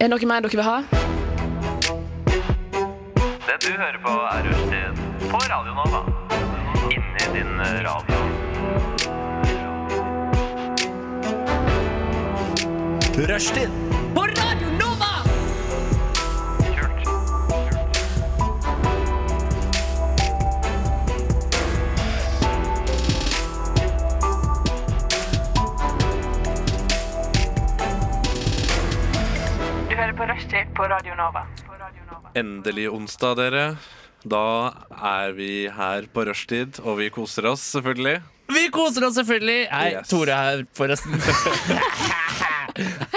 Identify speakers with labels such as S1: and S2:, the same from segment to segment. S1: Er det noe mer dere vil ha?
S2: Det du hører på er Rushtid på Radio Nova. Inni din radio.
S3: Rushtid
S2: Kult.
S4: Du hører på Rushtid på Radio Nova. På Radio Nova.
S5: Endelig onsdag, dere. Da er vi her på rushtid, og vi koser oss selvfølgelig.
S6: Vi koser oss selvfølgelig. Nei,
S5: Yes.
S6: Tore er her, forresten.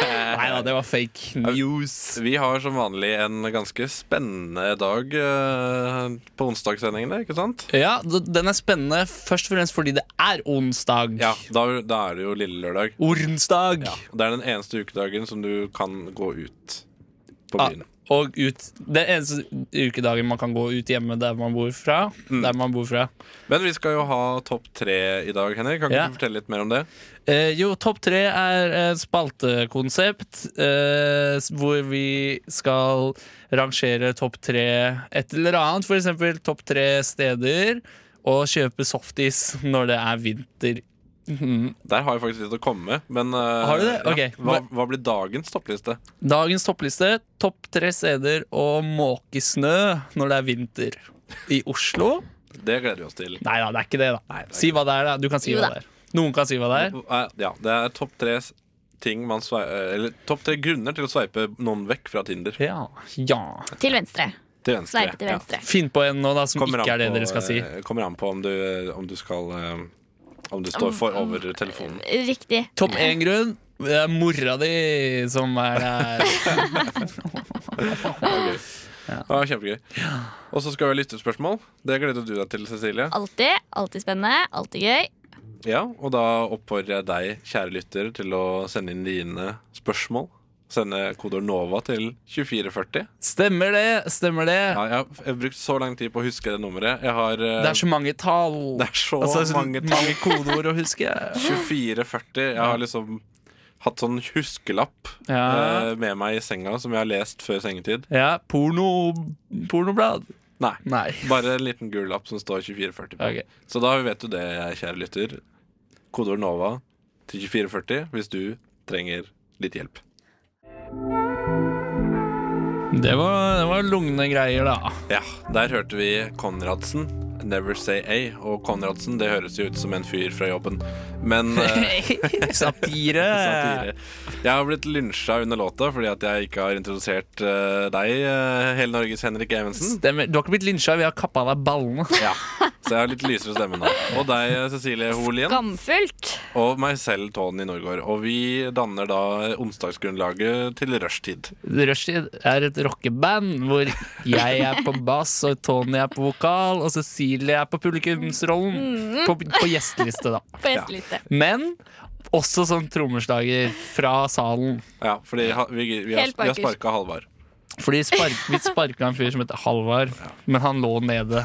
S6: Nei da, det var fake news.
S5: Vi har som vanlig en ganske spennende dag eh, på onsdagssendingene, ikke sant?
S6: Ja, d- Den er spennende først og fremst fordi det er onsdag.
S5: Ja, da, da er det jo lille lørdag.
S6: Ormsdag.
S5: Det er den eneste ukedagen som du kan gå ut på
S6: Ah,
S5: byen.
S6: og ut Den eneste ukedagen man kan gå ut hjemme der man bor fra. Der man bor fra.
S5: Men vi skal jo ha topp tre i dag, Henrik. Kan ikke
S6: Ja.
S5: du fortelle litt mer om det?
S6: Eh, jo, Topp tre er et spaltekonsept eh, s- hvor vi skal rangere topp tre et eller annet. For eksempel topp tre steder, og kjøpe softis når det er vinter.
S5: Der har jeg faktisk litt å komme, men eh,
S6: Har du det? Ok.
S5: ja. hva, hva blir dagens toppliste?
S6: Dagens toppliste topp tre steder og måkesnø når det er vinter. I Oslo?
S5: Det gleder vi oss til.
S6: Nei da, det er ikke det, da.
S5: Nei, det er
S6: si hva det er, da. Du kan si
S7: Jo
S6: hva
S7: da.
S6: det er. Noen kan si hva det er.
S5: Eh, Ja, det er topp tre s- ting man svei- eh, Eller topp tre grunner til å sveipe noen vekk fra Tinder.
S6: Ja. ja.
S7: Til venstre.
S5: Til venstre.
S7: Sveipe til venstre.
S5: Ja.
S6: Finn på en nå, da, som
S5: Kommer
S6: ikke
S5: an
S6: er det
S5: på,
S6: dere skal si.
S5: eh, Kommer an på om du, om du skal eh, Om du står for over telefonen.
S7: Riktig.
S6: Topp én grunn. Det er mora di som er her.
S5: Ja, kjempegøy. Og så skal vi ha lyttespørsmål. Det gleder du deg til, Cecilie.
S7: Alltid. Alltid spennende. Alltid gøy.
S5: Ja, og da oppfordrer jeg deg, kjære lytter, til å sende inn dine spørsmål. Sende kodeord NOVA til 2440.
S6: Stemmer det, stemmer det.
S5: Ja, jeg har jeg har brukt så lang tid på å huske det nummeret. Jeg har eh,
S6: Det er så mange tall.
S5: det er så
S6: Altså, så
S5: mange tall.
S6: mange kodeord å huske.
S5: 2440. Jeg har liksom hatt sånn huskelapp
S6: Ja.
S5: eh, med meg i senga som jeg har lest før sengetid.
S6: Ja, porno Pornoblad.
S5: Nei.
S6: Nei.
S5: Bare en liten gul lapp som står 2440 på.
S6: Ok.
S5: Så da vet du det, kjære lytter. Kodeord NOVA til 2440 hvis du trenger litt hjelp.
S6: Det var, det var lugne greier, da.
S5: Ja, der hørte vi Konradsen. Never Say A. Og Konradsen, det høres jo ut som en fyr fra jobben, men eh,
S6: Satire.
S5: Satire. Jeg har blitt lynsja under låta fordi at jeg ikke har introdusert eh, deg, eh, hele Norges Henrik Evensen.
S6: Stemmer. Du har ikke blitt lynsja, vi har kappa av deg ballene.
S5: Ja, Så jeg har litt lysere stemme nå. Og deg, eh, Cecilie Holien.
S7: Skamfullt.
S5: Og meg selv, Tony Norgård. Og vi danner da onsdagsgrunnlaget til rushtid.
S6: Rushtid er et rockeband hvor jeg er på bass, og Tony er på vokal, og Cecilie er på publikumsrollen. På, på gjesteliste, da.
S7: På gjesteliste.
S6: Men også som trommeslager fra salen.
S5: Ja, fordi ha- vi, vi har,
S7: Helt
S5: vi har
S7: bakerst.
S5: sparka Halvard.
S6: Fordi spark, vi sparka en fyr som heter Halvard, men han lå nede.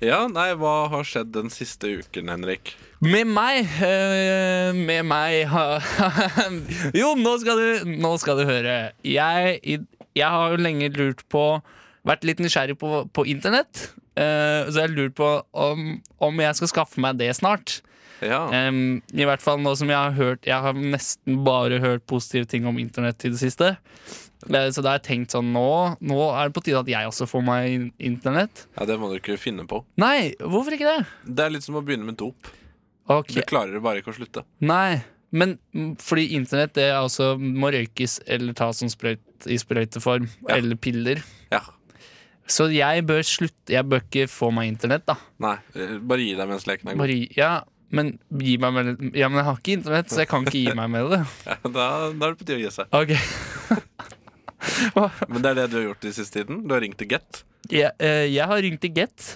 S5: Ja, nei, hva har skjedd den siste uken, Henrik?
S6: Med meg eh, Med meg ha- Jo, nå skal du, nå skal du høre. Jeg, i- jeg har jo lenge lurt på Vært litt nysgjerrig på, på internett. eh, så jeg har lurt på om, om jeg skal skaffe meg det snart.
S5: Ja,
S6: Em, I hvert fall nå som jeg har hørt Jeg har nesten bare hørt positive ting om internett i det siste. Eh, Så da har jeg tenkt sånn nå, nå er det på tide at jeg også får meg in- internett.
S5: ja det må du ikke finne på.
S6: Nei, hvorfor ikke det?
S5: Det er litt som å begynne med dop.
S6: Ok,
S5: Du klarer bare ikke å slutte.
S6: Nei, men mm, fordi internett det er også må røykes eller tas som sprøyt i sprøyteform.
S5: Ja.
S6: Eller piller.
S5: Ja,
S6: Så jeg bør slutte Jeg bør ikke få meg internett, da.
S5: Nei, eh, bare gi deg mens leken er god.
S6: Bare, gi- ja, men gi meg med Ja, men jeg har ikke internett, så jeg kan ikke gi meg med det.
S5: Da, da er det på tide å gi seg.
S6: Ok
S5: Men det er det du har gjort i siste tiden? Du har ringt til Get?
S6: Jeg, eh, jeg har ringt til Get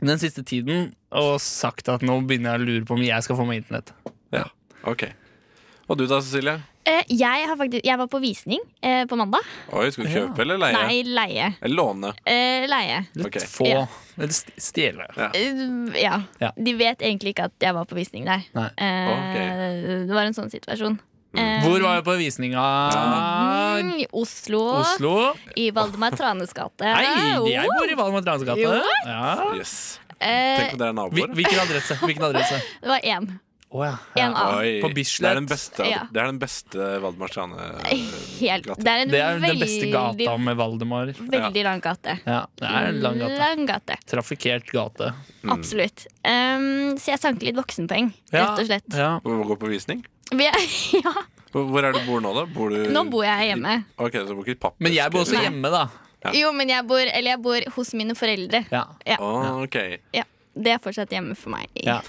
S6: den siste tiden og sagt at nå begynner jeg å lure på om jeg skal få meg internett.
S5: Ja. Ok. Og du da, Cecilie?
S7: Eh, jeg, har faktisk, jeg var på visning eh, på mandag.
S5: Oi, skal du kjøpe eller leie?
S7: Nei, leie.
S5: Eller låne?
S7: Eh, leie.
S6: Litt
S5: Ok.
S6: få
S7: Ja.
S6: Eller st- stjele.
S7: Eh, ja.
S6: Ja.
S7: De vet egentlig ikke at jeg var på visning der.
S6: Nei. Mm.
S7: Eh,
S5: Ok.
S7: Det var en sånn situasjon. Eh,
S6: Hvor var vi på visninga?
S7: mm, I Oslo.
S6: Oslo.
S7: I Valdemar Tranes gate.
S6: Nei, de- jeg
S7: Oh,
S6: bor i Valmot Ransgate.
S7: Jo.
S6: Ja.
S5: Yes. Tenk
S7: eh,
S5: om dere er
S6: Hvil-
S5: naboer.
S6: Hvilken adresse? Hvilken adresse?
S7: det var én.
S6: Å ja.
S7: En
S6: ja.
S7: annen.
S5: Oi,
S6: På
S5: Det
S6: Bislett.
S5: er den beste,
S7: Ah. Ja.
S5: det er den beste Valdemar Strane-gata.
S7: Helt, det er en
S6: Det er den
S7: veldig,
S6: beste gata med Valdemar.
S7: veldig lang gate.
S6: Ja, det er en lang gate.
S7: Lang gate.
S6: Trafikkert gate.
S7: Absolutt. Um, så jeg sanker litt voksenpoeng,
S6: Mm. Ja,
S7: rett og slett.
S6: Ja.
S5: Hvor går på visning?
S7: Vi er- ja.
S5: Hvor hvor er det du bor nå, da? Bor du
S7: Nå bor jeg hjemme.
S5: Ok, så du bor ikke i pappeske?
S6: Men jeg bor også
S5: eller?
S6: hjemme, da.
S5: Ja.
S7: Jo, men jeg bor, eller jeg bor hos mine foreldre.
S6: Ja.
S5: Å, Ah, ok.
S7: Ja, Det er fortsatt hjemme for meg.
S6: Ja.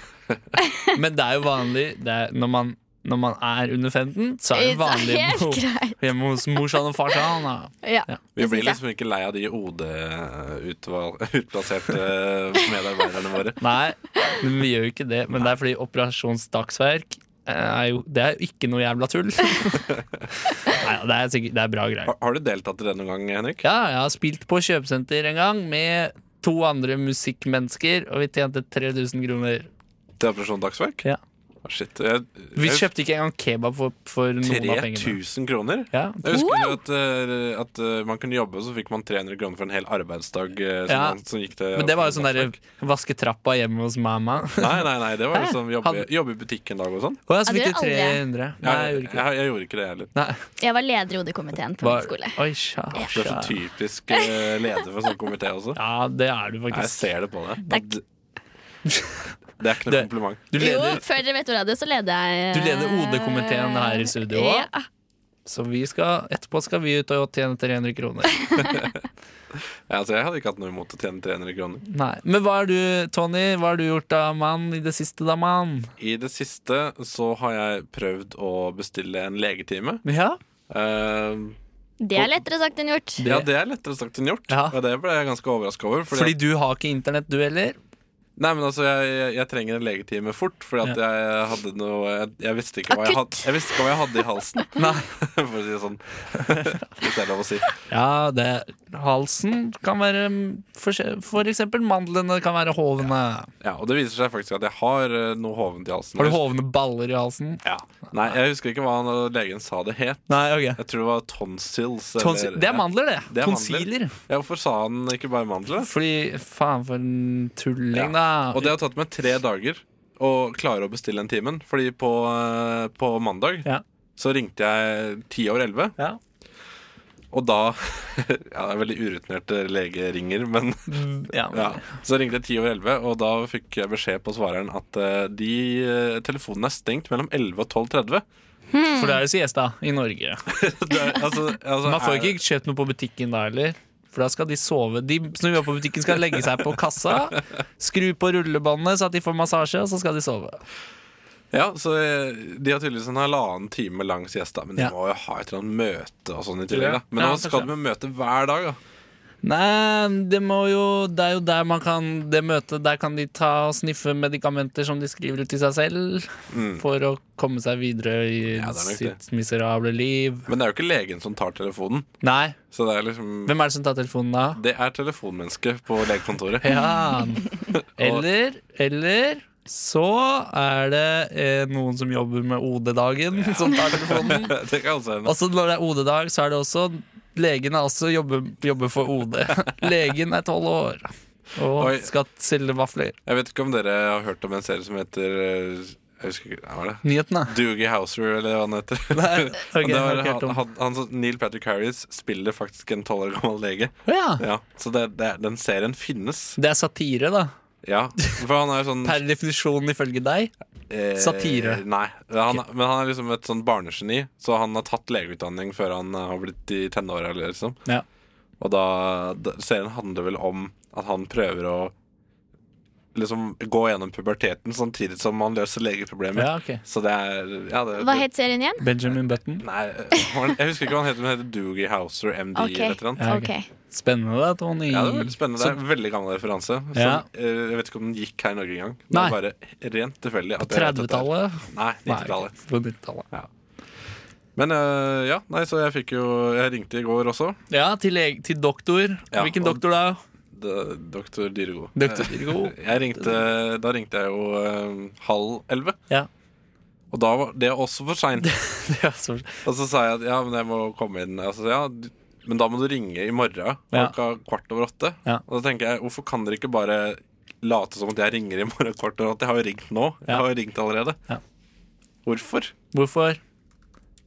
S6: Men det er jo vanlig det er, når, man, når man er under 15, så er det vanlig å
S7: Helt
S6: bo
S7: greit.
S6: hjemme hos morsan og farsan. Da.
S7: Ja.
S6: Ja.
S5: Vi
S7: det
S5: blir
S7: synes jeg.
S5: liksom ikke lei av de eh, OD-utplasserte eh, medarbeiderne våre.
S6: Nei, men vi gjør jo ikke det. Men det er fordi operasjonsdagsverk eh, er jo, det er jo ikke noe jævla tull. Nei, det er, sikkert, det er bra greier.
S5: Har, har du deltatt i det noen gang, Henrik?
S6: Ja, jeg har spilt på kjøpesenter en gang med to andre musikkmennesker, og vi tjente 3000 kroner.
S5: Til Operasjon Dagsverk?
S6: Ja.
S5: Å, Shit. Jeg,
S6: Vi
S5: jeg-
S6: kjøpte ikke engang kebab for, for noen av pengene.
S5: 3000 kroner?
S6: Ja.
S5: Jeg husker at, eh, at eh, man kunne jobbe, og så fikk man 300 kroner for en hel arbeidsdag. eh, som,
S6: Ja.
S5: man- som gikk til
S6: Men det var jo
S5: Operasjon
S6: sånn derre
S5: Dagsverk.
S6: vaske trappa hjemme hos mamma.
S5: Nei, nei, nei, det var liksom jobbe,
S6: Hadde-
S5: jobbe i butikk en dag og sånn.
S6: Å, ja, så
S7: Ja, det
S6: fikk du
S7: gjør aldri
S6: 300? Nei, jeg gjorde
S5: jeg,
S6: ikke det.
S5: jeg, jeg gjorde ikke det heller.
S6: Nei,
S7: Jeg var leder i OD-komiteen på min
S6: var,
S7: skole.
S6: oi, sja,
S5: Du er så
S6: sja.
S5: typisk eh, leder for sånn komité også.
S6: Ja, det er du
S5: Nei, jeg
S6: faktisk.
S5: ser det på deg.
S7: Takk.
S5: Det, det er ikke noe
S6: Det-
S5: kompliment.
S6: Du
S7: Jo,
S6: leder,
S7: før dere vet ordet av det, så leder jeg
S6: du leder OD-komiteen her i studio òg.
S7: Ja.
S6: Så vi skal, etterpå skal vi ut og tjene 300 kroner.
S5: Ja, altså, jeg hadde ikke hatt noe imot å tjene 300 kroner.
S6: Nei. Men hva har du, Tony, hva har du gjort da, mann, i det siste, da, mann?
S5: I det siste så har jeg prøvd å bestille en legetime.
S6: Ja.
S5: Eh,
S7: Det er lettere sagt enn gjort.
S5: ja, det er lettere sagt enn gjort.
S6: Ja.
S5: Og det ble jeg ganske overraska over. fordi
S6: Fordi du har ikke internett, du heller?
S5: Nei, men altså, jeg, jeg, jeg trenger en legetime fort, Fordi at jeg hadde noe jeg, jeg, visste ikke hva jeg, had,
S7: Akutt.
S5: jeg visste ikke hva jeg hadde i halsen,
S6: Nei.
S5: for å si det sånn. Hvis det er lov å si.
S6: Ja, det Halsen kan være mm, for, for eksempel mandlene kan være hovne.
S5: Ja, Og det viser seg faktisk at jeg har eh, noe hovent i halsen.
S6: Har du hovne baller i halsen?
S5: Ja. Nei, jeg husker ikke hva han, eh, legen sa det het.
S6: Nei, ok.
S5: Jeg tror det var tonsils. eller-
S6: Tonsil, det er mandler, det.
S5: Det er mandler.
S6: Tonsiler.
S5: Ja, hvorfor sa han ikke bare mandler? da?
S6: Fordi faen, for en tulling, da.
S5: Og det har tatt meg tre dager å klare å bestille den timen. Fordi på, eh, på mandag
S6: Ja.
S5: så ringte jeg ti over elleve.
S6: Ja.
S5: Og da Ja, det er veldig urutinerte legeringer, men
S6: Ja, men-
S5: ja. Så ringte jeg 10 over 11, og da fikk jeg beskjed på svareren at eh, de, eh, telefonen er stengt mellom 11 og 12.30.
S6: For det er jo siesta i Norge.
S5: Det er- altså, altså,
S6: Man får
S5: er-
S6: ikke kjøpt noe på butikken da heller. For da skal de sove. De som jobber på butikken, skal legge seg på kassa, skru på rullebåndet så at de får massasje, og så skal de sove.
S5: Ja, så eh, De har tydeligvis en halvannen time lang siesta, men de
S6: Ja.
S5: må jo ha et eller annet møte og sånn i tillegg.
S6: Ja.
S5: da Men
S6: Ja,
S5: nå skal
S6: kanskje.
S5: de med møte hver dag. da
S6: Nei, det må jo Det er jo der man kan Det møtet, der kan de ta og sniffe medikamenter som de skriver ut til seg selv, for å komme seg videre i
S5: Mm. Ja, det er nok det.
S6: sitt miserable liv.
S5: Men det er jo ikke legen som tar telefonen.
S6: Nei.
S5: Så det er liksom
S6: Hvem er det som tar telefonen da?
S5: Det er telefonmennesket på legekontoret.
S6: Ja. Eller, eller så er det eh, noen som jobber med OD-dagen, som tar telefonen.
S5: det kan også hende.
S6: Altså Når det er OD-dag, så er det også Legen er også jobber, jobber for OD. Legen er tolv år og
S5: Oi.
S6: skal selge vafler.
S5: Jeg vet ikke om dere har hørt om en serie som heter eh, Jeg husker ikke, hva er det?
S6: Nyheten, da.
S5: Doogie Houser, eller hva han heter.
S6: Nei, ok,
S5: Og det var,
S6: jeg har ikke hørt om.
S5: han, han, han, som- Neil Patrick Harris spiller faktisk en tolv år gammel lege.
S6: Å ja.
S5: Ja, så det, det, den serien finnes.
S6: Det er satire, da.
S5: Ja, for han er jo sånn
S6: Per definisjon, ifølge deg.
S5: eh,
S6: satire.
S5: Nei, han, men han er liksom et sånn barnegeni, så han har tatt legeutdanning før han eh, har blitt i tenåra. eller Liksom.
S6: Ja.
S5: Og da, da serien handler vel om at han prøver å liksom gå gjennom puberteten samtidig som han løser legeproblemer.
S6: ja ok
S5: Så det er ja, det,
S7: Hva het serien igjen?
S6: Benjamin Button.
S5: Nei, han- jeg husker ikke hva han heter, men han heter Doogie Houser MD
S7: Ok.
S5: eller et eller annet.
S6: Ja, ok.
S7: Ok.
S6: Spennende, da, Tony.
S5: Ja, det er veldig spennende. Det er en veldig gammel referanse. som,
S6: mm. Ja.
S5: eh, jeg vet ikke om den gikk her i Norge engang. Det
S6: Nei.
S5: var bare rent tilfeldig. at
S6: På
S5: jeg vet dette her.
S6: 30-tallet?
S5: Nei,
S6: Nei,
S5: 90-tallet.
S6: på 90-tallet.
S5: Men eh, ja, nei, så jeg fikk jo Jeg ringte i går også.
S6: Ja, til, lege, til doktor.
S5: Ja,
S6: Hvilken
S5: og-
S6: doktor da?
S5: D- Doktor Dyrego.
S6: Doktor Dyrego.
S5: Eh, Jeg ringte, da ringte jeg jo eh, halv elleve.
S6: Ja.
S5: Og da var det også for seint.
S6: Det er så...
S5: Og så sa jeg at ja, men jeg må komme inn. Jeg sa, ja, du- men da må du ringe i morgen
S6: Ja.
S5: klokka kvart over åtte.
S6: Ja.
S5: Og da tenker jeg, hvorfor kan dere ikke bare late som at jeg ringer i morgen kvart over åtte? Jeg har jo ringt nå. Jeg
S6: Ja.
S5: har jo ringt allerede.
S6: Ja.
S5: Hvorfor?
S6: Hvorfor?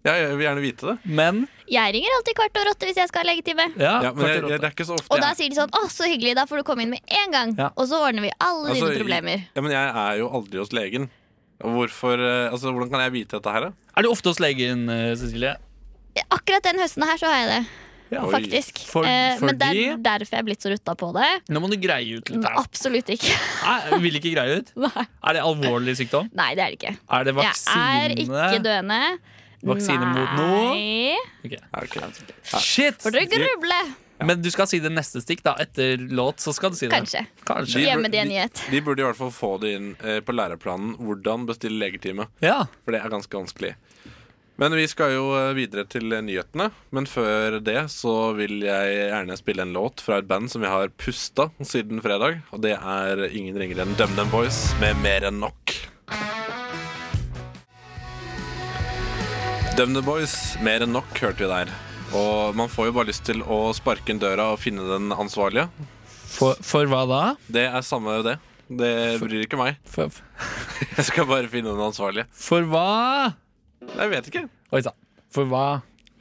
S5: Ja, jeg vil gjerne vite det.
S6: Men
S7: Jeg ringer alltid kvart over åtte hvis jeg skal ha leggetime.
S6: Ja,
S5: Ja, men
S6: kvart over
S5: jeg, jeg, det
S6: åtte.
S5: er ikke så ofte
S7: Og da
S5: jeg-
S7: sier de sånn 'Å, så hyggelig, da får du komme inn med en gang'.
S6: Ja.
S7: Og så ordner vi alle
S5: Altså,
S7: dine problemer.
S5: Ja, men jeg er jo aldri hos legen. Og Hvorfor, eh, altså, hvordan kan jeg vite dette her, da?
S6: Er du ofte hos legen, eh, Cecilie?
S7: Akkurat den høsten her så har jeg det,
S5: Oi.
S7: faktisk.
S6: For-
S7: eh, men det
S6: fordi-
S7: er derfor jeg er blitt så rutta på det.
S6: Nå må du greie ut litt
S7: Men
S6: her.
S7: absolutt ikke.
S6: Nei, jeg vil ikke greie ut.
S7: Nei.
S6: Er det alvorlig sykdom?
S7: Nei, det er det ikke.
S6: Er det
S7: Jeg er
S6: vaksine?
S7: ikke døende.
S6: Vaksine mot noe?
S7: Nei.
S6: Ok.
S5: Ja, ok.
S6: Shit!
S7: Får dere gruble?
S6: Men du skal si det neste stikk, da. Etter låt, så skal du si det.
S7: Kanskje.
S6: Kanskje.
S7: Gi
S5: bur-
S7: meg det en nyhet.
S5: De, de burde i hvert fall få det inn eh, på læreplanen hvordan bestille legetime.
S6: Ja.
S5: For det er ganske vanskelig. Men vi skal jo eh, videre til eh, nyhetene. Men før det så vil jeg gjerne spille en låt fra et band som jeg har pusta siden fredag. Og det er ingen ringere enn DumDum Boys med Mer enn nok. DumDum Boys, Mer enn nok, hørte vi der. Og man får jo bare lyst til å sparke inn døra og finne den ansvarlige.
S6: For, for hva da?
S5: Det er samme det. Det bryr ikke meg.
S6: For,
S5: Jeg skal bare finne den ansvarlige.
S6: for hva?
S5: Jeg vet ikke.
S6: Oi sann. For hva?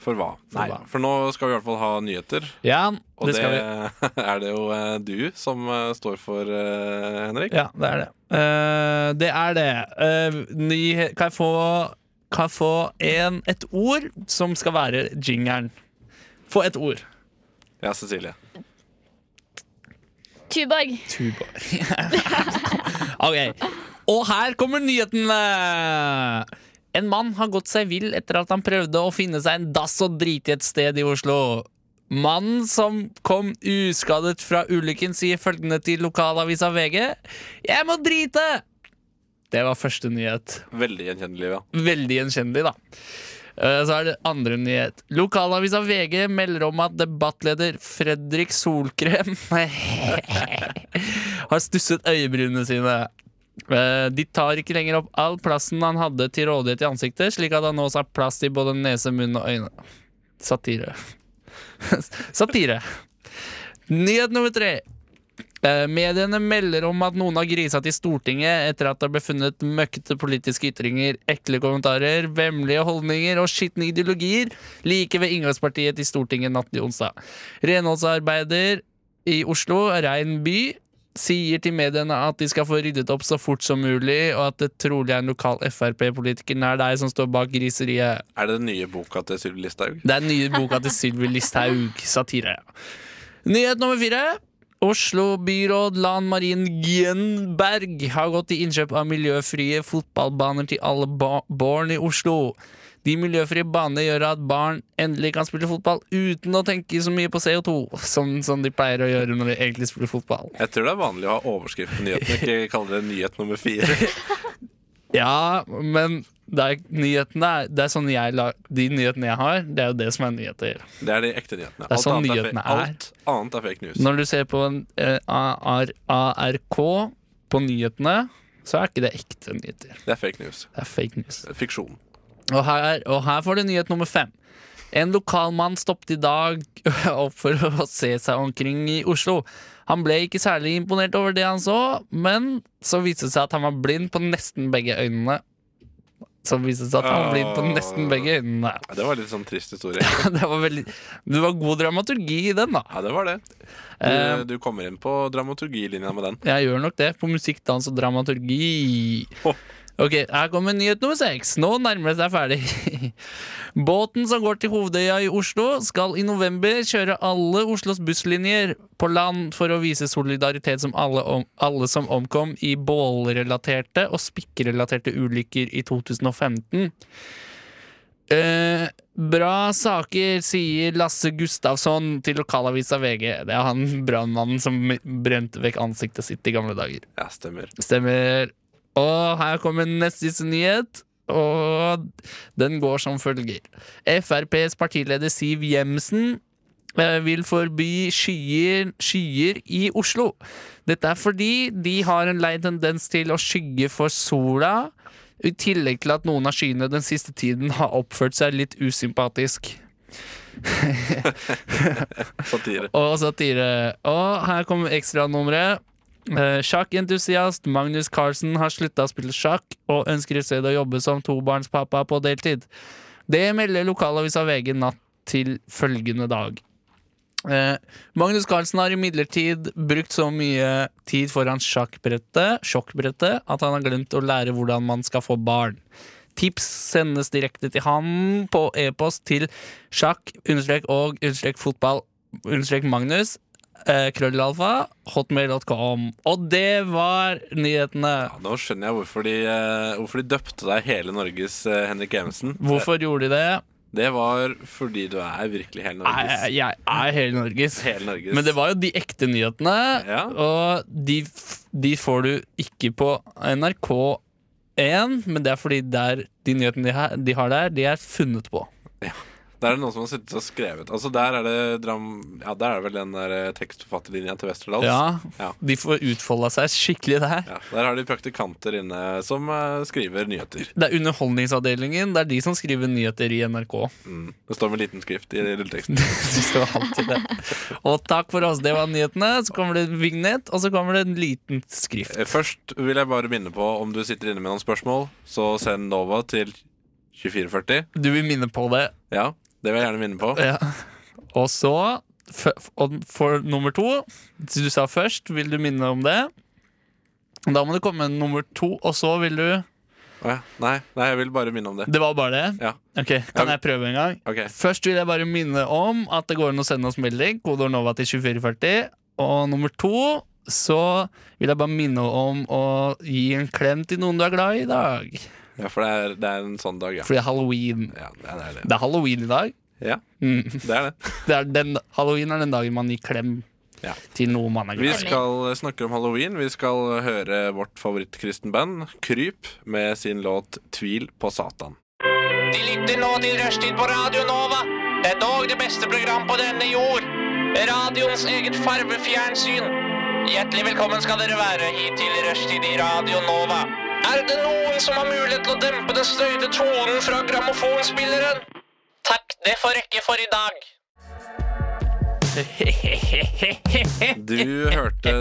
S5: For hva? Nei,
S6: hva?
S5: for nå skal vi i hvert fall ha nyheter.
S6: Ja,
S5: Og
S6: det
S5: det,
S6: skal vi.
S5: er det jo eh, du som eh, står for, eh, Henrik.
S6: Ja, det er det. Eh, det er det. Eh, nyhe- kan jeg få, kan jeg få en, et ord som skal være jingeren? Få et ord.
S5: Ja, Cecilie.
S7: Tuborg.
S6: Tuba. ok. Og her kommer nyhetene! En mann har gått seg vill etter at han prøvde å finne seg en dass og drite i et sted i Oslo. Mannen som kom uskadet fra ulykken, sier følgende til lokalavisa VG. Jeg må drite! Det var første nyhet
S5: Veldig gjenkjennelig. Ja.
S6: veldig gjenkjennelig, da. Eh, Så er det andre nyhet. Lokalavisa VG melder om at debattleder Fredrik Solkrem har stusset øyebrynene sine. Eh, De tar ikke lenger opp all plassen han hadde til rådighet i ansiktet, slik at han nå har plass til både nese, munn og øyne. Satire. Satire. Nyhet nummer tre. Eh, Mediene melder om at noen har grisa til Stortinget etter at det ble funnet møkkete politiske ytringer, ekle kommentarer, vemmelige holdninger og skitne ideologier like ved inngangspartiet til Stortinget natt til onsdag. Renholdsarbeider i Oslo, Rein by, sier til mediene at de skal få ryddet opp så fort som mulig, og at det trolig er en lokal Frp-politiker nær deg som står bak griseriet.
S5: Er det den nye boka til Sylvi Listhaug?
S6: Det er den nye boka til Sylvi Listhaug. Satire. Nyhet nummer fire. Oslo byråd Lan Marin Gjenberg har gått til innkjøp av miljøfrie fotballbaner til alle ba barn i Oslo. De miljøfrie banene gjør at barn endelig kan spille fotball uten å tenke så mye på CO2, som, som de pleier å gjøre når de egentlig spiller fotball.
S5: Jeg tror det er vanlig å ha overskrift på nyhetene, ikke kalle det nyhet nummer fire.
S6: Ja, men det er, nyhetene er, det er sånn jeg la, de nyhetene jeg har, det er jo det som er nyheter.
S5: Det er de ekte nyhetene.
S6: er sånn
S5: annet
S6: nyhetene
S5: fake-
S6: er.
S5: alt annet er fake news.
S6: Når du ser på en eh, AR ARK på nyhetene, så er ikke det ekte nyheter.
S5: Det er fake news.
S6: Det er fake news.
S5: Fiksjon.
S6: Og her, og her får du nyhet nummer fem. En lokalmann stoppet i dag opp for å se seg omkring i Oslo. Han ble ikke særlig imponert over det han så, men så viste det seg at han var blind på nesten begge øynene. Så viste det seg at han var blind på nesten begge øynene.
S5: Ja, det var litt sånn trist historie.
S6: Det var veldig Det var god dramaturgi i den, da.
S5: Ja, det var det.
S6: Eh,
S5: Du, du kommer inn på dramaturgilinja med den.
S6: Jeg gjør nok det på musikk, dans og dramaturgi. Ok, Her kommer nyhet nummer seks. Nå nærmer det seg ferdig. Båten som går til Hovedøya i Oslo, skal i november kjøre alle Oslos busslinjer på land for å vise solidaritet som alle, om, alle som omkom i bålrelaterte og spikkrelaterte ulykker i 2015. Eh, bra saker, sier Lasse Gustavsson til lokalavisa VG. Det er han brannmannen som brente vekk ansiktet sitt i gamle dager.
S5: Ja, stemmer.
S6: Stemmer. Og her kommer neste nyhet. Og den går som følger. FrPs partileder Siv Jemsen eh, vil forby skyer, skyer i Oslo. Dette er fordi de har en lei tendens til å skygge for sola. I tillegg til at noen av skyene den siste tiden har oppført seg litt usympatisk.
S5: Satire.
S6: Og satire. Og her kommer ekstranummeret. Eh, Sjakkentusiast Magnus Carlsen har slutta å spille sjakk og ønsker i stedet å jobbe som tobarnspappa på deltid. Det melder lokalavisa VG natt til følgende dag. Eh, Magnus Carlsen har imidlertid brukt så mye tid foran sjakkbrettet, sjokkbrettet at han har glemt å lære hvordan man skal få barn. Tips sendes direkte til han på e-post til sjakk-og-fotball-magnus. eh, Krøllalfa, hotmail.com. Og det var nyhetene.
S5: Ja, nå skjønner jeg hvorfor de, eh, hvorfor de døpte deg hele Norges eh, Henrik Evensen.
S6: Hvorfor gjorde de det?
S5: Det var fordi du er virkelig hele
S6: Nei,
S5: Norges.
S6: Jeg er hele Norges.
S5: Hele Norges.
S6: Men det var jo de ekte nyhetene,
S5: Ja.
S6: og de, f- de får du ikke på NRK1, men det er fordi der, de nyhetene de, her, de har der, de er funnet på.
S5: Der er det noen som har sittet og skrevet. Altså, der er det, dram ja, der er det vel den der eh, tekstforfatterlinja til Westerdals.
S6: Ja,
S5: Ja.
S6: De får utfolda seg skikkelig der.
S5: Ja, der har de praktikanter inne som eh, skriver nyheter.
S6: Det er Underholdningsavdelingen. Det er de som skriver nyheter i NRK.
S5: Mm. Det står med liten skrift i rulleteksten.
S6: Det står alltid det. Og takk for oss, det var nyhetene. Så kommer det en vignett, og så kommer det en liten skrift.
S5: Eh, Først vil jeg bare minne på om du sitter inne med noen spørsmål, så send Nova til 2440.
S6: Du vil minne på det.
S5: Ja, det vil jeg gjerne minne på.
S6: Ja. Og så, f- og for nummer to Du sa først, vil du minne om det? Da må du komme med nummer to, og så vil du
S5: Å ja. Nei, nei, jeg vil bare minne om det.
S6: Det var bare det?
S5: Ja.
S6: Ok, Kan jeg prøve en gang?
S5: Ok.
S6: Først vil jeg bare minne om at det går an å sende oss melding. Kodeord NOVA til 2440. Og nummer to så vil jeg bare minne om å gi en klem til noen du er glad i i dag.
S5: Ja, for det er, det er en sånn dag, ja.
S6: For det er halloween.
S5: Ja, det er det.
S6: Det er halloween i dag.
S5: Ja,
S6: Mm.
S5: det er det.
S6: Det er den, halloween er den dagen man gir klem
S5: Ja.
S6: til noe man er
S5: Vi
S6: glad i.
S5: skal snakke om halloween. Vi skal høre vårt favorittkristenband, Kryp, med sin låt 'Tvil på Satan'.
S1: De lytter nå til Rushtid på Radio Nova. Det er dog det beste program på denne jord. Radioens eget farvefjernsyn. Hjertelig velkommen skal dere være hit til Rushtid i Radio Nova. Er det noen som har mulighet til å dempe den støyte tonen fra grammofonspilleren? Takk, det får rekke for i dag.
S5: Du hørte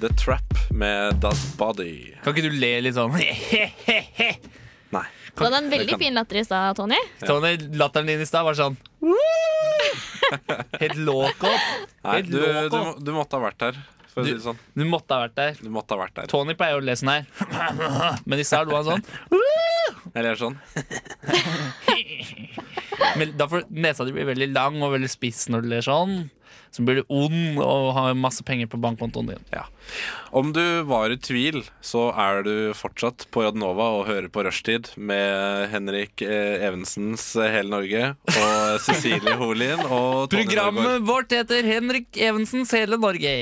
S5: The Trap med Das Body.
S6: Kan ikke du le litt sånn?
S5: Nei.
S7: Du hadde en veldig
S5: kan-
S7: fin latter i stad, Tony.
S6: Tony, latteren din i stad var sånn Helt loco.
S5: Nei
S6: Helt
S5: du, du,
S6: loco.
S5: må- du måtte ha vært her, for å si det sånn.
S6: Du måtte ha vært der.
S5: Du måtte ha vært der.
S6: Tony pleier å le sånn her, men i stad lo han sånn.
S5: Eller sånn.
S6: Men da får Nesa di blir veldig lang og veldig spiss når du ler sånn. Så blir du ond og har masse penger på bankkontoen din.
S5: Ja. Om du var i tvil, så er du fortsatt på Jadnova og hører på Rushtid med Henrik eh, Evensens eh, Hele Norge og Cecilie Holin og Tony Norgård.
S6: Programmet vårt heter Henrik Evensens Hele Norge.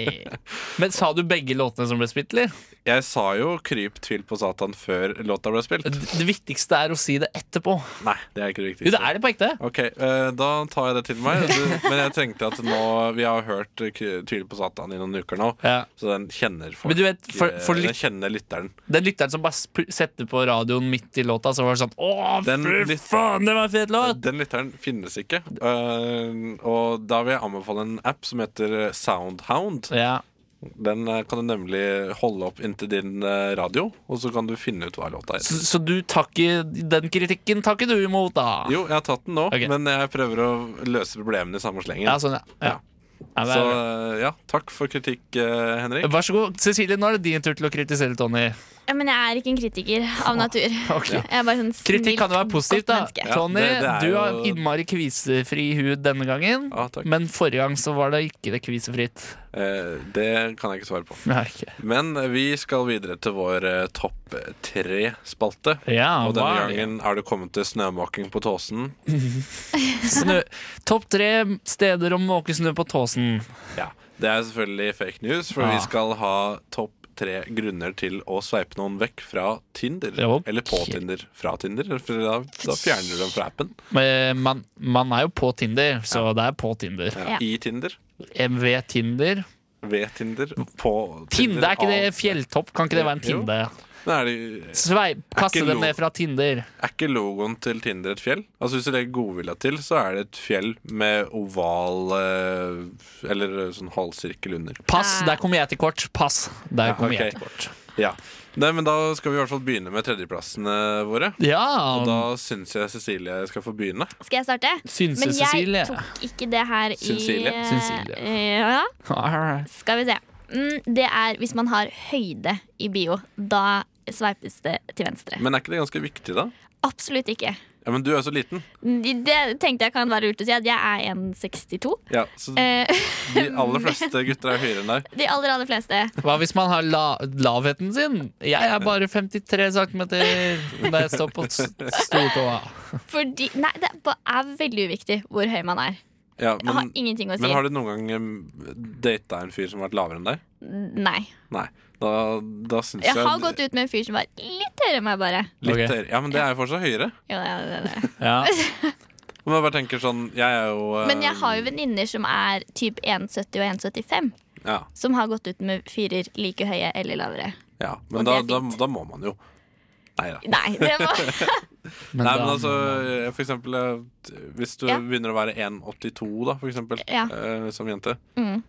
S6: Men sa du begge låtene som ble spilt, eller?
S5: Jeg sa jo 'Kryp tvil på Satan' før låta ble spilt.
S6: Det viktigste er å si det etterpå.
S5: Nei, det er ikke
S6: Eh,
S5: det
S6: Jo, det
S5: viktigste.
S6: er det på ekte.
S5: Ok, eh, Da tar jeg det til meg. Du, men jeg tenkte at nå Vi har hørt eh, Kry- 'Tvil på Satan' i noen uker nå,
S6: Ja.
S5: så den kjenner folk.
S6: Men du vet, for-
S5: eh,
S6: for lyt-
S5: den kjenner lytteren.
S6: Den lytteren som bare sp- setter på radioen midt i låta, så var det sånn Å,
S5: Den
S6: fy
S5: lyt-
S6: faen, det var en fet låt!
S5: Den lytteren finnes ikke. Eh, og da vil jeg anbefale en app som heter eh, Soundhound.
S6: Ja.
S5: Den eh, kan du nemlig holde opp inntil din eh, radio, og så kan du finne ut hva låta
S6: Så,
S5: er.
S6: så du tar ikke Den kritikken tar ikke du imot, da?
S5: Jo, jeg har tatt den nå,
S6: Ok.
S5: men jeg prøver å løse problemene i samme slengen.
S6: Ja, sånn, ja. ja. ja det
S5: så
S6: er
S5: eh, ja, takk for kritikk, eh,
S6: bra.
S5: Henrik.
S6: Vær så god. Cecilie, nå er det din tur til å kritisere Tony.
S7: Ja, men jeg er ikke en kritiker av natur.
S6: Ok.
S7: Jeg er bare sånn snilt,
S6: Kritikk kan jo være positivt,
S7: godt
S6: da.
S7: menneske.
S5: Ja.
S6: Tony,
S5: det- det er
S6: du
S5: jo-
S6: har innmari kvisefri hud denne gangen.
S5: Ja, takk.
S6: Men forrige gang så var det ikke det kvisefritt.
S5: Eh, det kan jeg ikke svare på.
S6: Nei, ikke.
S5: Men vi skal videre til vår eh, topp tre-spalte.
S6: Ja, hva
S5: Og denne
S6: er det?
S5: gangen er det kommet til snømåking på Tåsen.
S6: Snø. Topp tre steder å måke snø på Tåsen.
S5: Ja, Det er selvfølgelig fake news, for
S6: Ja.
S5: vi skal ha topp tre grunner til å sveipe noen vekk fra Tinder.
S6: Ok.
S5: Eller på Tinder. Fra Tinder, for da, da fjerner du dem fra appen.
S6: Men Eh, man, man er jo på Tinder, så det er på Tinder.
S5: Ja.
S7: Ja.
S5: I Tinder.
S6: MV Tinder.
S5: Ved Tinder. På
S6: Tinde, er ikke det
S5: av-
S6: fjelltopp? Kan ikke det være en
S5: Jo.
S6: Tinde?
S5: Men er, det,
S6: Sveip, kaste
S5: ikke
S6: dem
S5: lov.
S6: ned fra Tinder.
S5: er ikke logoen til Tinder et fjell? Altså Hvis du legger godvilja til, så er det et fjell med oval eh, Eller sånn halvsirkel under.
S6: Pass, der kommer jeg til kort. Pass, der kommer
S5: ok.
S6: jeg til kort.
S5: Ja. Nei, men da skal vi i hvert fall begynne med tredjeplassene våre.
S6: Ja,
S5: Da syns jeg Cecilie skal få begynne.
S7: Skal jeg starte?
S6: Synse
S7: Men
S6: Cecilie.
S7: jeg tok ikke det her i eh,
S5: Cecilie.
S6: Cecilie.
S7: Ja,
S6: Alright.
S7: skal vi se. Mm, Det er hvis man har høyde i bio. Da sveipes det til venstre.
S5: Men er ikke det ganske viktig, da?
S7: Absolutt ikke.
S5: Ja, Men du er jo så liten.
S7: Det tenkte jeg kan være lurt å si at jeg er 1,62.
S5: Ja, så
S7: Eh,
S5: De aller fleste gutter er høyere enn deg.
S7: De aller, aller fleste.
S6: Hva hvis man har la lavheten sin? Jeg er bare 53 cm da jeg står på s- stortåa.
S7: Fordi Nei, det er ba- er veldig uviktig hvor høy man er.
S5: Ja,
S7: Jeg har
S5: men,
S7: ingenting å si.
S5: men har du noen gang em, data en fyr som har vært lavere enn deg?
S7: Nei.
S5: Nei. Da, da syns jeg
S7: Jeg har gått ut med en fyr som var litt høyere enn meg, bare.
S5: litt
S6: Ok.
S5: høyere. Ja, men det er jo fortsatt høyere.
S7: Jo, det, det, det.
S6: Ja.
S5: Men jeg bare tenker sånn Jeg er jo eh,
S7: Men jeg har jo venninner som er typ 1,70 og 1,75,
S5: Ja,
S7: som har gått ut med fyrer like høye eller lavere.
S5: ja.
S7: Og
S5: Men da,
S7: det er
S5: da,
S7: fint.
S5: da må man jo. Nei da.
S7: Nei, det var
S5: Nei,
S6: da-
S5: men altså, eh, for eksempel eh, Hvis du
S7: Ja.
S5: begynner å være 1,82 da, for eksempel,
S7: Ja.
S5: eh, som jente
S7: Mm.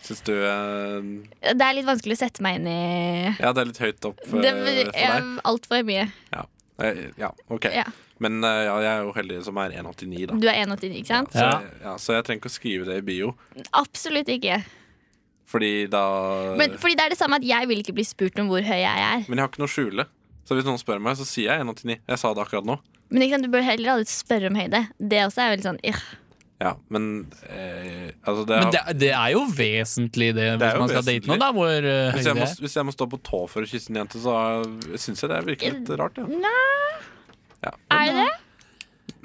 S5: Syns du eh,
S7: Det er litt vanskelig å sette meg inn i
S5: Ja, det er litt høyt opp eh, for
S7: det
S5: deg?
S7: er altfor mye.
S5: Eh, Ja, OK.
S7: Ja.
S5: Men eh, ja, jeg er jo heldig som er 1,89, da.
S7: Du er 1,89, ikke sant?
S5: Så,
S6: Ja.
S5: jeg- ja, så jeg trenger ikke å skrive det i bio,
S7: Absolutt ikke.
S5: fordi da
S7: Men, fordi det er det samme at jeg vil ikke bli spurt om hvor høy jeg er.
S5: Men jeg har ikke noe å skjule. Så hvis noen spør meg, så sier jeg 1,89. Jeg sa det akkurat nå.
S7: Men ikke sant, du bør heller aldri spørre om høyde. Det også er veldig sånn irr.
S5: Ja, men eh, altså det,
S6: Men
S5: har-
S6: det, det er jo vesentlig, det,
S5: Det er
S6: hvis
S5: jo
S6: man skal
S5: vesentlig.
S6: date noen, da. Hvor eh, høy
S5: hvis, jeg må,
S6: det er.
S5: hvis jeg må stå på tå for å kysse en jente, så syns jeg det virker litt rart. Ja. Ja.
S7: Eh, Er det det?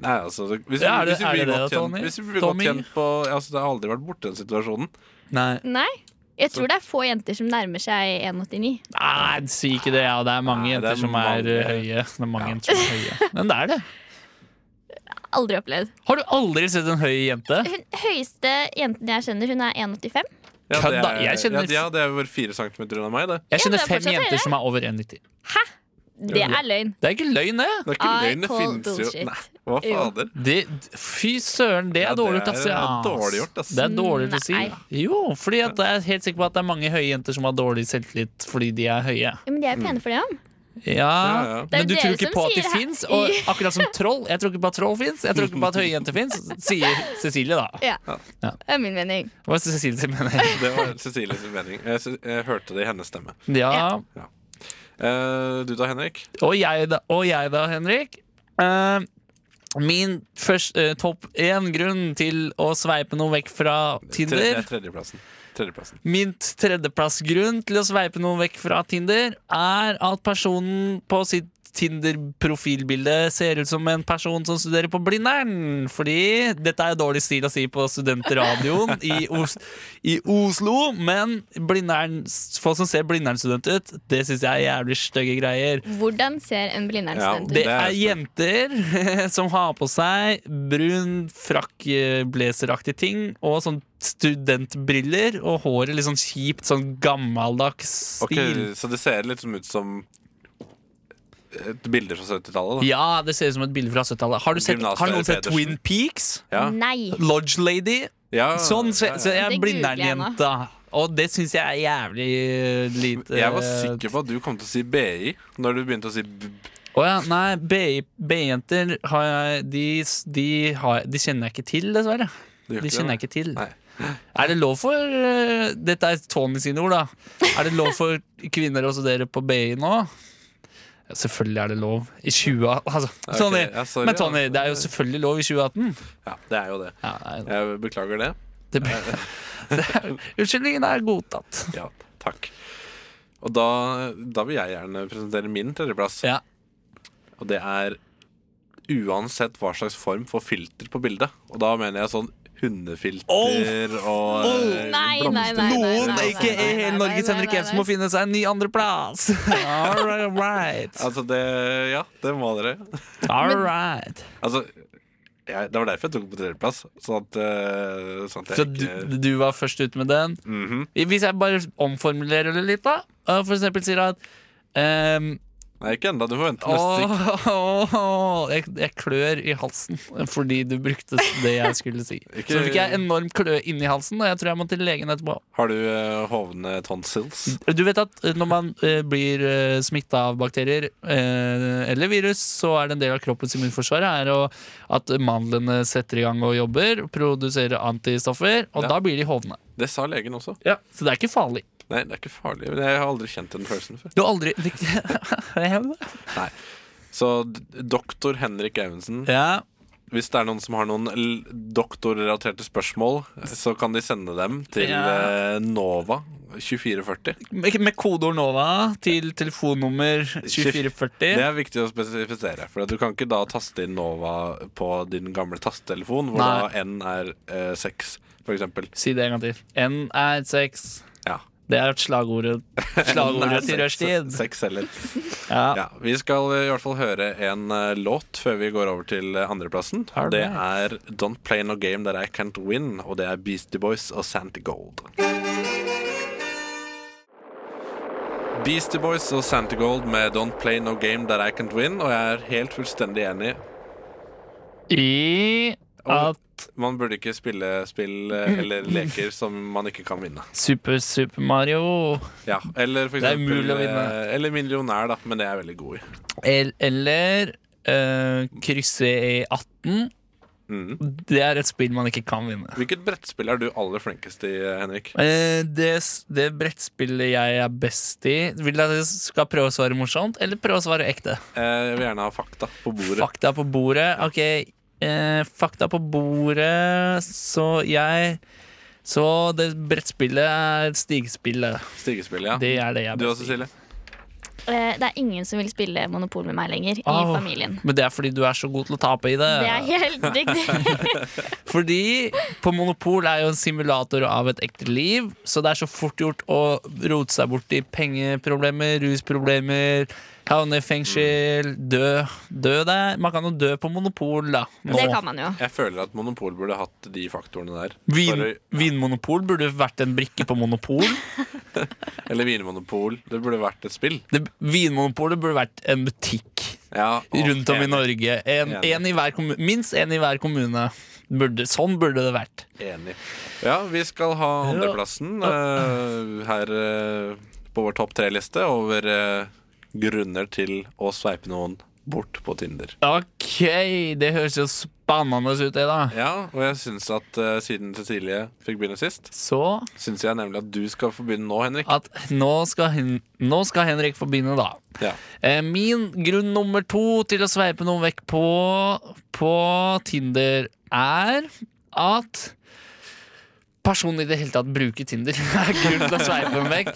S5: Nei, altså, det- hvis,
S6: Ja, er det-
S5: hvis vi
S6: er det
S5: blir
S6: det
S5: godt
S6: da,
S5: kjent
S6: Tony?
S5: Hvis vi blir godt
S6: Tommy?
S5: kjent på altså, Det har aldri vært borte den situasjonen.
S6: Nei.
S7: Nei. Jeg tror det er få jenter som nærmer seg 1,89.
S6: Nei, si ikke det. Ja, det er mange
S5: Nei, det er
S6: jenter som er
S5: mange.
S6: eh, høye. Det er mange jenter som er høye. Men det er det.
S7: Aldri opplevd.
S6: Har du aldri sett en høy jente?
S7: Hun høyeste jenten jeg kjenner, hun er 1,85.
S5: Ja,
S6: Kødd,
S5: det
S6: da.
S5: er,
S6: Jeg kjenner-
S5: ja, ja, det er over fire centimeter unna meg, det.
S6: Jeg
S7: Ja, men
S6: kjenner
S7: det er
S6: fem
S7: fortsatt
S6: jenter
S7: høyere.
S6: som er over 1,90.
S7: Det er løgn.
S6: Det er ikke løgn, det.
S5: Det er ikke
S7: I
S5: løgn, det
S7: call
S5: finnes jo
S7: bullshit.
S5: Nei, hva
S7: Jo.
S5: fader?
S6: det fy søren, det er
S5: Ja, det
S6: dårlig
S5: er-
S6: gjort, ass.
S5: det er
S6: ja, ass.
S5: dårlig gjort, ass.
S6: Det er dårlig å si.
S7: Mm, Nei.
S6: Jo, fordi at jeg er helt sikker på at det er mange høye jenter som har dårlig selvtillit fordi de er høye.
S7: Ja, men de er jo pene for det, ja.
S6: Ja,
S5: Ja, ja.
S7: Det er
S6: Men du
S7: dere
S6: tror ikke
S7: som
S6: på at de
S7: sier her-
S6: fins? Og akkurat som troll. Jeg tror ikke på at troll fins. Jeg tror ikke på at høye jenter fins, sier Cecilie, da.
S7: Det er min mening.
S6: Hva er Cecilie sin mening?
S5: Det var Cecilies mening. Jeg, sy- jeg hørte det i hennes stemme.
S6: Ja.
S5: Eh, du da, Henrik?
S6: Og jeg da, og jeg da Henrik. Eh, min først, eh, topp én grunn til å sveipe noe vekk fra
S5: Tre, det
S6: Tinder
S5: er tredjeplassen. tredjeplassplassen.
S6: Min tredjeplassgrunn til å sveipe noen vekk fra Tinder er at personen på sitt Tinder-profilbilde ser ut som en person som studerer på Blindern. Fordi dette er dårlig stil å si på studentradioen i, Os i Oslo, men Blindern, folk som ser Blindern-student ut, det syns jeg er jævlig stygge greier.
S7: Hvordan ser en blindernstudent
S5: Ja,
S7: ut?
S6: Det
S5: Det er
S6: er jenter som har på seg brun frakkblazeraktig ting og sånn studentbriller og håret litt sånn kjipt, sånn gammeldags
S5: Ok,
S6: stil.
S5: så det ser litt som ut som et bilder fra 70-tallet, da.
S6: Ja, det ser ut som et bilde fra 70-tallet. Har, du sett-
S5: Gymnas
S6: har noen sett
S5: Pedersen. Ah,
S6: Twin Peaks?
S5: Ja.
S7: Nei.
S6: Lodge Lady?
S5: Ja,
S6: Sånn se,
S5: ja, ja.
S6: så jeg er
S7: Det googler jeg nå.
S6: Blindern-jenta. Og det syns jeg er jævlig eh, lite
S5: Jeg var sikker på at du kom til å si BI når du begynte å si b b-
S6: Å ja, nei, BI B-jenter har jeg de, de, har, de kjenner jeg ikke til, dessverre.
S5: Det gjør
S6: De
S5: ikke
S6: kjenner jeg
S5: det,
S6: ikke til.
S5: Nei.
S6: Er det lov for eh, Dette er Tony sine ord, da. Er det lov for kvinner å studere på BI nå? Ja, Selvfølgelig er det lov. I 20... Altså,
S5: ok,
S6: Tony,
S5: ja, sorry,
S6: men Tony,
S5: ja.
S6: det er jo selvfølgelig lov i 2018.
S5: Ja, det er jo det.
S6: Ja, nei,
S5: Jeg beklager det.
S6: det, det er, unnskyldningen er godtatt.
S5: Ja, takk. Og da, da vil jeg gjerne presentere min tredjeplass.
S6: Ja.
S5: Og det er uansett hva slags form for filter på bildet. Og da mener jeg sånn hundefilter og eh,
S7: Nei, nei, nei,
S5: blomster.
S7: nei.
S6: Noen, ikke i
S7: nei,
S6: hele
S7: nei,
S6: Norges
S7: nei,
S6: Henrik
S7: nei,
S6: Evsen,
S7: nei.
S6: må finne seg en ny andreplass. All right, all right.
S5: Altså det Ja, det må dere.
S6: All right.
S5: Altså jeg, Det var derfor jeg tok den på tredjeplass. Sånn at, eh, sånn at
S6: Så
S5: jeg
S6: du,
S5: ikke
S6: du var først ute med den.
S5: Mhm.
S6: Hvis jeg bare omformulerer det litt, da. og For eksempel sier at Ehm,
S5: Nei, ikke ennå. Du får vente til neste stikk.
S6: åh, åh, jeg, jeg klør i halsen fordi du brukte det jeg skulle si.
S5: Ikke-
S6: Så fikk jeg enorm klø inni halsen, og jeg tror jeg må til legen etterpå.
S5: Har du eh, hovne tonsils?
S7: Mm.
S6: Du vet at eh, når man eh, blir uh, smitta av bakterier eh, eller virus, så er det en del av kroppens immunforsvar er å, at mandlene setter i gang og jobber, produserer antistoffer, og
S5: Ja.
S6: da blir de hovne.
S5: Det sa legen også.
S6: Så det er ikke farlig.
S5: Nei, det er ikke farlig. men Jeg har aldri kjent den følelsen før.
S6: Du har aldri Ja.
S5: Så d- doktor Henrik Evensen, hvis det er noen som har noen l- doktorrelaterte spørsmål, så kan de sende dem til
S6: Ja.
S5: eh, Nova 2440.
S6: Med med kodeord NOVA til telefonnummer
S5: Det
S6: 2440.
S5: er viktig å spesifisere, for at du kan ikke da taste inn Nova på din gamle tastetelefon, hvor
S6: Nei.
S5: da N er eh, 6, for eksempel.
S6: Si det en gang til. N er seks.
S5: Ja.
S6: Det er slagordet, slagordet til rushtid.
S5: 6 eller
S6: Ja.
S5: Ja, Vi skal eh, i hvert fall høre en eh, låt før vi går over til eh, andreplassen.
S6: All
S5: Det er
S6: right.
S5: Don't Play No Game That I Can't Win, og det er Beastie Boys og Santy Gold. Beastie Boys og Santy Gold med Don't Play No Game That I Can't Win, og jeg er helt fullstendig enig.
S6: I at
S5: Man burde ikke spille spill eh, eller leker som man ikke kan vinne.
S6: Super Super Mario
S5: Ja, eller for
S6: Det er
S5: eksempel
S6: umulig å vinne.
S5: eh, Eller millionær, da, men det er jeg veldig god i.
S6: el- Eller eh, krysse E18 Det er et spill man ikke kan vinne
S5: Hvilket brettspill er du aller flinkest i, eh, Henrik?
S6: Eh, det, s- det brettspillet jeg er best i Vil jeg at jeg skal prøve å svare morsomt Eller prøve å svare ekte
S5: Eh, Jeg vil gjerne ha fakta på bordet.
S6: Fakta på bordet Ok, eh, fakta på bordet Så jeg Så det brettspillet er stigspillet
S5: Stigespill, ja.
S6: Det er det jeg er
S5: Du
S6: best
S5: også,
S6: i
S5: Silje?
S7: Eh, Det er ingen som vil spille Monopol med meg lenger i
S6: Au.
S7: familien.
S6: Men det er fordi du er så god til å tape i det
S7: Det er helt riktig.
S6: Fordi på Monopol er jo en simulator av et ekte liv, så det er så fort gjort å rote seg bort i pengeproblemer, rusproblemer, havne i fengsel, dø. Dø der. Man kan jo dø på Monopol, da. Nå.
S7: Det kan man jo.
S5: Jeg føler at Monopol burde hatt de faktorene der.
S6: Vin,
S5: For-
S6: vinmonopol burde vært en brikke på Monopol.
S5: eller Vinmonopol. Det burde vært et spill.
S6: Det, vinmonopolet burde vært en butikk
S5: Ja, og-
S6: rundt om i Norge. En,
S5: Enig.
S6: en i hver kommu- minst én i hver kommune. Burde, sånn burde det vært.
S5: Enig. Ja, vi skal ha andreplassen eh, her eh, på vår topp tre-liste over eh, grunner til å sveipe noen bort på Tinder.
S6: Ok, det høres jo spennende ut, det, da.
S5: Ja, og jeg syns at eh, siden Cecilie fikk begynne sist,
S6: Så
S5: syns jeg nemlig at du skal få begynne nå, Henrik.
S6: at nå skal, Hen nå skal Henrik få begynne, da.
S5: Ja.
S6: Eh, Min grunn nummer to til å sveipe noen vekk på, på Tinder er at personen i det hele tatt bruker Tinder. Det er grunn til å sveipe dem vekk.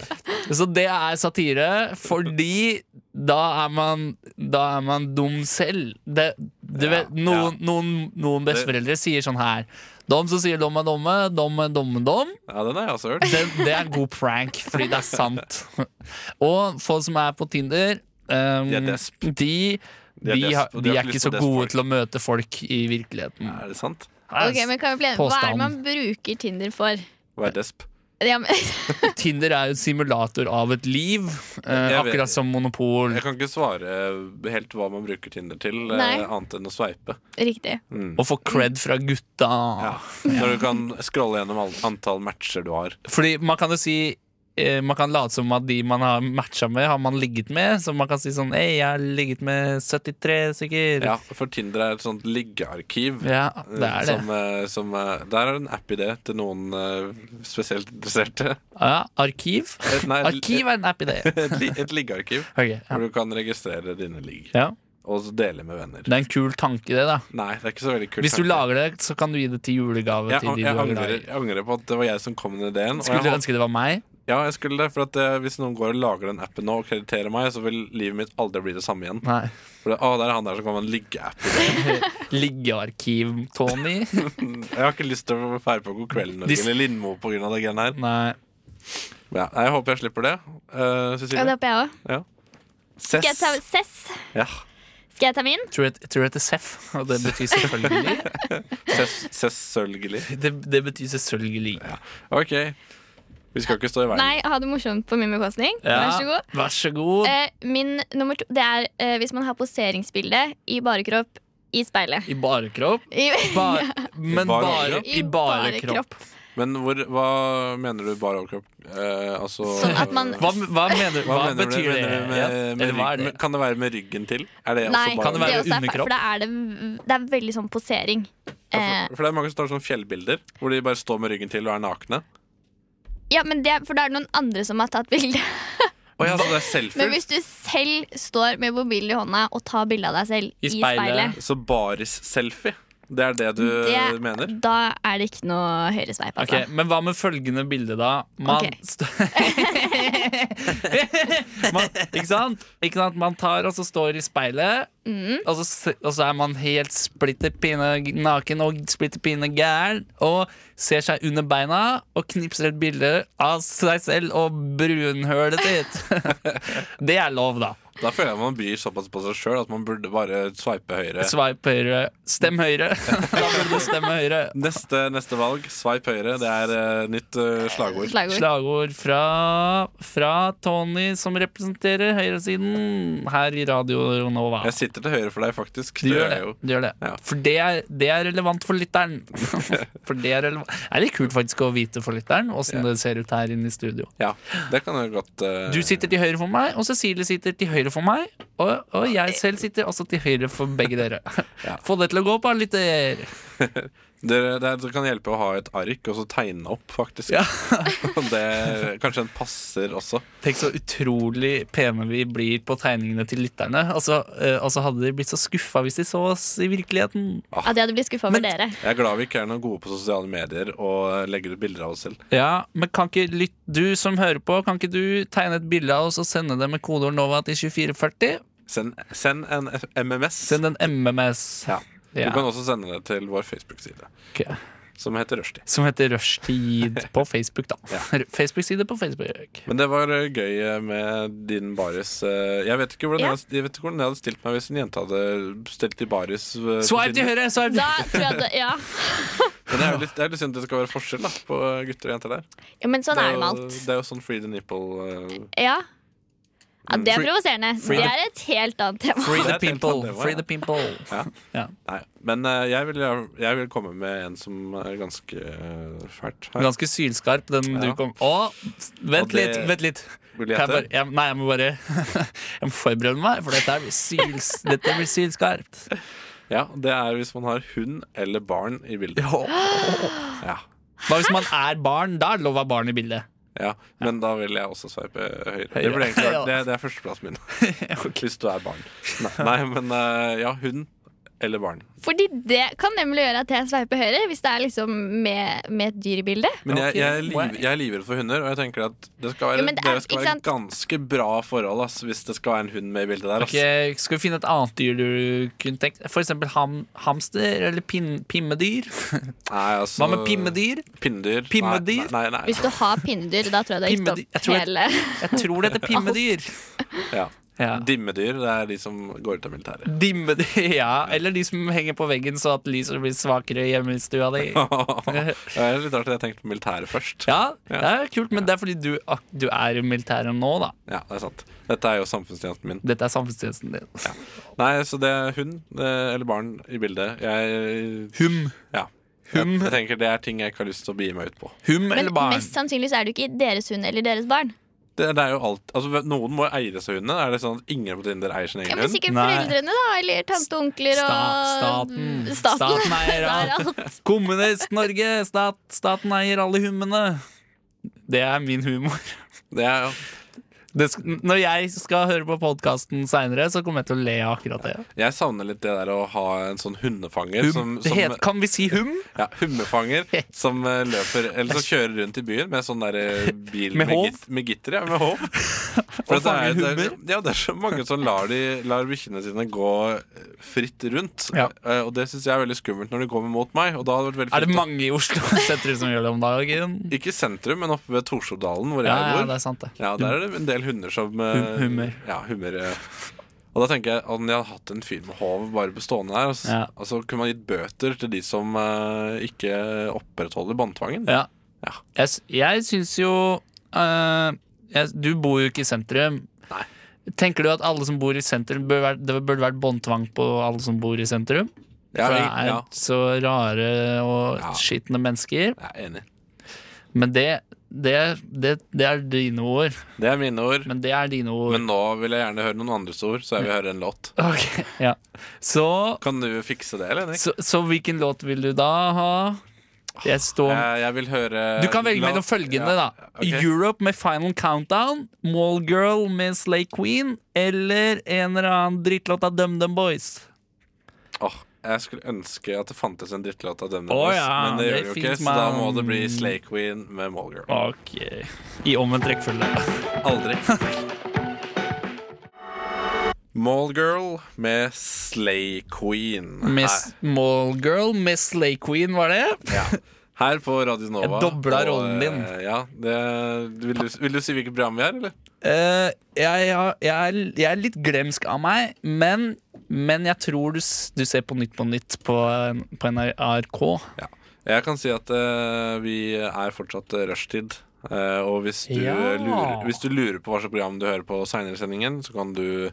S6: Så det er satire, fordi da er man, da er man dum selv. Det, du
S5: Ja,
S6: vet, noen, noen, noen besteforeldre sier sånn her Dom som sier dom er domme, dom er domme dom.
S5: ja, den har jeg også hørt.
S6: Det, det er god prank, fordi det er sant. Og folk som er på Tinder um,
S5: De er desp.
S6: De, de,
S5: De er desp,
S6: har-
S5: og de
S6: de
S5: har
S6: er
S5: ikke
S6: ikke
S5: lyst
S6: så
S5: på
S6: gode
S5: desp-folk.
S6: til å møte folk i virkeligheten.
S5: Er det sant?
S7: Ok, men kan vi bli enige? Hva er det
S6: Påstand.
S7: man bruker Tinder for?
S5: Vær desp.
S7: Ja, men,
S6: Tinder er jo et simulator av et liv, eh,
S5: Jeg vet-
S6: akkurat som Monopol.
S5: Jeg kan ikke svare helt hva man bruker Tinder til, eh,
S7: Nei.
S5: annet enn å sveipe. Mm.
S7: riktig.
S6: Og få cred fra gutta.
S5: Når du kan scrolle gjennom all- antall matcher du har.
S6: Fordi man kan jo si eh, man kan late som at de man har matcha med, har man ligget med. Så man kan si sånn Ei, jeg har ligget med 73 stykker.
S5: Ja, for Tinder er et sånt liggearkiv.
S6: Ja, det
S5: eh,
S6: er det.
S5: Som, eh, som, eh, der er det en app-idé til noen eh, spesielt interesserte.
S6: Ja, arkiv.
S5: Et- Eh, nei,
S6: Arkiv er en app i det.
S5: Et, li- et liggearkiv
S6: Ok, ja.
S5: hvor du kan registrere dine ligg
S6: ja.
S5: og så dele med venner.
S6: Det er en kul tanke, det. da
S5: Nei, det er ikke så veldig kult.
S6: Hvis du lager det, så kan du gi det til julegave.
S5: jeg,
S6: til de
S5: jeg,
S6: du er glad
S5: angrer,
S6: i
S5: jeg angrer på at det var jeg som kom med ideen. og
S6: Skulle
S5: jeg,
S6: du ønske det var meg?
S5: Ja, jeg skulle det, for at eh, Hvis noen går og lager den appen nå og krediterer meg, så vil livet mitt aldri bli det samme igjen.
S6: Nei.
S5: For det, å, der er han der som kommer med en liggeapp. i dag.
S6: Liggearkiv, Tony?
S5: Jeg har ikke lyst til å feire på God kveld Norge
S6: Dis-
S5: eller Lindmo pga. det greiene her.
S6: Nei.
S5: Ja, jeg håper jeg slipper det. Eh,
S7: Ja, det
S5: Cecilie?
S7: håper jeg òg. Skal jeg
S5: Cess.
S7: ta Sess?
S5: Ja.
S7: Skal jeg ta min?
S6: Tror jeg tror jeg heter Seff, og det betyr selvfølgelig.
S5: Cess- Cess Sølgeli.
S6: Det, det betyr selvfølgelig.
S5: OK. Vi skal ikke stå i veien.
S7: Nei, ha det morsomt på min bekostning. Vær så god.
S6: Vær så god.
S7: Eh, min nummer to Det er eh, hvis man har poseringsbilde i bare kropp i speilet.
S6: I barekropp?
S7: I,
S6: Ba men
S5: bare
S6: bare
S5: overkropp?
S6: i barekropp.
S5: Men hvor, hva mener du bare overkropp? Eh, altså
S7: Sånn at man-
S6: Hva, hva mener
S5: Hva,
S6: Hva
S5: mener du,
S6: betyr det?
S5: mener du med,
S6: igjen?
S5: med
S6: Eller hva er
S5: ryggen?
S6: det?
S5: Kan det være med ryggen til? Er det
S7: Nei,
S5: også
S6: Kan det
S5: bare
S6: være
S7: også er feil,
S6: underkropp?
S7: For da er det, det er veldig sånn posering. Eh,
S5: For det er mange som tar sånne fjellbilder hvor de bare står med ryggen til og er nakne.
S7: ja, men det, er- For da er det noen andre som har tatt bilde.
S5: Å ja, så det er selfie.
S7: Men hvis du selv står med mobilen i hånda og tar bilde av deg selv i,
S6: I
S7: speilet,
S6: speilet.
S5: Så baris-selfie, det er det du
S7: det,
S5: mener?
S7: da er det ikke noe høyresveip.
S6: øh, Ok,
S7: Altså.
S6: Men hva med følgende bilde, da? Man
S7: Ok.
S6: st- man, ikke, sant? ikke sant? Man tar og så står i speilet,
S7: Mm.
S6: og, så, s- og så er man helt splitter pine naken og splitter pine gæren. Og ser seg under beina og knipser et bilde av seg selv og brunhølet sitt. det er lov, da.
S5: Da føler jeg man byr såpass på seg sjøl at man burde bare sveipe høyre.
S6: Sveip høyre. Stem høyre. da burde du stemme høyre.
S5: Neste, neste valg, sveip høyre. Det er eh, nytt eh, slagord.
S7: Slagord.
S6: Slagord fra, fra Tony, som representerer høyresiden her i Radio Nova.
S5: Jeg sitter til høyre for deg, faktisk.
S6: Du
S5: Det
S6: gjør
S5: gjør
S6: det.
S5: jeg jo.
S6: Du gjør det.
S5: Ja.
S6: For det er, det er relevant for lytteren. For det er, relevant. er litt kult faktisk å vite for lytteren åssen det ser ut her inne i studio.
S5: Ja, det kan jeg godt eh,
S6: Du sitter til høyre for meg, og Cecilie sitter til høyre for meg. Og, og jeg selv sitter også til høyre for begge dere. Få det til å gå opp, da, lytter.
S5: Det, det, det kan hjelpe å ha et ark og så tegne opp, faktisk.
S6: Ja.
S5: det, kanskje en passer også.
S6: Tenk så utrolig pene vi blir på tegningene til lytterne. Altså, eh, altså hadde de blitt så skuffa hvis de så oss i virkeligheten.
S7: At jeg hadde blitt skuffa over
S6: Men-
S7: dere.
S5: Jeg er glad vi ikke er noen gode på sosiale medier og legger ut bilder av oss selv.
S6: Ja, men kan ikke lytt, du som hører på, kan ikke du tegne et bilde av oss og sende det med kodeord NOVA til 2440?
S5: Send, send en F- MMS.
S6: Send en MMS.
S5: Ja. Du
S6: Ja,
S5: kan også sende det til vår Facebook-side,
S6: ok.
S5: som heter Rushdie.
S6: Som heter Rushtid på Facebook, da.
S5: Ja.
S6: Facebook-side på Facebook.
S5: Men det var eh, gøy eh, med din baris. eh, Jeg vet ikke hvordan,
S7: Ja.
S5: jeg, hadde- jeg, vet ikke hvordan jeg hadde stilt meg hvis en jente hadde stilt i baris. eh, på
S6: Swipe til
S5: Tinder.
S6: høyre! Swipe!
S7: Da tror jeg det, ja.
S5: Men det er jo litt, det er litt synd at det skal være forskjell da, på eh, gutter og jenter der.
S7: ja, men sånn
S5: det,
S7: er
S5: er
S7: det med
S5: jo,
S7: alt.
S5: det er jo sånn free the nipple. eh,
S7: Ja. ja det er
S5: Free-
S7: provoserende. Det er et helt annet tema.
S6: Free
S5: Det er
S6: the
S5: et helt annet
S6: pimple.
S5: tema, ja.
S6: Free the pimple.
S5: Ja.
S6: Ja.
S5: Nei, men eh, jeg, vil, jeg vil komme med en som er ganske eh, fælt. Her.
S6: Ganske sylskarp, den du
S5: Ja.
S6: kom Å, vent
S5: Og det-
S6: litt, vent litt.
S5: Vil
S6: Kan jeg
S5: jeg hete?
S6: bare, jeg, nei, jeg må bare Jeg må forberede meg, for dette her blir, syls, dette blir sylskarpt.
S5: Ja, det er hvis man har hund eller barn i bildet. Ja.
S6: Hva hvis man er barn? Da er det lov å ha barn i bildet.
S5: Ja, men da vil jeg også sveipe høyre. Det,
S6: Høyre.
S5: burde egentlig vært,
S6: Ja.
S5: det, det er førsteplassen min. Hvis du er barn. Nei, nei men eh, ja, hund eller barn.
S7: Fordi det kan nemlig gjøre at jeg sveiper høyre, hvis det er liksom med, med et dyr i bildet.
S5: Men jeg,
S6: Ok,
S5: jeg, er liv,
S6: why?
S5: jeg er livredd for hunder, og jeg tenker at det skal være,
S7: Jo, men
S5: det
S7: det er-
S5: skal
S7: ikke
S5: være
S7: sant?
S5: ganske bra forhold ass, hvis det skal være en hund med i bildet der. Ass.
S6: Ok, skal vi finne et annet dyr du kunne tenkt For eksempel ham, hamster eller pin, pimmedyr
S5: Nei, altså,
S6: Hva med pimmedyr?
S5: Pinnedyr.
S6: Pinnedyr?
S5: Nei, nei, nei.
S7: Hvis du har pinnedyr, da tror jeg du har gitt
S6: Pinnedyr- jeg
S7: opp
S6: tror jeg-
S7: hele
S6: Jeg tror det heter pimmedyr
S5: Ja.
S6: ja.
S5: Dimmedyr, det er de som går ut av militæret.
S6: Dimmedyr, ja Eller de som henger på veggen så at lyset blir svakere hjemme i stua di
S5: det er litt rart at jeg tenkte på militæret først.
S6: Ja, det er kult, men det er fordi du, ak- du er i militæret nå da
S5: Ja, det er sant. Dette er jo samfunnstjenesten min.
S6: Dette er samfunnstjenesten din
S5: Nei, så det er hund eh, eller barn i bildet. Jeg
S6: Hum,
S5: Ja.
S6: Hum.
S5: Jeg, jeg tenker Det er ting jeg ikke har lyst til å begi meg ut på.
S6: hum
S7: Men
S6: eller barn
S7: mest sannsynlig så er det jo ikke deres hund eller deres barn.
S5: Det, det er jo alt, altså Noen må eie seg hundene. Er det sånn at ingen på Tinder eier sin
S7: Ja,
S5: egen
S7: men
S5: hund?
S7: sikkert
S6: Nei.
S7: foreldrene, da. Eller tante og onkler og
S6: Sta- staten.
S7: mm, Staten.
S6: Staten eier
S7: Der altså.
S6: alt.
S7: alt.
S6: Kommunist-Norge, stat, staten eier alle hummene Det er min humor
S5: Det er jo
S6: det, sk- når jeg skal høre på podkasten seinere, så kommer jeg til å le av akkurat det.
S5: Jeg savner litt det der å ha en sånn hundefanger
S6: Hum,
S5: som,
S6: det
S5: som
S6: het, kan vi si hum?
S5: ja, Hummefanger som eh, løper Eller som kjører rundt i byen med sånn der eh, bil
S6: Med
S5: med,
S6: håv?
S5: git, med gitter. Ja, med håv. For
S6: Og
S5: det er,
S6: fanger
S5: det er,
S6: hummer?
S5: ja, det er så mange som lar, de, lar bikkjene sine gå eh, fritt rundt.
S6: Ja.
S5: Eh, og det syns jeg er veldig skummelt når de kommer mot meg. Og da hadde det vært veldig
S6: Er det
S5: fint å-
S6: mange i Oslo sentrum som gjør det om dagen?
S5: Ikke i sentrum, men oppe ved Torsodalen, hvor
S6: Ja, ja,
S5: jeg
S6: det
S5: bor.
S6: er sant, det.
S5: Ja, Der er det en del hunder som eh,
S6: Hum- hummer.
S5: Ja, hummer eh. Og da tenker jeg om jeg hadde hatt en fyr med håv bare på stående her, og så,
S6: Ja.
S5: og så kunne man gitt bøter til de som eh, ikke opprettholder båndtvangen.
S6: Ja.
S5: Ja.
S6: Jeg, s- jeg syns jo eh, jeg, Du bor jo ikke i sentrum. Tenker du at alle som bor i sentrum bør være, Det burde vært båndtvang på alle som bor i sentrum?
S5: Ja,
S6: For det
S5: jeg-
S6: er
S5: ja,
S6: så rare og
S5: Ja.
S6: skitne mennesker.
S5: jeg er enig.
S6: Men det, det, det, det er dine ord.
S5: Det er mine ord.
S6: Men det er dine ord.
S5: Men nå vil jeg gjerne høre noen andres ord, så jeg vil høre en låt.
S6: Ok, ja. så,
S5: Kan du fikse det, eller, Henrik?
S6: så, så hvilken låt vil du da ha? Jeg står
S5: Eh, Jeg vil høre
S6: Du kan velge
S5: La-
S6: mellom følgende,
S5: Ja,
S6: da.
S5: ok.
S6: Europe med Final Countdown, Mallgirl med Slay Queen eller en eller annen drittlåt av DumDum Boys.
S5: Åh, jeg skulle ønske at det fantes en drittlåt av Dumdum
S6: Å
S5: Boys,
S6: ja,
S5: men det gjør
S6: det
S5: det jo ikke,
S6: finnes
S5: så da
S6: man-
S5: må det bli Slay Queen med Mallgirl.
S6: Ok. I omvendt rekkefølge.
S5: Aldri. Mallgirl med Slay Queen.
S6: Miss Mallgirl med Slay Queen, var det?
S5: Her, her på Radio Nova.
S6: Jeg dobla
S5: Og,
S6: rollen din.
S5: eh, Ja, det, vil, du, vil du si hvilket program vi er, eller?
S6: Eh, jeg, har- jeg, er- jeg er litt glemsk av meg, men, men jeg tror du, s- du ser på Nytt på Nytt på, på NRK.
S5: Jeg kan si at eh, vi er fortsatt eh, rushtid. Eh, og hvis du,
S6: Ja.
S5: lurer, hvis du lurer på hva slags program du hører på seinere i sendingen, så kan du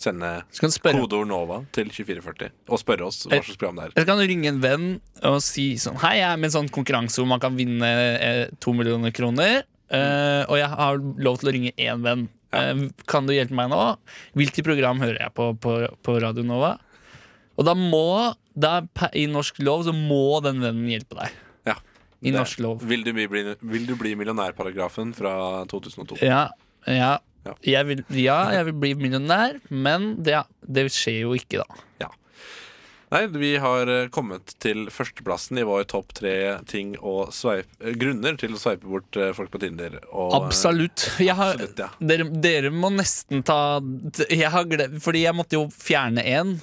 S5: sende
S6: Så kan du spørre Eh.
S5: kodeord NOVA til 2440 og spørre oss hva slags program det er.
S6: Jeg kan ringe en venn og si sånn Hei, jeg er med en sånn konkurranse hvor man kan vinne eh, to millioner kroner. eh, og jeg har lov til å ringe én venn. Eh, kan du hjelpe meg nå? Hvilket program hører jeg på på, på Radio Nova? Og da må da, per- I norsk lov så må den vennen hjelpe deg.
S5: Ja,
S6: I
S5: Det-
S6: norsk lov.
S5: Vil du bli, bli- vil du bli millionærparagrafen fra 2002?
S6: Ja, ja.
S5: Ja.
S6: Jeg vil, ja, jeg vil bli millionær, men det, det skjer jo ikke, da.
S5: Nei, vi har eh, kommet til førsteplassen i vår topp tre ting å sveipe, eh, grunner til å sveipe bort eh, folk på Tinder. Og, eh,
S6: Absolutt. Jeg har,
S5: Absolutt, ja.
S6: dere, dere må nesten ta jeg har gled, Fordi jeg måtte jo fjerne én.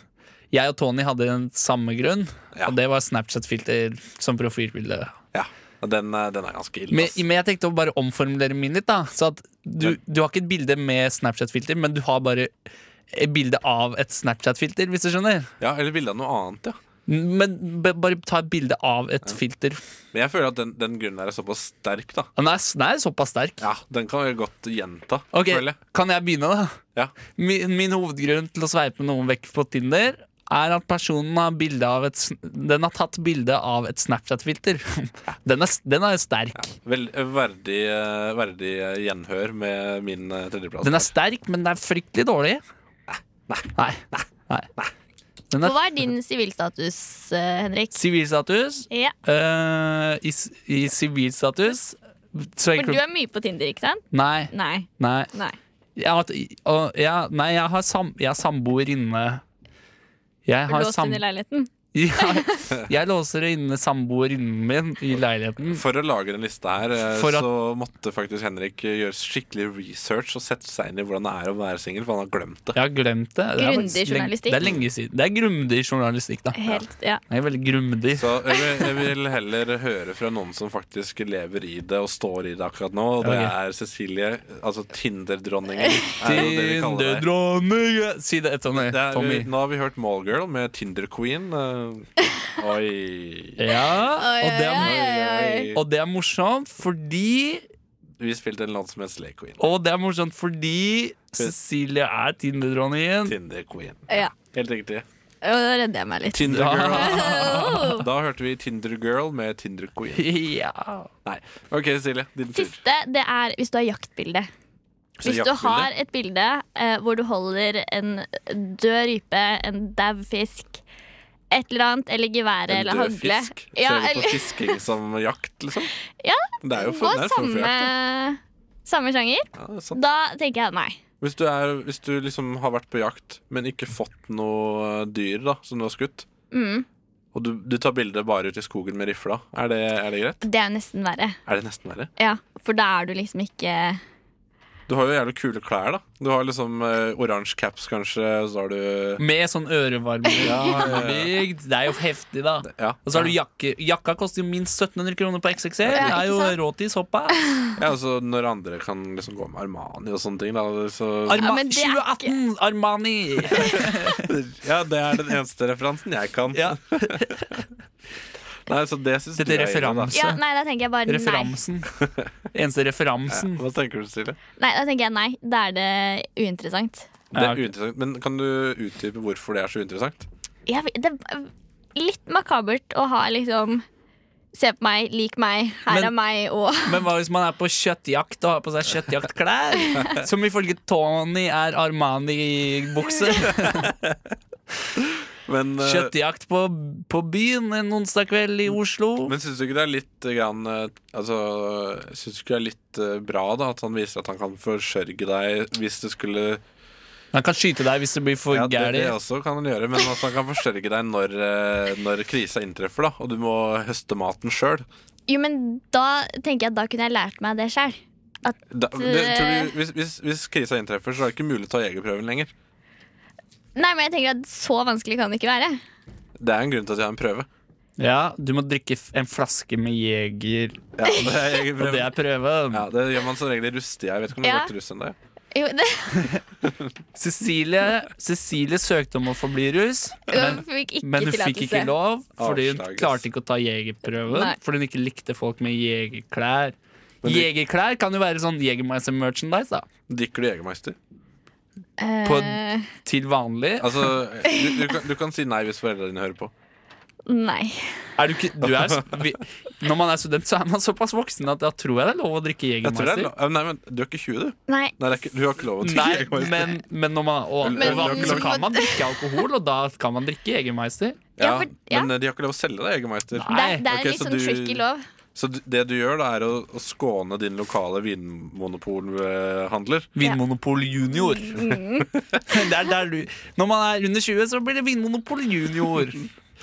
S6: Jeg og Tony hadde den samme grunn,
S5: Ja.
S6: og det var Snapchat-filter som profilbilde.
S5: Ja, den, eh, den er ganske ille.
S6: Men,
S5: ass.
S6: men jeg tenkte å bare omformulere min litt. da Så at du,
S5: Men-
S6: du har ikke et bilde med Snapchat-filter, men du har bare et bilde av et Snapchat-filter, hvis du skjønner.
S5: Ja, eller ville han noe annet, ja.
S6: Men b- bare ta et bilde av et filter.
S5: Men jeg føler at den, den grunnen der er såpass sterk, da.
S6: Den er, den er såpass sterk.
S5: Ja, Den kan vi godt gjenta,
S6: Ok,
S5: føler jeg.
S6: Kan jeg begynne, da?
S5: Ja.
S6: Min, min hovedgrunn til å sveipe noen vekk på Tinder er at personen har, bilde av et, sn- den har tatt bilde av et Snapchat-filter. Den, er s- den er sterk.
S5: Vel, eh, verdig, eh, verdig eh, gjenhør med min eh, tredjeplass.
S6: Den er sterk, men den er fryktelig dårlig. Nei. Nei. Den
S7: For
S6: er
S7: hva er din sivilstatus, eh, Henrik?
S6: sivilstatus.
S7: Ja,
S6: eh, I s- i sivilstatus så
S7: For
S6: jeg,
S7: du er mye på Tinder, ikke sant?
S6: Nei.
S7: Nei.
S6: Nei.
S7: Nei.
S6: Jeg, har hatt- og, jeg, nei, jeg har, sam, jeg har samboer inne. Jeg har
S7: Låst
S6: sam,
S7: inn i leiligheten.
S6: jeg, jeg låser inne samboerinnen min i leiligheten.
S5: For å lage den lista her, eh,
S6: For at-
S5: så måtte faktisk Henrik eh, gjøre skikkelig research og sette seg inn i hvordan det er å være singel, for han har glemt det.
S6: Jeg har glemt det. det er
S7: Grundig
S6: faktisk lenge-
S7: journalistikk.
S6: Det er lenge siden. Det er grundig journalistikk, da.
S7: Helt, ja.
S6: Det er veldig grundig.
S5: Så jeg vil, jeg vil heller høre fra noen som faktisk lever i det og står i det akkurat nå, og det
S6: Ok.
S5: er Cecilie, altså Tinder-dronningen. er jo det vi kaller deg.
S6: Tinderdronning Si det, Tony.
S5: Det er,
S6: Tommy.
S5: vi, nå har vi hørt Mallgirl med Tinder-queen. eh, oi.
S6: Ja, og det,
S7: Oi,
S6: er,
S7: oi,
S6: og det er morsomt fordi
S5: Vi spilte en låt som het Slay Queen.
S6: Og det er morsomt fordi Cecilie er Tinderdronningen.
S5: Tinder-queen.
S7: Ja.
S5: Helt riktig.
S7: Og da redder jeg meg litt.
S5: Tinder-girl.
S7: Åh.
S5: Da hørte vi Tinder-girl med Tinder-queen.
S6: Ja.
S5: Nei. OK, Silje. Din tur.
S7: Siste det er hvis du har jaktbilde.
S5: Så
S7: Hvis du
S5: jaktbilde.
S7: har et bilde eh, hvor du holder en død rype, en dau fisk, et eller annet, eller geværet
S5: En
S7: eller
S5: død
S7: hagle
S5: fisk.
S7: Ja,
S5: Ser du på
S7: eller-
S5: fisking som jakt, liksom?
S7: Ja,
S5: Det er jo for,
S7: Gå
S5: det er en form for
S7: samme,
S5: jakt.
S7: samme sjanger.
S5: Ja, det er sant.
S7: Da tenker jeg nei.
S5: Hvis du, er, hvis du liksom har vært på jakt, men ikke fått noe dyr da som du har skutt,
S7: Mm.
S5: og du, du tar bilde bare ute i skogen med rifla, er det, er det greit?
S7: Det er jo nesten verre.
S5: Er det nesten verre?
S7: Ja, For da er du liksom ikke
S5: Du har jo jævlig kule klær, da. Du har liksom eh, oransje caps, kanskje, og så har du
S6: Med sånn ørevarme. Bygd. Det er jo heftig, da.
S5: ja.
S6: Og så har du jakke. Jakka koster jo minst 1700 kroner på XXL. Det
S7: Ja,
S6: er jo
S7: ikke sant?
S6: råtis, hoppa.
S5: ja, og så når andre kan liksom gå med Armani og sånne ting, da. Så
S6: Arma
S7: Ja, men det er ikke-
S6: 2018, Armani!
S5: ja, det er den eneste referansen jeg kan.
S6: Ja.
S5: Nei, så det synes
S6: Dette
S5: du er ille, da.
S6: referanse.
S7: Ja, nei, da tenker jeg bare nei.
S6: Referansen. Eneste referansen.
S5: Hva tenker du, Silje?
S7: Nei, da tenker jeg nei. Da er det uinteressant.
S5: Det
S6: Ja,
S5: er
S6: ok.
S5: uinteressant, men Kan du utdype hvorfor det er så interessant?
S7: Jeg, vet- det er litt makabert å ha liksom Se på meg, lik meg, her
S6: Men-
S7: er meg og
S6: Men hva hvis man er på kjøttjakt og har på seg kjøttjaktklær? Som ifølge Tony er Armani-bukse.
S5: Men, eh,
S6: Kjøttjakt på, på byen en onsdag kveld i Oslo.
S5: men syns du ikke det er litt eh, grann eh, Altså, syns du ikke det er litt eh, bra da at han viser at han kan forsørge deg hvis du skulle
S6: Han kan skyte deg hvis du blir for
S5: Ja, det,
S6: gæren.
S5: det også kan han gjøre, men at han kan forsørge deg når, eh, når krisa inntreffer, da, og du må høste maten sjøl.
S7: Jo, men da tenker jeg at da kunne jeg lært meg det sjøl.
S5: Hvis, hvis, hvis krisa inntreffer, så er det ikke mulig å ta jegerprøven lenger.
S7: Nei, men jeg tenker at så vanskelig kan det ikke være.
S5: Det er en grunn til at jeg har en prøve.
S6: Ja, du må drikke f- en flaske med Jeger,
S5: Ja, det er
S6: og det
S5: jegerprøven.
S6: er prøven.
S5: Ja, det gjør man som regel i rustia. Jeg vet ikke om det
S7: Ja.
S5: har vært russ enn det.
S7: Jo, det
S6: Cecilie, Cecilie søkte om å få bli russ,
S7: hun
S6: men,
S7: fikk ikke
S6: men hun fikk ikke lov fordi hun
S5: Avslag, ass.
S6: klarte ikke å ta jegerprøven.
S7: Nei.
S6: Fordi hun ikke likte folk med jegerklær.
S5: Men du-
S6: Jegerklær kan jo være sånn Jegermeister merchandise da
S5: Drikker du Jegermeister?
S6: på-
S7: Eh,
S6: til vanlig.
S5: Altså, du, du, kan, du kan si nei hvis foreldrene dine hører på.
S7: Nei.
S6: Er du ikke, du er, vi, når man er student, så er man såpass voksen at da tror jeg det er lov å drikke
S5: Jeg tror det er
S6: Jegermeister.
S5: lo- Eh, Nei, men Du er ikke 20, du.
S7: Nei.
S5: Nei, det er ikke, du har ikke lov å drikke
S6: Nei,
S5: Jegermeister.
S6: men, men når man og,
S5: Men-
S6: og, så
S5: men-
S6: kan man drikke alkohol, og da kan man drikke Jegermeister.
S5: Ja,
S7: Ja, for- ja.
S5: Men eh, de har ikke lov å selge deg Jegermeister.
S6: Nei.
S7: Det, er- det er
S5: ok,
S7: en litt
S5: så
S7: sånn
S5: du-
S7: tricky lov.
S5: Så d- det du gjør, da er å, å skåne din lokale vinmonopolhandler.
S6: Vinmonopol junior. Det er der du, når man er under 20, så blir det Vinmonopol junior.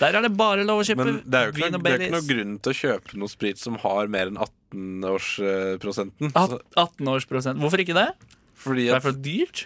S6: Der er det bare lov å kjøpe
S5: Men det er jo ikke,
S6: vin
S5: noe,
S6: og
S5: det er ikke noe
S6: Baileys.
S5: grunn til å kjøpe noe sprit som har mer enn 18-årsprosenten.
S6: At- 18-årsprosent. Hvorfor ikke det?
S5: Fordi
S6: Det er
S5: at
S6: for dyrt.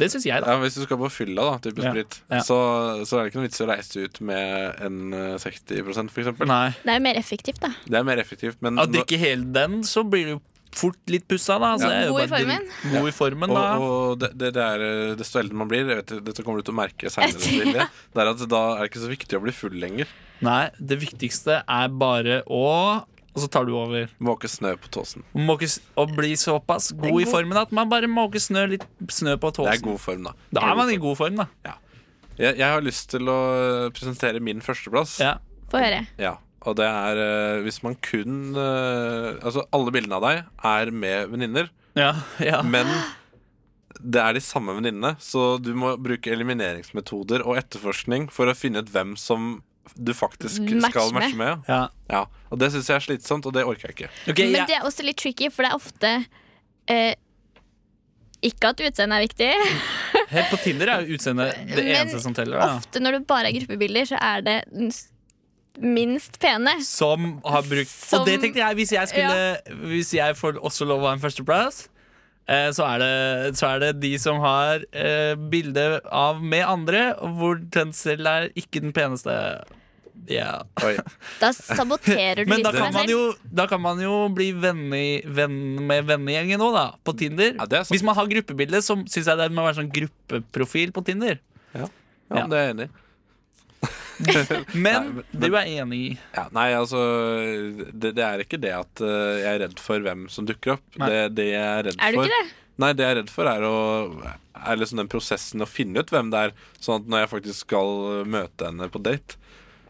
S6: Det syns jeg, da.
S5: ja, Hvis du skal på fylla, da, type
S6: Ja,
S5: sprit,
S6: ja.
S5: Så, så er det ikke noe vits i å reise ut med en eh, 60 for eksempel
S6: Nei.
S7: Det er jo mer effektivt, da.
S5: Det er mer effektivt. Men
S6: Å drikke hele den, så blir du fort litt pussa, da. Så det
S5: Ja.
S6: er jo
S7: God i
S6: bare
S7: formen.
S6: dritt- God i formen,
S5: og,
S6: da.
S5: og det, det, det er eh, desto eldre man blir, jeg vet, dette kommer du til å merke seinere, Silje, det er at da er det ikke så viktig å bli full lenger.
S6: Nei, det viktigste er bare å Og så tar du over.
S5: Måke snø på tåsen.
S6: Måke, s- å bli såpass god i formen at man bare måker snø litt snø på
S5: Det er
S6: tåsen.
S5: god form, da.
S6: Da er man i god form, da.
S5: Jeg, jeg har lyst til å eh, presentere min førsteplass.
S6: Ja.
S7: Få høre.
S5: Ja, og det er eh, hvis man kun eh, Altså, alle bildene av deg er med venninner,
S6: Ja, ja.
S5: men det er de samme venninnene, så du må bruke elimineringsmetoder og etterforskning for å finne ut hvem som du faktisk
S7: Match
S5: skal matche
S7: med.
S5: med.
S6: ja.
S5: Ja, og det syns jeg er slitsomt, og det orker jeg ikke.
S6: Ok,
S7: Men
S6: jeg,
S7: det er også litt tricky, for det er ofte eh, Ikke at utseendet er viktig.
S6: helt på Tinder er jo utseendet det
S7: Men
S6: eneste som teller. Da.
S7: Ofte når du bare er gruppebilder, så er det den s- minst pene.
S6: Som har brukt
S7: Som-
S6: Og det tenkte jeg, hvis jeg, skulle, hvis jeg får også lov å ha en førsteplass, eh, så, er det, så er det de som har eh, bilde av med andre, hvor den selv er ikke den peneste. Ja
S5: Oi.
S7: Da saboterer du
S6: Men
S7: litt
S6: da
S7: for
S6: kan,
S7: deg
S6: man
S7: selv.
S6: jo, da kan man jo bli venn, i, venn med vennegjengen òg, da. På Tinder.
S5: Ja, det er sant.
S6: Hvis man har gruppebilde, så syns jeg det må være sånn gruppeprofil på Tinder.
S5: Ja,
S6: Ja.
S5: det er jeg enig i.
S6: Men du er enig i
S5: Ja, nei, altså det, det er ikke det at eh, jeg er redd for hvem som dukker opp.
S6: Nei.
S5: Det, det jeg er redd
S7: Er du
S5: for
S7: ikke det?
S5: Nei, det jeg er redd for er, å, er liksom den prosessen å finne ut hvem det er. Sånn at når jeg faktisk skal møte henne på date,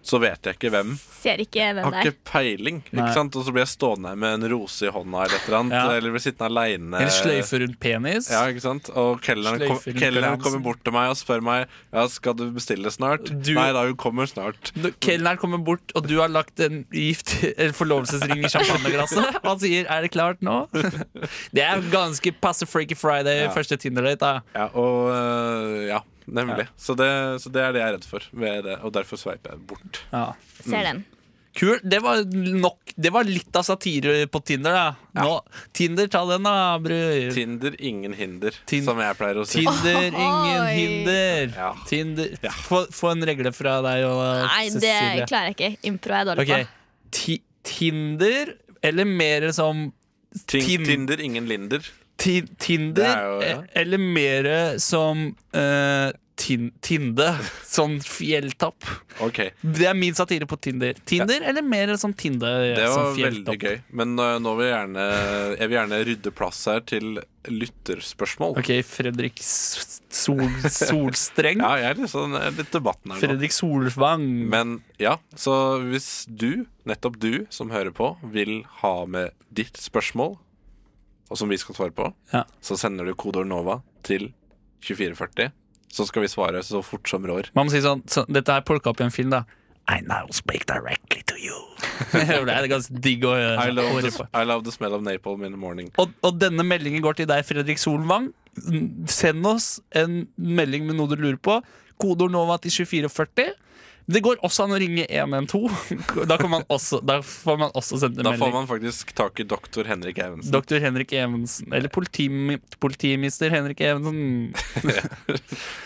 S5: så vet jeg ikke hvem.
S7: Ser ikke
S5: Jeg
S7: hvem
S5: har
S7: det er.
S5: ikke peiling. ikke
S6: Nei.
S5: sant? Og så blir jeg stående her med en rose i hånda eller et eller annet.
S6: Ja.
S5: Eller blir sittende aleine.
S6: Eller sløyfe rundt penis.
S5: Eh, Ja, ikke sant? Og kelneren kom,
S6: Sløyfer rundt
S5: kelneren
S6: halsen.
S5: kommer bort til meg og spør meg Ja, skal du bestille snart.
S6: Du-
S5: Nei da, hun kommer snart.
S6: Når Kelneren kommer bort, og du har lagt en gift eller forlovelsesring i champagneglasset. Og han sier 'er det klart nå?' Det er ganske passe Freaky Friday,
S5: Ja.
S6: første Tinder-date. da.
S5: Ja, og øh, ja, nemlig. Så, det, så det er det jeg er redd for. Ved det, og derfor sveiper jeg bort.
S6: Ja.
S7: Ser den.
S6: Kul. Det var, nok, det var litt av satire på Tinder, da. Nå, Tinder, ta den, da, bror.
S5: Tinder, ingen hinder,
S6: Tin-
S5: som jeg pleier å si.
S6: Tinder, ingen
S7: Oi.
S6: hinder.
S5: Ja.
S6: Tinder. Få, få en regle fra deg og
S7: Nei, det
S6: Cecilie.
S7: klarer jeg ikke. Impro er jeg dårlig
S6: Ok, Ti Tinder, eller mer som
S5: Tin-
S6: Tin-
S5: Tinder, ingen Linder.
S6: ti Tinder,
S5: Det er jo- ja.
S6: eh, eller mer som eh, tin Tinde. Sånn fjelltopp.
S5: Ok,
S6: Det er min satire på Tinder. Tinder eller mer sånn Tinde?
S5: Det
S6: sånn
S5: var veldig
S6: fjelltopp.
S5: gøy. Men eh, nå vil jeg gjerne, jeg vil gjerne rydde plass her til lytterspørsmål.
S6: Ok, Fredrik S- Sol Solstreng.
S5: Ja, jeg er litt, sånn, jeg er litt debatten her nå.
S6: Fredrik Solvang.
S5: Men ja, så hvis du, nettopp du som hører på, vil ha med ditt spørsmål, og som vi skal svare på,
S6: Ja.
S5: så sender du kodeord NOVA til 2440. Så skal vi svare så fort som rår.
S6: Man må si sånn, så, Dette er plukka opp i en film, da. I now speak directly to you. det er ganske digg å høre.
S5: I love,
S6: høre
S5: the,
S6: på.
S5: I love the smell of napalm in the morning.
S6: Og, og denne meldingen går til deg, Fredrik Solvang. Mm, Send oss en melding med noe du lurer på. Kodeord NOVA til 2440. Det går også an å ringe 112. Da, kan man også, da får man også sendt en
S5: Da får
S6: melding.
S5: man faktisk tak i doktor Henrik Evensen.
S6: Doktor Henrik Evensen, eller politimi, politimister Henrik Evensen.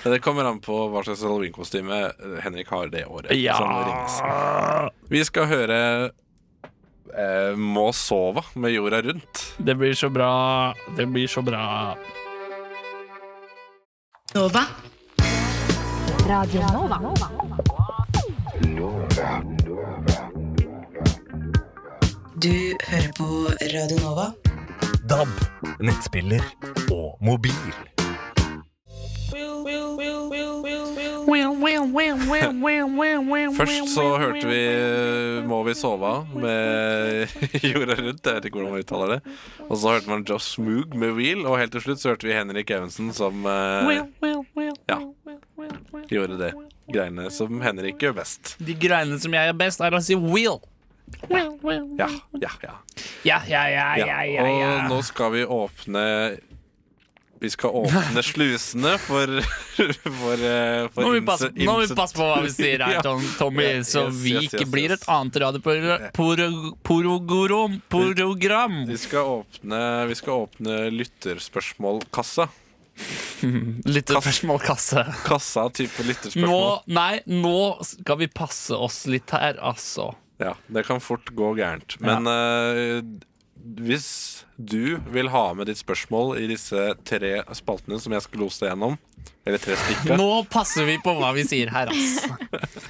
S5: Det kommer an på hva slags halloweenkostyme eh, Henrik har det året.
S6: Ja.
S5: som Sånn må ringes. Vi skal høre eh, Må sova med jorda rundt.
S6: Det blir så bra. Det blir så bra.
S8: Nova. Du hører på Radio Nova.
S3: DAB, nettspiller og mobil.
S5: Først så hørte vi eh, Må vi sove av med Jorda Rundt. Jeg vet ikke hvordan man uttaler det. Og så hørte man Josh Moog med Wheel, og helt til slutt så hørte vi Henrik Evensen som eh, ja, gjorde det. Greiene som Henrik gjør best.
S6: De greiene som jeg er best, er å si wheel.
S5: Ja, ja, ja.
S6: Ja, ja, ja, ja,
S5: ja.
S6: ja, ja.
S5: Og nå skal vi åpne Vi skal åpne slusene for For, eh, for
S6: Nå må vi
S5: innse-
S6: passe, nå må vi
S5: innse-
S6: passe på hva vi sier her,
S5: Ja.
S6: Tom, Tommy,
S5: Ja,
S6: så
S5: yes,
S6: vi
S5: yes,
S6: ikke
S5: yes,
S6: blir
S5: yes.
S6: et annet radioprogram.
S5: Vi skal åpne, vi skal åpne lytterspørsmålkassa.
S6: Litt spørsmålkasse.
S5: Kassa type
S6: Nå,
S5: lytterspørsmål.
S6: nei, nå skal vi passe oss litt her, altså.
S5: Ja, det kan fort gå gærent. Men eh, hvis du vil ha med ditt spørsmål i disse tre spaltene som jeg skal lose deg gjennom, eller tre stykker,
S6: Nå passer vi på hva vi sier her, altså.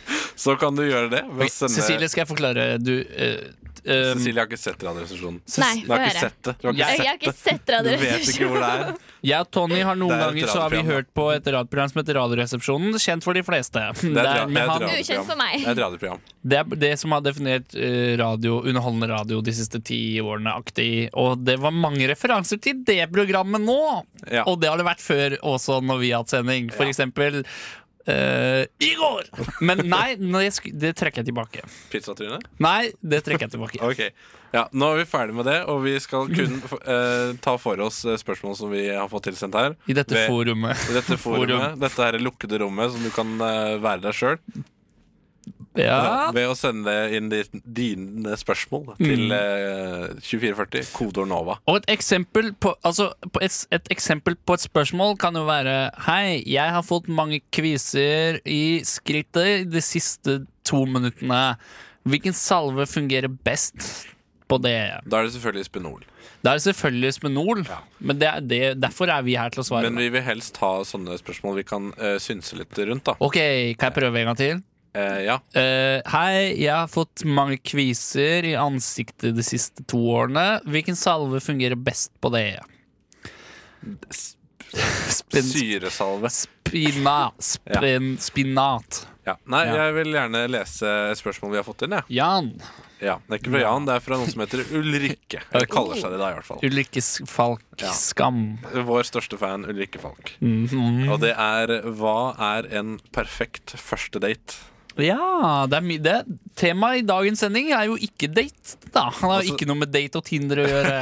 S5: så kan du gjøre det. Ved å sende,
S6: Cecilie, skal jeg forklare? Du eh, eh,
S5: Cecilie har ikke sett Radioresepsjonen.
S7: Nei,
S5: Du
S7: få
S5: har ikke
S7: høre.
S5: sett det. Du har ikke
S6: Jeg-
S7: Jeg har ikke sett
S5: sett det. Du vet ikke hvor det er.
S7: Radioresepsjonen.
S6: Jeg og Tony har noen
S5: Det er et
S6: ganger så har vi
S5: radioprogram, da.
S6: hørt på et radioprogram som heter Radioresepsjonen. Kjent for de fleste.
S5: Det er, et
S6: Der med
S5: ra- det er et
S6: han-
S5: radioprogram.
S7: Ukjent for meg.
S5: Det er et radioprogram.
S6: Det er det som har definert eh, radio, underholdende radio de siste ti årene aktig. Og det var mange referanser til det programmet nå!
S5: Ja.
S6: Og det har det vært før også når vi har hatt sending. For eksempel eh, I går! Men nei, nei, jeg sk- det trekker jeg tilbake.
S5: Pizzatryne?
S6: Nei, det trekker jeg tilbake.
S5: Ok. Ja, nå er vi ferdig med det, og vi skal kun eh, ta for oss eh, spørsmål som vi har fått tilsendt her.
S6: I dette
S5: Ved-
S6: forumet.
S5: I dette forumet,
S6: Forum.
S5: dette her lukkede rommet som du kan eh, være deg sjøl.
S6: Ja.
S5: Ved å sende inn di- dine spørsmål
S6: Mm.
S5: til eh, 2440, kodeord NOVA.
S6: Og et eksempel, på, altså, på et, et eksempel på et spørsmål kan jo være Hei, jeg har fått mange kviser i skrittet de siste to minuttene. Hvilken salve fungerer best på det?
S5: Da er det selvfølgelig Spenol.
S6: Det er selvfølgelig Spenol, men det er det, derfor er vi her til å svare.
S5: Men vi vil helst ha sånne spørsmål vi kan eh, synse litt rundt, da.
S6: Ok, kan jeg prøve en gang til?
S5: Eh, ja.
S6: Eh, hei, jeg har fått mange kviser i ansiktet de siste to årene. Hvilken salve fungerer best på det? Spen
S5: Syresalve.
S6: Spina, spin, Spinat.
S5: Ja. Nei,
S6: Ja.
S5: jeg vil gjerne lese spørsmål vi har fått inn, jeg.
S6: Jan.
S5: Ja. Det er ikke fra Jan, det er fra noen som heter Ulrikke. Eller kaller seg det, da, i hvert fall.
S6: Ulrikkes Falk. Skam.
S5: Vår største fan Ulrikke Falk.
S6: Mm.
S5: Og det er Hva er en perfekt første date?
S6: Ja, det er mye det. Temaet i dagens sending er jo ikke date, da. Han har jo
S5: Altså-
S6: ikke noe med date og Tinder å gjøre.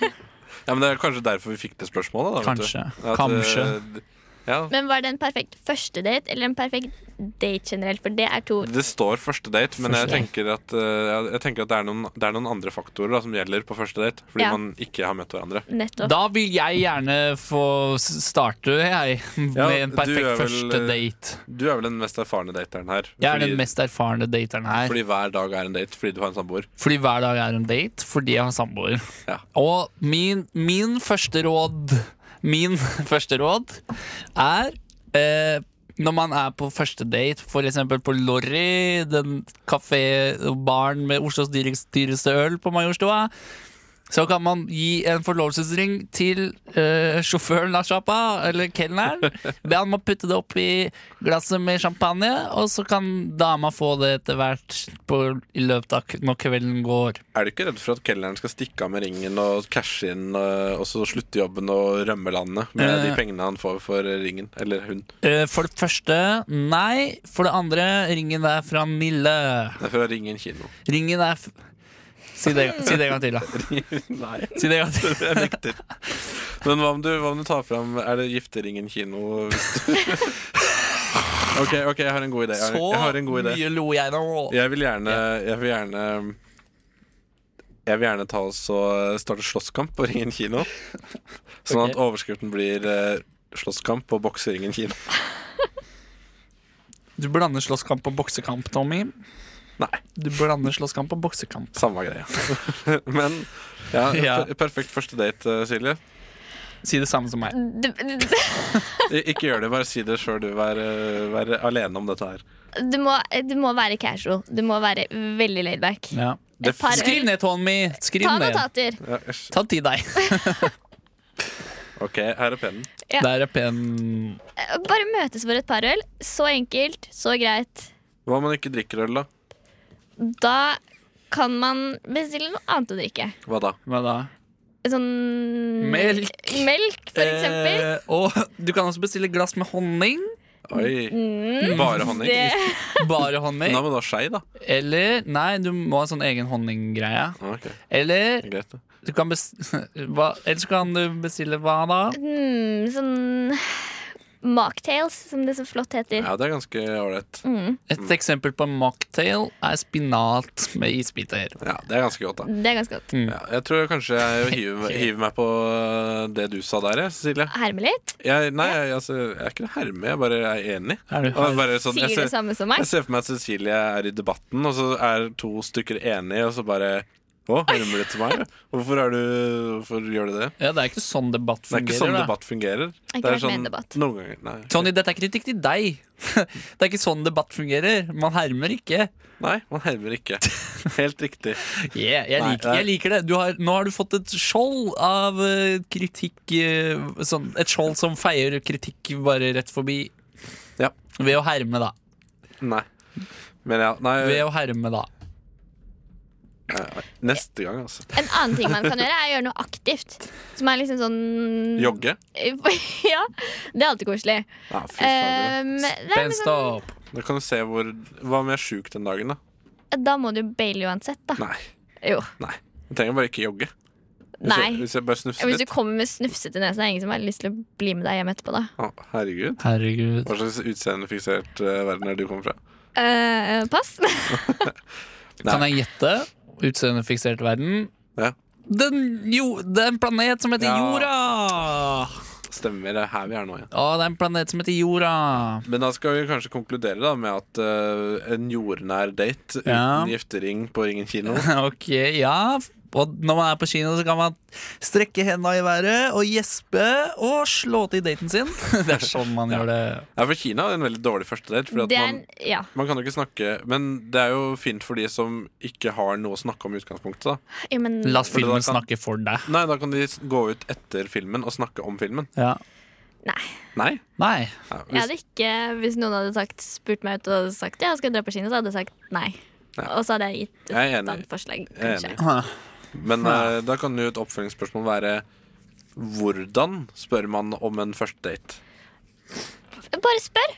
S5: Ja, men Det er kanskje derfor vi fikk det spørsmålet. da, vet du.
S6: Kanskje.
S5: eh,
S6: Kanskje.
S5: ja,
S7: Men var det en perfekt første date eller en perfekt date generelt? For det er to
S5: det står første date, men jeg
S6: Første
S5: tenker at, eh, jeg tenker at det, er noen, det er noen andre faktorer da, som gjelder på første date. Fordi
S7: Ja.
S5: man ikke har møtt hverandre.
S7: nettopp.
S6: Da vil jeg gjerne få s- starte, jeg,
S5: Ja,
S6: med en
S5: du
S6: perfekt
S5: er vel,
S6: første
S5: eh,
S6: date.
S5: Du er vel den mest erfarne dateren her.
S6: Jeg er
S5: fordi,
S6: den mest erfarne dateren her.
S5: fordi hver dag er en date fordi du har en samboer.
S6: Fordi hver dag er en date, fordi jeg har samboer.
S5: Ja.
S6: Og min, min første råd Min første råd er eh, når man er på første date, for eksempel på Lorry, den kafébaren med Oslos dyrest- dyreste øl på Majorstua, så kan man gi en forlovelsesring til eh, sjåføren av sjappa, eller kelneren. Be han om å putte det opp i glasset med champagne, og så kan dama få det etter hvert på, i løpet av k- når kvelden går.
S5: Er du ikke redd for at kelneren skal stikke av med ringen og cashe inn, eh, og så slutte jobben og rømme landet med
S6: Eh.
S5: de pengene han får for ringen? Eller hun.
S6: Eh, for det første, nei. For det andre, ringen er fra Nille.
S5: Det er for å ringe en kino.
S6: Ringen er f si det, si det en gang til, da.
S5: Nei,
S6: Si det en gang til.
S5: jeg nekter. Men hva om du, hva om du tar fram Er det gifteringen kino? hvis du- OK, ok, jeg har en god idé. Jeg har,
S6: Så
S5: jeg har en god idé.
S6: mye lo jeg nå.
S5: Jeg vil gjerne Jeg vil gjerne jeg vil gjerne ta oss og starte slåsskamp på Ringen kino. Sånn at
S6: Ok.
S5: overskriften blir eh, 'Slåsskamp på bokseringen kino'.
S6: Du blander slåsskamp og boksekamp, Tommy.
S5: Nei,
S6: Du blander slåsskamp og boksekamp.
S5: samme greia. Men ja,
S6: Ja.
S5: per- perfekt første date, eh, Silje.
S6: Si det samme som meg.
S7: Du, du,
S5: I- Ikke gjør det, bare si det sjøl, du. Vær, eh, vær alene om dette her.
S7: du, må, du må være casual. Du må være veldig laidback.
S6: Ja.
S5: Det
S7: par øl.
S6: Skriv ned, Tommy. Skriv
S7: Ta
S6: ned.
S7: notater.
S5: Ja, æsj.
S6: Ta til deg.
S5: OK, her er pennen.
S7: Ja.
S6: Der er pennen.
S7: Bare møtes for et par øl. Så enkelt, så greit.
S5: Hva om man ikke drikker øl, da?
S7: Da kan man bestille noe annet å drikke.
S5: Hva da?
S6: Hva da?
S7: Sånn
S6: Melk.
S7: Melk, for eksempel.
S6: Eh, og du kan også bestille glass med honning.
S5: Oi.
S7: Mm,
S5: Bare honning?
S7: det,
S6: Bare honning.
S5: Nei, men da skei, da.
S6: Eller Nei, du må ha sånn egen honninggreie.
S5: Ok,
S6: Eller
S5: greit. da.
S6: du kan bes- hva, Ellers kan du bestille hva da?
S7: mm, sånn Mocktails, som det så flott heter.
S5: Ja, det er ganske ålreit.
S7: Mm,
S6: Et eksempel på en mocktail er spinat med isbiter.
S5: Ja, det er ganske godt, da.
S7: det er ganske godt.
S6: Mm.
S5: Ja, jeg tror kanskje jeg hiver, hiver meg på eh, det du sa der, jeg, Cecilie.
S7: Herme litt.
S5: Jeg, nei, jeg, altså, jeg er ikke noe herme, jeg bare er enig.
S6: Er du
S5: Og jeg bare sånn,
S7: Sier
S5: jeg,
S7: det
S5: ser,
S7: samme som meg.
S5: jeg ser for meg at Cecilie er i debatten, og så er to stykker enige, og så bare Å, hermer du til meg? Hvorfor, er du, hvorfor gjør du det?
S6: Ja, Det er ikke sånn debatt
S5: Det er
S6: fungerer.
S5: ikke sånn
S6: da.
S5: debatt fungerer.
S7: Jeg har ikke
S5: Det er
S7: vært med i
S5: sånn
S7: en debatt.
S5: noen ganger Nei.
S6: Tony, dette er kritikk til deg. det er ikke sånn debatt fungerer. Man hermer ikke.
S5: nei, man hermer ikke. Helt riktig.
S6: Yeah, jeg,
S5: Nei,
S6: liker, jeg liker det. Du har, nå har du fått et skjold av eh, kritikk eh, sånn, Et skjold som feier kritikk bare rett forbi.
S5: Ja.
S6: Ved å herme, da.
S5: Nei. Men ja, nei,
S6: Ved å herme, da.
S5: neste gang, altså.
S7: En annen ting man kan gjøre, er å gjøre noe aktivt. Som er liksom sånn
S5: Jogge?
S7: ja, det er alltid koselig.
S5: Ja, fy fader.
S7: Um, nei, men
S6: Benst
S7: sånn,
S6: opp.
S5: Da kan du se hvor Hva om jeg er sjuk den dagen, da?
S7: da må du baile uansett, da.
S5: Nei.
S7: Jo.
S5: Nei, jeg trenger bare ikke jogge. Hvis, Jeg,
S7: Nei.
S5: hvis jeg bare snufser
S7: Hvis du
S5: litt.
S7: kommer med snufsete nese, er det ingen som har lyst til å bli med deg hjem etterpå, da.
S5: Å, herregud.
S6: Herregud.
S5: Hva slags utseendefiksert eh, verden er du kommer fra?
S7: Eh, pass.
S6: Kan jeg gjette? Utseendefiksert verden.
S5: Ja,
S6: Den, jo, det er en planet som heter
S5: Ja.
S6: Jorda!
S5: Stemmer. Det er her vi er nå, ja.
S6: Å, det er en planet som heter Jorda.
S5: Men da skal vi kanskje konkludere da med at eh, en jordnær date uten
S6: Ja.
S5: giftering på Ringen kino
S6: Ok, ja. Og når man er på kino, så kan man strekke henda i været og gjespe og slå til daten sin. Det er sånn man gjør det.
S5: Ja, for Kina er en veldig dårlig første date. Fordi at
S7: Det er,
S5: man,
S7: en- ja.
S5: man kan jo ikke snakke Men det er jo fint for de som ikke har noe å snakke om i utgangspunktet. da
S7: ja, men
S6: La oss
S5: Fordi da
S6: filmen
S5: kan-
S6: snakke for deg.
S5: Nei, da kan de s- gå ut etter filmen og snakke om filmen.
S6: Ja.
S7: Nei.
S5: Nei.
S6: Nei.
S5: Ja,
S7: Jeg
S5: hvis,
S7: hadde ikke, hvis noen hadde sagt, spurt meg ut og sagt ja, skal jeg dra på kino, så hadde jeg sagt nei.
S5: Ja.
S7: Og så hadde jeg gitt et
S5: Jeg er enig.
S7: annet forslag,
S5: Jeg er
S7: kanskje.
S5: Men eh, da kan jo et oppfølgingsspørsmål være hvordan spør man om en første date?
S7: Bare spør.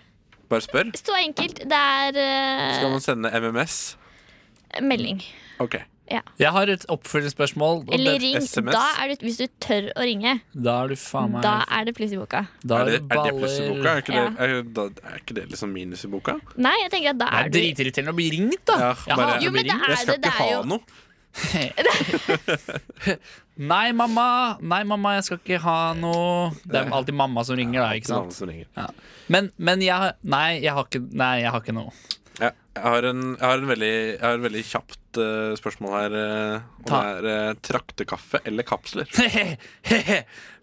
S5: Bare spør.
S7: Så enkelt. Det er
S5: Skal
S7: eh,
S5: man sende MMS?
S7: melding.
S5: Ok.
S6: Jeg har et oppfølgingsspørsmål. og
S7: Eller
S6: det-
S7: ring.
S5: SMS.
S7: Da er du, hvis du tør å ringe,
S6: Da er du faen meg
S7: da er det pluss i boka.
S6: da
S5: Er det, er det
S6: baller-
S5: pluss i boka? Er ikke,
S7: Ja.
S5: det, er, da, er ikke det liksom minus i boka?
S7: Nei, jeg tenker at da
S6: Nei,
S7: er du
S6: dritirriterende å bli ringt, da.
S5: Ja,
S6: Jeg
S5: bare-
S6: hater å
S7: Jo,
S6: bli
S7: men det
S6: ringt.
S7: er
S5: Jeg skal
S7: det. Det
S5: ikke
S7: er
S5: ha
S7: jo
S5: noe.
S6: Nei, mamma! Nei, mamma, jeg skal ikke ha noe Det er alltid mamma som ringer, da. ikke sant?
S5: Navnet som ringer.
S6: Men, men jeg, har- nei, jeg har ikke, nei, jeg har ikke noe.
S5: Ja, jeg, har en, jeg, har en veldig, jeg har en veldig kjapt eh, spørsmål her. eh, om
S6: Ta.
S5: det er eh, traktekaffe eller kapsler.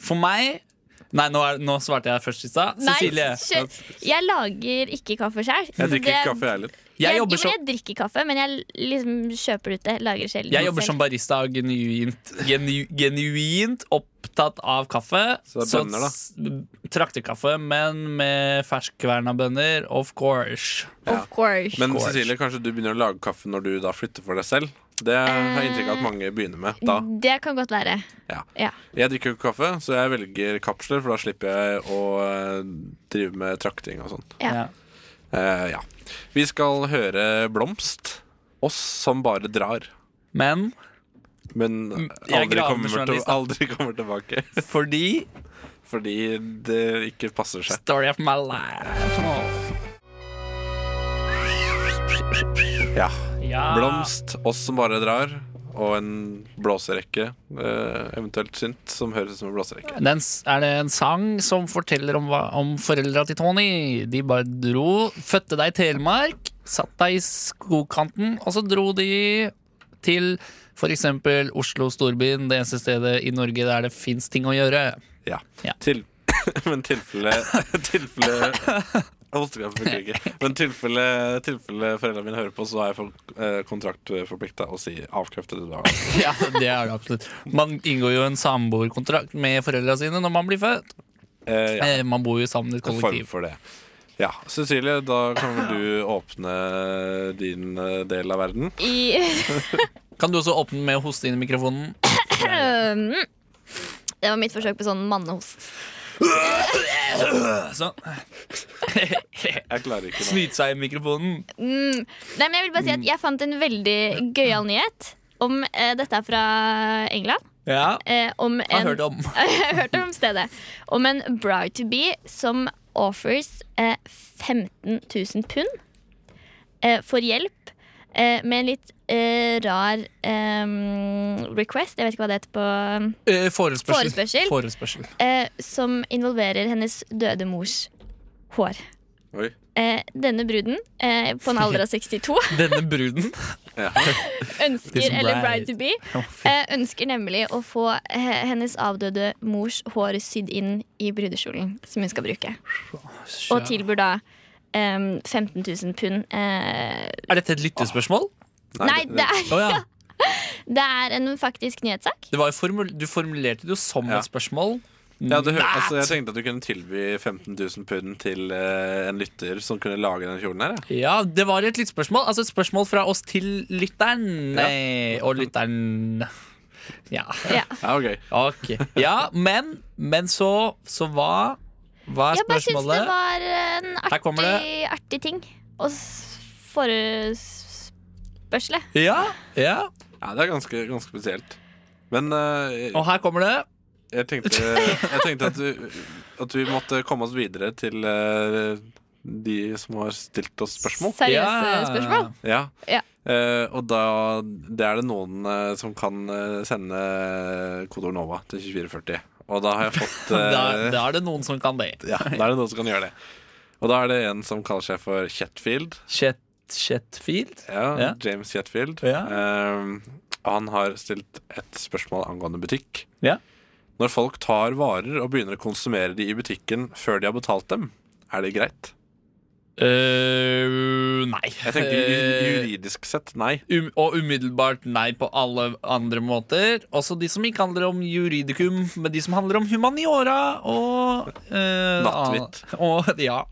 S6: For meg Nei, nå, er, nå svarte jeg først i stad.
S7: Nei,
S6: Cecilie.
S7: shit. Jeg lager ikke kaffe sjøl.
S5: Jeg drikker ikke kaffe, jeg heller.
S6: Jeg jobber
S7: jo, men
S6: som-
S7: jeg drikker kaffe, men jeg liksom kjøper det ute. Lager sjelden
S6: Jeg jobber som barista og genuint, genu, genuint opptatt av kaffe.
S5: Så det er bønner, da.
S6: da. Traktekaffe, men med ferskverna bønner, of course.
S7: Of course.
S5: Men
S6: Scorch.
S5: Cecilie, kanskje du begynner å lage kaffe når du da flytter for deg selv? Det har jeg inntrykk av at mange begynner med da.
S7: Det kan godt være.
S5: Ja.
S7: Ja.
S5: Jeg drikker jo ikke kaffe, så jeg velger kapsler, for da slipper jeg å eh, drive med trakting og sånn.
S7: Ja.
S6: Ja.
S5: Eh, ja. Vi skal høre Blomst. Oss som bare drar.
S6: Men
S5: Men
S6: Mm,
S5: eh,
S6: jeg er
S5: aldri
S6: graven
S5: kommer, til,
S6: journalist, da.
S5: aldri kommer tilbake.
S6: fordi
S5: Fordi det ikke passer seg.
S6: Story of my life.
S5: Ja.
S6: Ja.
S5: Blomst, Oss som bare drar, og en blåserekke. eh, eventuelt synt, som høres ut som en blåserekke.
S6: Den, s- er det en sang som forteller om, hva- om foreldra til Tony? De bare dro, fødte deg i Telemark, satt deg i skogkanten, og så dro de til f.eks. Oslo storbyen, det eneste stedet i Norge der det fins ting å gjøre.
S5: Ja.
S6: Ja.
S5: Til, men tilfelle Tilfelle Hostekamp funker ikke. Men tilfelle, tilfelle foreldrene mine hører på, så er jeg for- eh, kontraktforplikta å si avkrefte det du har.
S6: Ja, det er det absolutt. Man inngår jo en samboerkontrakt med foreldra sine når man blir født.
S5: Eh, ja,
S6: Eh, Man bor jo sammen i et
S5: en form
S6: kollektiv.
S5: for det. Ja, Cecilie, da kan vel du åpne din eh, del av verden.
S7: I
S6: Kan du også åpne med å hoste inn i mikrofonen?
S7: Um, Det var mitt forsøk på sånn mannehost.
S6: Sånn.
S5: Jeg klarer ikke nå.
S6: Snyte seg i mikrofonen.
S7: Mm. Nei, men Jeg vil bare si at jeg fant en veldig gøyal nyhet. Om, eh, dette er fra England.
S6: Ja,
S7: Eh, om
S6: jeg
S7: en,
S6: har hørt om.
S7: jeg har hørt om stedet. Om en bride to be som offers eh, 15 000 pund eh, for hjelp eh, med en litt eh, rar eh, request. Jeg vet ikke hva det heter på
S6: Eh, Forespørsel.
S7: Forespørsel.
S6: Forespørsel.
S7: eh, Som involverer hennes døde mors hår.
S5: Oi.
S7: Eh, denne bruden, eh, på en alder av 62,
S6: Denne bruden.
S5: Ja.
S7: ønsker,
S6: This
S7: eller
S6: bride.
S7: bride to be, eh, ønsker nemlig å få eh, hennes avdøde mors hår sydd inn i brudekjolen som hun skal bruke. Og tilbyr da em, 15 000 pund. Eh,
S6: Er dette et lyttespørsmål?
S7: nei, det
S6: Å
S7: er,
S6: ja.
S7: det er en faktisk nyhetssak.
S6: Det var jo formul du formulerte det jo som
S5: Ja.
S6: et spørsmål.
S5: Ja, det hø- altså, jeg tenkte at du kunne tilby 15 000 pund til eh, en lytter som kunne lage den kjolen her. jeg.
S6: Ja, det var et lyttespørsmål. Altså et spørsmål fra oss til lytteren. Nei, og lytteren Ja.
S7: Ja.
S5: Ja, ok
S6: Ok. Ja, men, men så, så hva, hva er
S7: Jeg bare syns det
S6: spørsmålet?
S7: var en
S6: Her kommer
S7: artig, artig ting å s- forespørsle.
S6: Ja, ja.
S5: Ja, det er ganske, ganske spesielt. Men eh, jeg,
S6: Og her kommer det.
S5: jeg tenkte, jeg tenkte at, vi, at vi måtte komme oss videre til eh, de som har stilt oss spørsmål.
S7: Seriøse
S6: Ja. Altså,
S7: spørsmål.
S5: Ja.
S7: Ja.
S5: Eh, og da det er det noen eh, som kan eh, sende kodeord NOVA til 2440. Og da har jeg fått eh,
S6: Da, da er det noen som kan det.
S5: Ja, da er det noen som kan gjøre det. Og da er det en som kaller seg for Chetfield.
S6: Chet, Chetfield?
S5: Ja,
S6: Ja.
S5: James Chetfield.
S6: Ja.
S5: Ehm, han har stilt et spørsmål angående butikk.
S6: Ja.
S5: Når folk tar varer og begynner å konsumere de i butikken før de har betalt dem, er det greit?
S6: Øh, nei.
S5: Jeg tenker
S6: Eh,
S5: ju- juridisk sett nei.
S6: um, og umiddelbart nei på alle andre måter. Også de som ikke handler om juridikum, men de som handler om humaniora og eh,
S5: Nattvitt.
S6: an- Og, ja.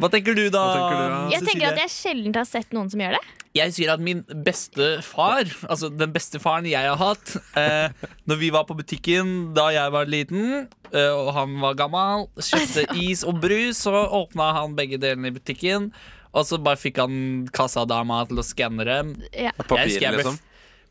S6: Hva tenker du da?
S5: Hva tenker du da?
S7: Jeg tenker at jeg sjelden har sett noen som gjør det.
S6: Jeg sier at min beste far, altså den beste faren jeg har hatt eh, Når vi var på butikken da jeg var liten, eh, og han var gammel, kjøpte is og brus, så åpna han begge delene i butikken. Og så bare fikk han kassadama til å skanne dem.
S7: Ja.
S6: Jeg
S5: Papir,
S6: husker jeg ble-
S5: liksom.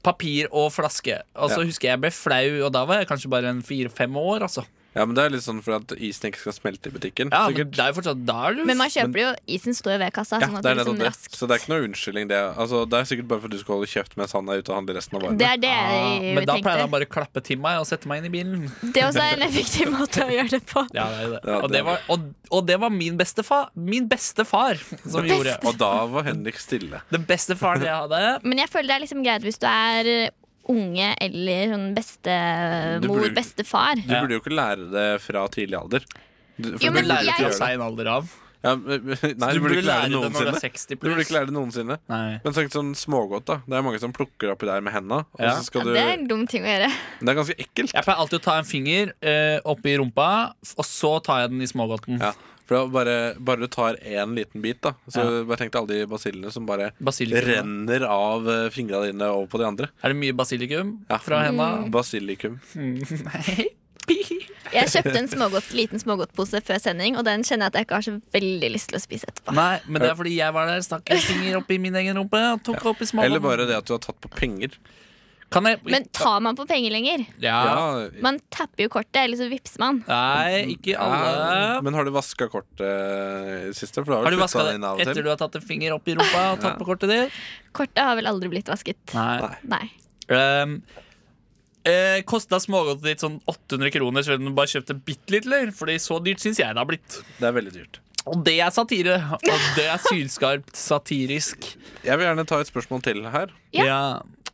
S6: Papir og flaske. Og så
S5: Ja.
S6: husker jeg jeg ble flau, og da var jeg kanskje bare en fire-fem år. Altså.
S5: Ja, men det er litt sånn for at isen ikke skal smelte i butikken.
S6: Ja, men
S5: sikkert.
S6: det er jo fortsatt da er du
S7: Men man kjøper det jo Isen står jo ved kassa.
S5: Ja,
S7: sånn at
S5: det er
S7: det,
S5: nettopp
S7: liksom
S5: det.
S7: raskt.
S5: Så det er ikke noe unnskyldning, det. Altså, det er sikkert bare for at du skal holde kjeft mens han er ute og handler resten av varene.
S7: det er det
S6: Ah,
S7: jeg
S6: Men da
S7: tenkte.
S6: pleide han bare å klappe til meg og sette meg inn i bilen.
S7: Det også er en effektiv måte å gjøre det på.
S6: Ja, det er jo det.
S5: Ja,
S6: og,
S5: det
S6: det
S5: er
S6: var, og, og det var min beste, fa, min beste far som gjorde
S5: Og da var Henrik stille.
S6: Den beste faren jeg hadde.
S7: Men jeg føler det er liksom greit hvis du er unge eller sånn
S5: Du
S7: bestemor,
S5: burde-
S7: bestefar.
S5: Du burde jo ikke lære det fra tidlig alder. Du, for
S7: Jo,
S5: du
S7: men
S5: burde
S6: Lære
S7: jeg-
S5: ikke
S6: fra
S5: gjøre det.
S6: sein alder av.
S5: Ja, men- men- nei,
S6: Du burde lære det når du er
S5: noensinne.
S6: 60
S5: Du burde
S6: pluss.
S5: ikke lære det noensinne.
S6: Nei.
S5: Men tenk sånn smågodt, da. Det er mange som plukker oppi der med henda. Og
S6: Ja.
S5: så skal du
S7: Ja, det er en dum ting å gjøre.
S5: Det er ganske ekkelt.
S6: Jeg pleier alltid å ta en finger eh, oppi rumpa, og så tar jeg den i smågodten.
S5: Ja. For da bare, bare du tar én liten bit, da Så
S6: Ja.
S5: bare tenk deg alle de basillene som bare
S6: Basilikum.
S5: renner av eh, fingra dine over på de andre.
S6: Er det mye basilikum
S5: Ja.
S6: fra henda?
S5: Basilikum.
S6: Nei.
S7: Mm. Jeg kjøpte en smågodt, liten smågodtpose før sending, og den kjenner jeg at jeg ikke har så veldig lyst til å spise etterpå.
S6: Nei, men det er fordi jeg var der, stakk en finger oppi min egen rumpe og tok opp i
S5: Eller
S6: smågodten.
S5: bare det at du har tatt på penger.
S6: Kan jeg
S7: Men tar man på penger lenger?
S6: ja.
S5: Ja,
S7: Man tapper jo kortet, eller så vippser man.
S6: Nei, ikke
S5: ja,
S6: alle.
S5: Men har du vaska kortet i det siste? For du har,
S6: Har
S5: vel
S6: du
S5: puttet
S6: vaska
S5: det
S6: det
S5: inn av og
S6: etter
S5: til.
S6: du har tatt en finger opp i rumpa og tatt på kortet ditt?
S7: Kortet har vel aldri blitt vasket.
S6: Nei.
S7: Nei.
S6: Um, eh, Kosta smågodtet ditt sånn 800 kroner, selv om du bare kjøpte bitte litt, eller? Fordi så dyrt syns jeg det har blitt.
S5: Det er veldig dyrt.
S6: Og det er satire. Og det er sylskarpt satirisk.
S5: Jeg vil gjerne ta et spørsmål til her.
S7: Ja.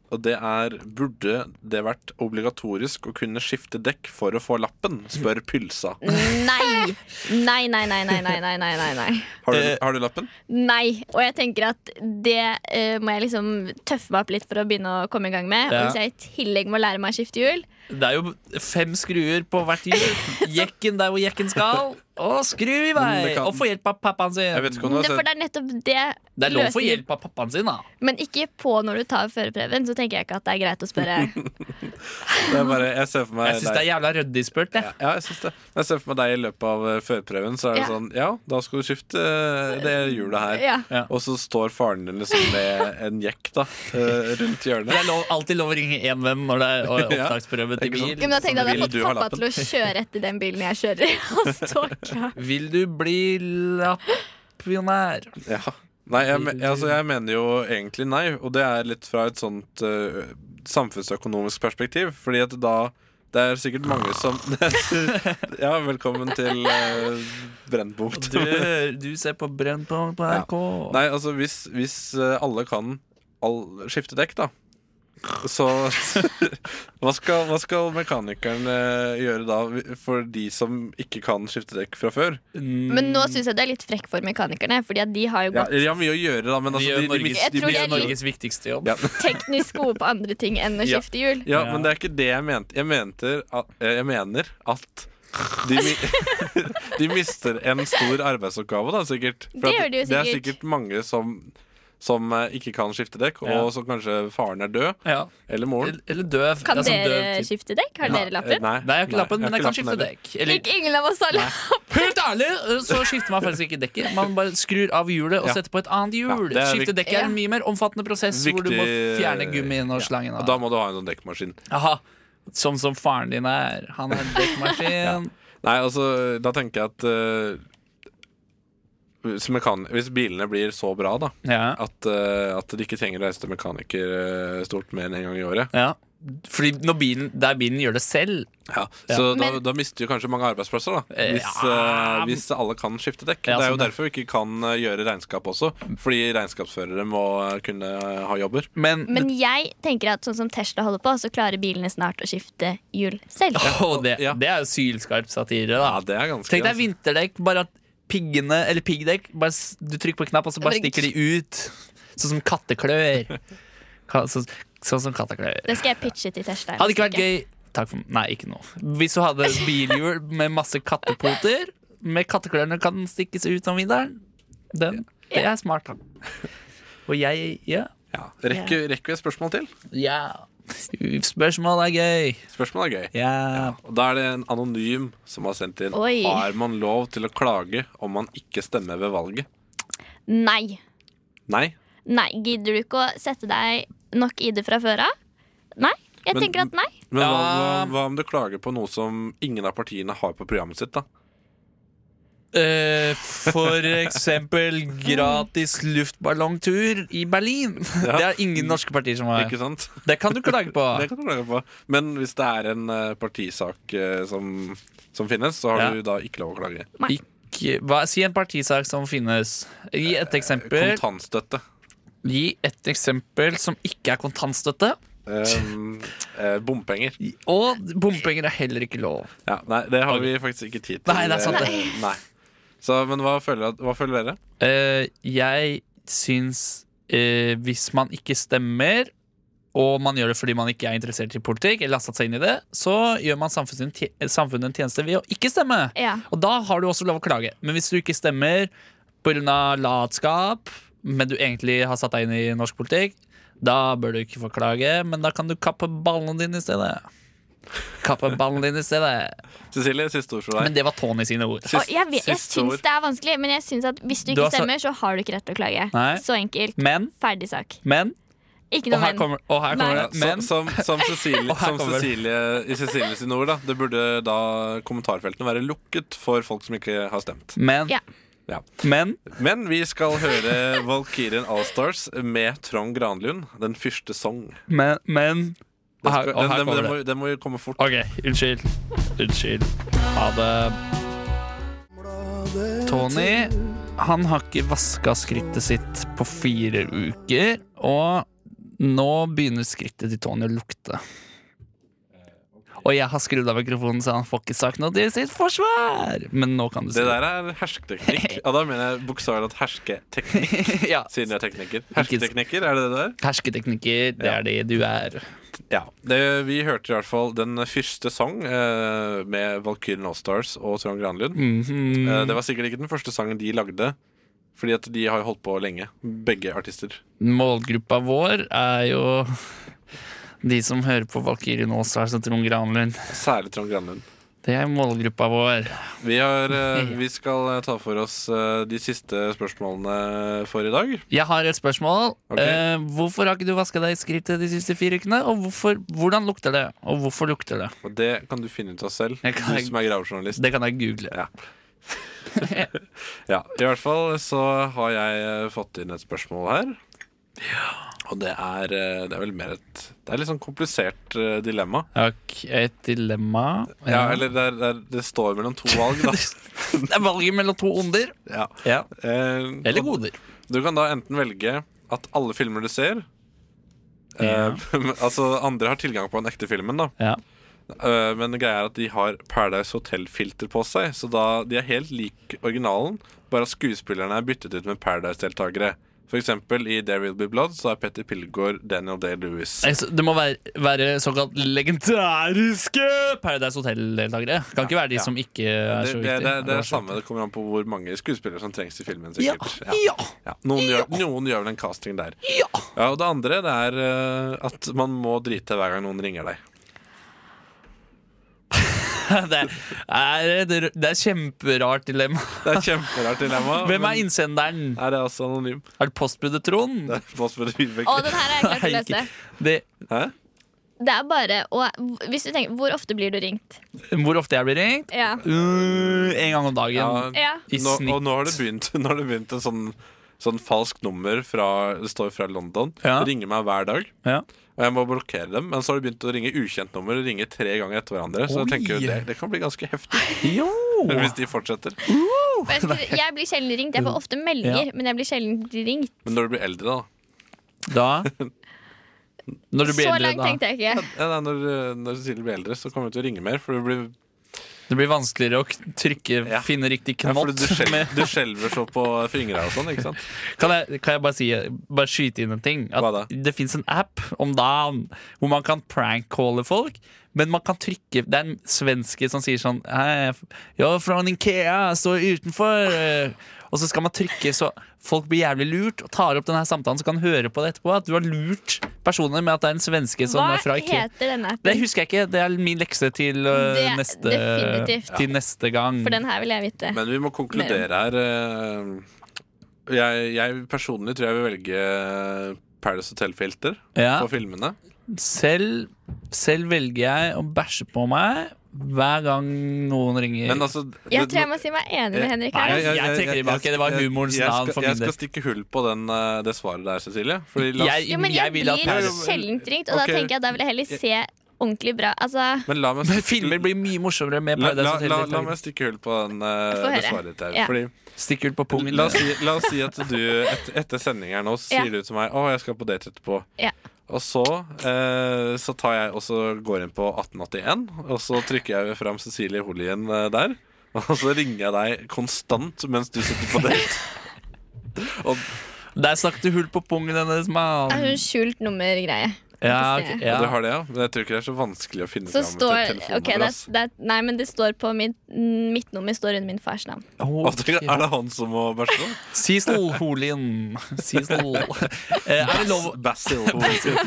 S5: Og det er Burde det vært obligatorisk å kunne skifte dekk for å få lappen? Spør pylsa.
S7: Nei! Nei, nei, nei, nei, nei, nei, nei, nei, nei.
S5: Har du,
S6: Eh.
S5: har du lappen?
S7: Nei, og jeg tenker at det eh, må jeg liksom tøffe meg opp litt for å begynne å komme i gang med.
S6: Ja.
S7: Og hvis jeg i tillegg må lære meg å skifte hjul
S6: Det er jo fem skruer på hvert hjul. Jekken der hvor jekken skal, og skru i
S5: Men
S6: vei!
S5: Mm, det kan-
S6: Og få hjelp av pappaen
S5: Jeg
S6: sin.
S5: vet ikke om du
S7: Det, for
S5: har sett
S7: det er nettopp det
S6: Altså, Det er lov å få
S7: løsningen.
S6: hjelp av pappaen sin, da.
S7: Men ikke på når du tar førerprøven. Så tenker jeg ikke at det er greit å spørre.
S5: det er bare, Jeg ser for meg
S6: Jeg syns det er jævla ryddig spurt, jeg.
S5: Ja, jeg synes det. Men jeg ser for meg deg i løpet av eh, førprøven, så er det
S7: Ja.
S5: sånn Ja, da skal du skifte eh, det hjulet her.
S7: Ja.
S6: Ja.
S5: Og så står faren din liksom med en jekk da eh, rundt
S6: Det
S5: hjørnet.
S6: er lov, alltid lov å ringe én venn når det er
S5: Ja.
S6: opptaksprøve til
S5: Ikke sant?
S6: bil.
S7: Ja, men da tenkte jeg at jeg
S5: Vil
S7: hadde
S5: du
S7: fått
S5: ha
S7: pappa
S5: lappen?
S7: til å kjøre etter den bilen jeg kjører i. og stå klar.
S6: Vil du bli lappionær?
S5: Ja. Nei, jeg, me- altså, jeg mener jo egentlig nei, og det er litt fra et sånt eh, samfunnsøkonomisk perspektiv. Fordi at da det er sikkert mange som Ja, velkommen til uh, Brennpunkt.
S6: Du, du ser på Brennpunkt på NRK.
S5: Nei, altså hvis, hvis eh, alle kan all, skifte dekk, da så hva, skal, hva skal mekanikeren eh, gjøre da for de som ikke kan skifte dekk fra før?
S7: Men nå syns jeg det er litt frekk for mekanikerne, Fordi at de har jo
S5: Ja,
S7: gått
S5: de har mye å gjøre, da, men
S6: De
S5: altså,
S6: gjør
S5: de, de,
S6: Norges,
S7: Jeg
S6: de
S7: tror
S6: gjør
S7: jeg liker-
S6: Norges viktigste jobb.
S5: Ja.
S7: teknisk gode på andre ting enn å
S5: Ja.
S7: skifte hjul.
S5: Ja,
S6: Ja.
S5: men det er ikke det jeg mente. Jeg, mente at, eh, jeg mener at de, mi- de mister en stor arbeidsoppgave, da, sikkert.
S7: Det
S5: at
S7: gjør de jo
S5: det er
S7: sikkert.
S5: sikkert mange som, som eh, ikke kan skifte dekk, og
S6: Ja.
S5: som kanskje faren er død.
S6: Ja.
S5: Eller moren.
S6: Eller- Eller døv.
S7: Kan
S6: Det er sånn
S7: dere
S6: døv typ.
S7: skifte dekk? Har dere
S5: Eh,
S7: lappen?
S5: Nei,
S6: Nei, jeg har ikke lappen, men jeg kan skifte
S5: heller.
S6: dekk. Eller,
S7: Ikke ingen av oss har lappen.
S6: helt ærlig, eh, så skifter man faktisk ikke dekket. Man bare skrur av hjulet og
S5: Ja.
S6: setter på et annet hjul.
S5: Ja, det er
S6: skifte dekk er en mye mer omfattende prosess hvor du må
S5: Viktig- eh,
S6: fjerne gummien og slangen.
S5: Og
S6: av.
S5: da må du ha en sånn dekkmaskin.
S6: Aha. Sånn som faren din er. Han er en dekkmaskin.
S5: Nei, altså, da tenker jeg at eh, hvis, mekan hvis bilene blir så bra, da,
S6: Ja.
S5: at, eh, at de ikke trenger å reise til mekaniker eh, stort mer enn én en gang i året,
S6: Ja. Fordi når bilen, der bilen gjør det selv
S5: Ja, Så da,
S7: Men-
S5: da mister jo kanskje mange arbeidsplasser, da.
S6: Eh,
S5: Hvis,
S6: ja.
S5: eh, hvis alle kan skifte dekk.
S6: Ja,
S5: det er jo
S6: sånn, ja.
S5: derfor vi ikke kan eh, gjøre regnskap også. Fordi regnskapsførere må eh, kunne ha jobber.
S6: Men,
S7: Men jeg tenker at sånn som Tesla holder på, så klarer bilene snart å skifte hjul selv.
S6: Åh, det,
S5: Ja.
S6: det er jo sylskarp satire, da.
S5: Ja, det er altså. ganske
S6: Tenk deg vinterdekk, bare at piggene Eller piggdekk. Bare, s- du trykker på en knapp, og så bare
S7: Rygg.
S6: stikker de ut. Sånn som katteklør. Ka, så, sånn som katteklør.
S7: Det skal jeg pitche til Tesla.
S6: Hadde ikke vært gøy Takk for Nei, ikke nå. Hvis du hadde bilhjul med masse kattepoter, med katteklørne kan den stikkes ut om vinteren. Den. Det er smart, da. Og jeg Ja.
S5: Ja. Rekker, rekker vi et spørsmål til?
S6: ja. Spørsmål er gøy.
S5: Spørsmål er gøy.
S6: Ja.
S5: Og Da er det en anonym som har sendt inn.
S7: Oi.
S5: Har man lov til å klage om man ikke stemmer ved valget?
S7: Nei.
S5: Nei.
S7: Nei, Gidder du ikke å sette deg nok i det fra før av? Nei. Jeg
S5: Men-
S7: tenker at nei.
S5: Men hva,
S6: Ja.
S5: hva, hva om du klager på noe som ingen av partiene har på programmet sitt? da?
S6: Eh, for eksempel gratis luftballongtur i Berlin. Det er ingen norske partier som har.
S5: Ikke sant?
S6: Det kan du klage på.
S5: Det kan du klage på. Men hvis det er en eh, partisak eh, som, som finnes, så har
S6: Ja.
S5: du da ikke lov å klage.
S6: Ikke, hva, si en partisak som finnes. Gi et eksempel.
S5: Kontantstøtte.
S6: Gi et eksempel som ikke er kontantstøtte.
S5: Ehm, eh, bompenger.
S6: Og bompenger er heller ikke lov.
S5: Ja, nei, det har vi faktisk ikke tid til. eh,
S6: Nei, det er sant, det.
S5: Nei. Så, men hva føler, hva føler dere?
S6: Eh, jeg syns eh, hvis man ikke stemmer, og man gjør det fordi man ikke er interessert i politikk, eller har satt seg inn i det, så gjør man samfunnet en tje- samfunnet en tjeneste ved å ikke stemme.
S7: Ja.
S6: Og da har du også lov å klage. Men hvis du ikke stemmer pga. latskap, men du egentlig har satt deg inn i norsk politikk, da bør du ikke få klage, men da kan du kappe ballene dine i stedet. Kappe ballene dine i stedet.
S5: Cecilie, siste ord fra
S6: Men
S5: deg.
S6: det var Tony sine ord.
S5: Sist-
S7: Og jeg, vet- jeg
S5: siste ord.
S7: syns det er vanskelig, men jeg syns at hvis du
S6: Du
S7: ikke
S6: har sa-
S7: stemmer, så har du ikke rett til å klage.
S6: Nei.
S7: Så enkelt.
S6: Men,
S7: Ferdig sak.
S6: men,
S7: Ikke
S6: og
S7: noe
S6: her
S7: men.
S6: kommer, og her kommer
S5: Ja,
S6: det. Men,
S5: som, som, som Cecilie,
S6: Og her
S5: som
S6: kommer-
S5: Cecilie i Cecilie sine ord, da. Det burde da kommentarfeltene være lukket for folk som ikke har stemt.
S6: Men,
S7: Ja.
S5: Ja.
S6: men
S5: Men vi skal høre Valkyrien Allstars med Trond Granlund, 'Den fyrste song'.
S6: Men, men
S5: Den,
S6: og her,
S5: skal,
S6: og
S5: den,
S6: her
S5: den,
S6: kommer
S5: den,
S6: det
S5: må, den må jo komme fort.
S6: Ok, unnskyld Unnskyld Ha det Tony Han har ikke vasket skrittet sitt På fire uker Og nå begynner skrittet til Tony å lukte Og jeg har skrudd av mikrofonen Så han får ikke sagt noe til sitt forsvar Men nå kan du si
S5: Det der er hersketeknikk. Ja, da mener jeg bokstavelig talt hersketeknikk,
S6: ja.
S5: siden jeg er tekniker. Hersketeknikker, er det det der?
S6: Hersketeknikker, det
S5: Ja.
S6: er det du er
S5: Ja, det, Vi hørte i hvert fall den første sang eh, med Valkyrien Allstars og Trond Granlund.
S6: Mhm.
S5: Eh, det var sikkert ikke den første sangen de lagde, fordi at de har jo holdt på lenge, begge artister.
S6: Målgruppa vår er jo de som hører på Valkyrien Allstars og Trond Granlund.
S5: Særlig Trond Granlund.
S6: Det er målgruppa vår.
S5: Vi, har, eh, vi skal eh, ta for oss eh, de siste spørsmålene for i dag.
S6: Jeg har et spørsmål.
S5: Ok.
S6: Eh, hvorfor har ikke du vaska deg i skrittet de siste fire ukene? Og hvorfor, hvordan lukter det? Og hvorfor lukter det?
S5: Og det kan du finne ut av selv,
S6: Jeg kan-
S5: du som er gravejournalist.
S6: Det kan jeg google.
S5: Ja. Ja, I hvert fall så har jeg eh, fått inn et spørsmål her. Og det er, eh, det er vel mer et Det er litt sånn komplisert eh, dilemma.
S6: Ok, et dilemma.
S5: Ja, eller det, er, det, er, det står mellom to valg, da.
S6: Det er valget mellom to onder.
S5: Ja.
S6: Ja.
S5: Eh,
S6: Eller
S5: og-
S6: goder.
S5: Du kan da enten velge at alle filmer du ser
S6: Ja.
S5: eh, Altså andre har tilgang på den ekte filmen da
S6: Ja.
S5: Eh, Men greia er at de har Paradise Hotel-filter på seg Så da, de er helt lik originalen Bare at skuespillerne er byttet ut med Paradise-deltakere For eksempel i There Will Be Blood Så er Petter Pilgaard Daniel Day-Lewis
S6: Altså, Det må være, være såkalt legendariske Paradise Hotel-deltakere. Kan ikke være de
S5: ja.
S6: som ikke
S5: det,
S6: er så
S5: det,
S6: viktige.
S5: det, det,
S6: Eller
S5: er
S6: hva
S5: det
S6: som-
S5: samme, det kommer an på hvor mange skuespillere som trengs i filmen
S6: Ja,
S5: sikkert Ja.
S6: ja,
S5: Ja. Noen, gjør, noen gjør vel en casting der
S6: ja.
S5: Ja, og det andre det er eh, at man må drite hver gang noen ringer deg
S6: Det er, et r- det er kjemperart dilemma.
S5: Det er et kjemperart dilemma.
S6: Hvem
S5: men-
S6: er innsenderen?
S5: Nei, det er også anonym.
S6: Er det postbudet Trond?
S5: Det er postbudet Vibeke.
S7: Å, den her er jeg klar til
S6: Nei,
S7: å lese.
S6: ikke- Det,
S5: Hæ?
S7: Det er bare å Hvis du tenker Hvor ofte blir du ringt?
S6: hvor ofte jeg blir ringt?
S7: Ja.
S6: Uh, en gang om dagen.
S7: Ja.
S5: Ja,
S6: I
S5: nå,
S6: snitt.
S5: og nå har det begynt, nå har det begynt en sånn, sånn falsk nummer fra, Det står fra London.
S6: Ja.
S5: Det ringer meg hver dag.
S6: Ja.
S5: Og jeg må blokkere dem. Men så har de begynt å ringe ukjent nummer og ringe tre ganger etter hverandre. Så
S6: Oi.
S5: jeg tenker jo det, det kan bli ganske heftig
S6: Jo!
S5: hvis de fortsetter.
S7: For Jeg, skulle, jeg blir sjelden ringt. Jeg får ofte meldinger, men jeg blir sjelden ringt.
S5: Men når du blir eldre, da.
S6: Da Når du blir
S7: Så
S6: eldre,
S7: langt
S6: da.
S7: tenkte jeg ikke.
S5: Ja, nei, når, når Cecilie blir eldre, så kommer du til å ringe mer. For du, blir,
S6: Det blir vanskeligere å k- trykke,
S5: Ja.
S6: finne riktig
S5: ja, for
S6: knott.
S5: du, skjelver,
S6: med-
S5: du skjelver så på fingra og sånn, ikke sant?
S6: Kan jeg, kan jeg bare, si, bare skyte inn en ting?
S5: Hva
S6: At
S5: da?
S6: det fins en app om dagen hvor man kan prank-calle folk. Men man kan trykke Det er en svenske som sier sånn «Hei, Jeg er fra en Ikea, jeg står utenfor. eh». Og så skal man trykke så folk blir jævlig lurt og tar opp denne samtalen, så kan høre på det etterpå. At du har lurt personer med at det er en svenske som
S7: Hva
S6: Sånn er fra Ikea.
S7: heter denne
S6: Det
S7: appen?
S6: husker jeg ikke. Det er min lekse til, eh,
S7: Det er
S6: neste,
S7: definitivt.
S6: til neste gang.
S7: For den her vil jeg vite.
S5: Men vi må konkludere her. eh, Jeg, jeg personlig tror jeg vil velge eh, Paradise Hotel-filter
S6: Ja.
S5: på filmene.
S6: Selv, selv velger jeg å bæsje på meg hver gang noen ringer.
S5: Men altså
S7: Jeg tror jeg må si meg enig med Henrik her.
S6: Nei, jeg- trekker tilbake. Det var humorens
S5: jeg
S6: navn
S5: skal-
S6: for min
S5: Jeg
S6: del.
S5: skal stikke hull på den, eh, det svaret der, Cecilie. Fordi la,
S6: jeg,
S7: Jo, men
S6: jeg
S7: jeg,
S6: vil at
S7: blir
S5: Paradise-
S7: sjelden ringt, og da
S5: Ok.
S7: tenker jeg at da vil jeg heller se ordentlig bra. Altså,
S5: men la meg
S6: Men filmer blir mye morsommere med
S5: La, la,
S6: Paradise
S5: la, la meg
S6: Hotel.
S5: stikke hull på den, eh,
S7: Få
S5: det
S7: høre.
S5: svaret ditt her.
S7: Ja.
S5: Fordi,
S6: Stikk ut på pungen.
S5: la, oss si, la oss si at du et, etter sending her nå så
S7: Ja.
S5: sier du til meg Å, jeg skal på date etterpå.
S7: Ja.
S5: Og så, eh, så tar jeg og så går inn på 1881, og så trykker jeg fram Cecilie Holien eh, der. Og så ringer jeg deg konstant mens du sitter på date.
S6: Der stakk du hull på pungen hennes,
S7: Det er
S6: mann.
S7: sånn skjult nummergreie.
S6: Ja, ok,
S5: Ja. Du
S6: ja.
S5: har det, ja? Men jeg tror ikke det er så vanskelig å finne
S7: Så
S5: fram
S7: står
S5: til
S7: ok, det,
S5: telefonen.
S7: er- det, er- Nei, men det står på mitt, mitt nummer står under min fars navn.
S6: Å,
S5: Og tenker jeg, er det han som må bæsje nå?
S6: Seasonal Holin. Seasonal. Eh, Er det lov,
S5: Basil Holien.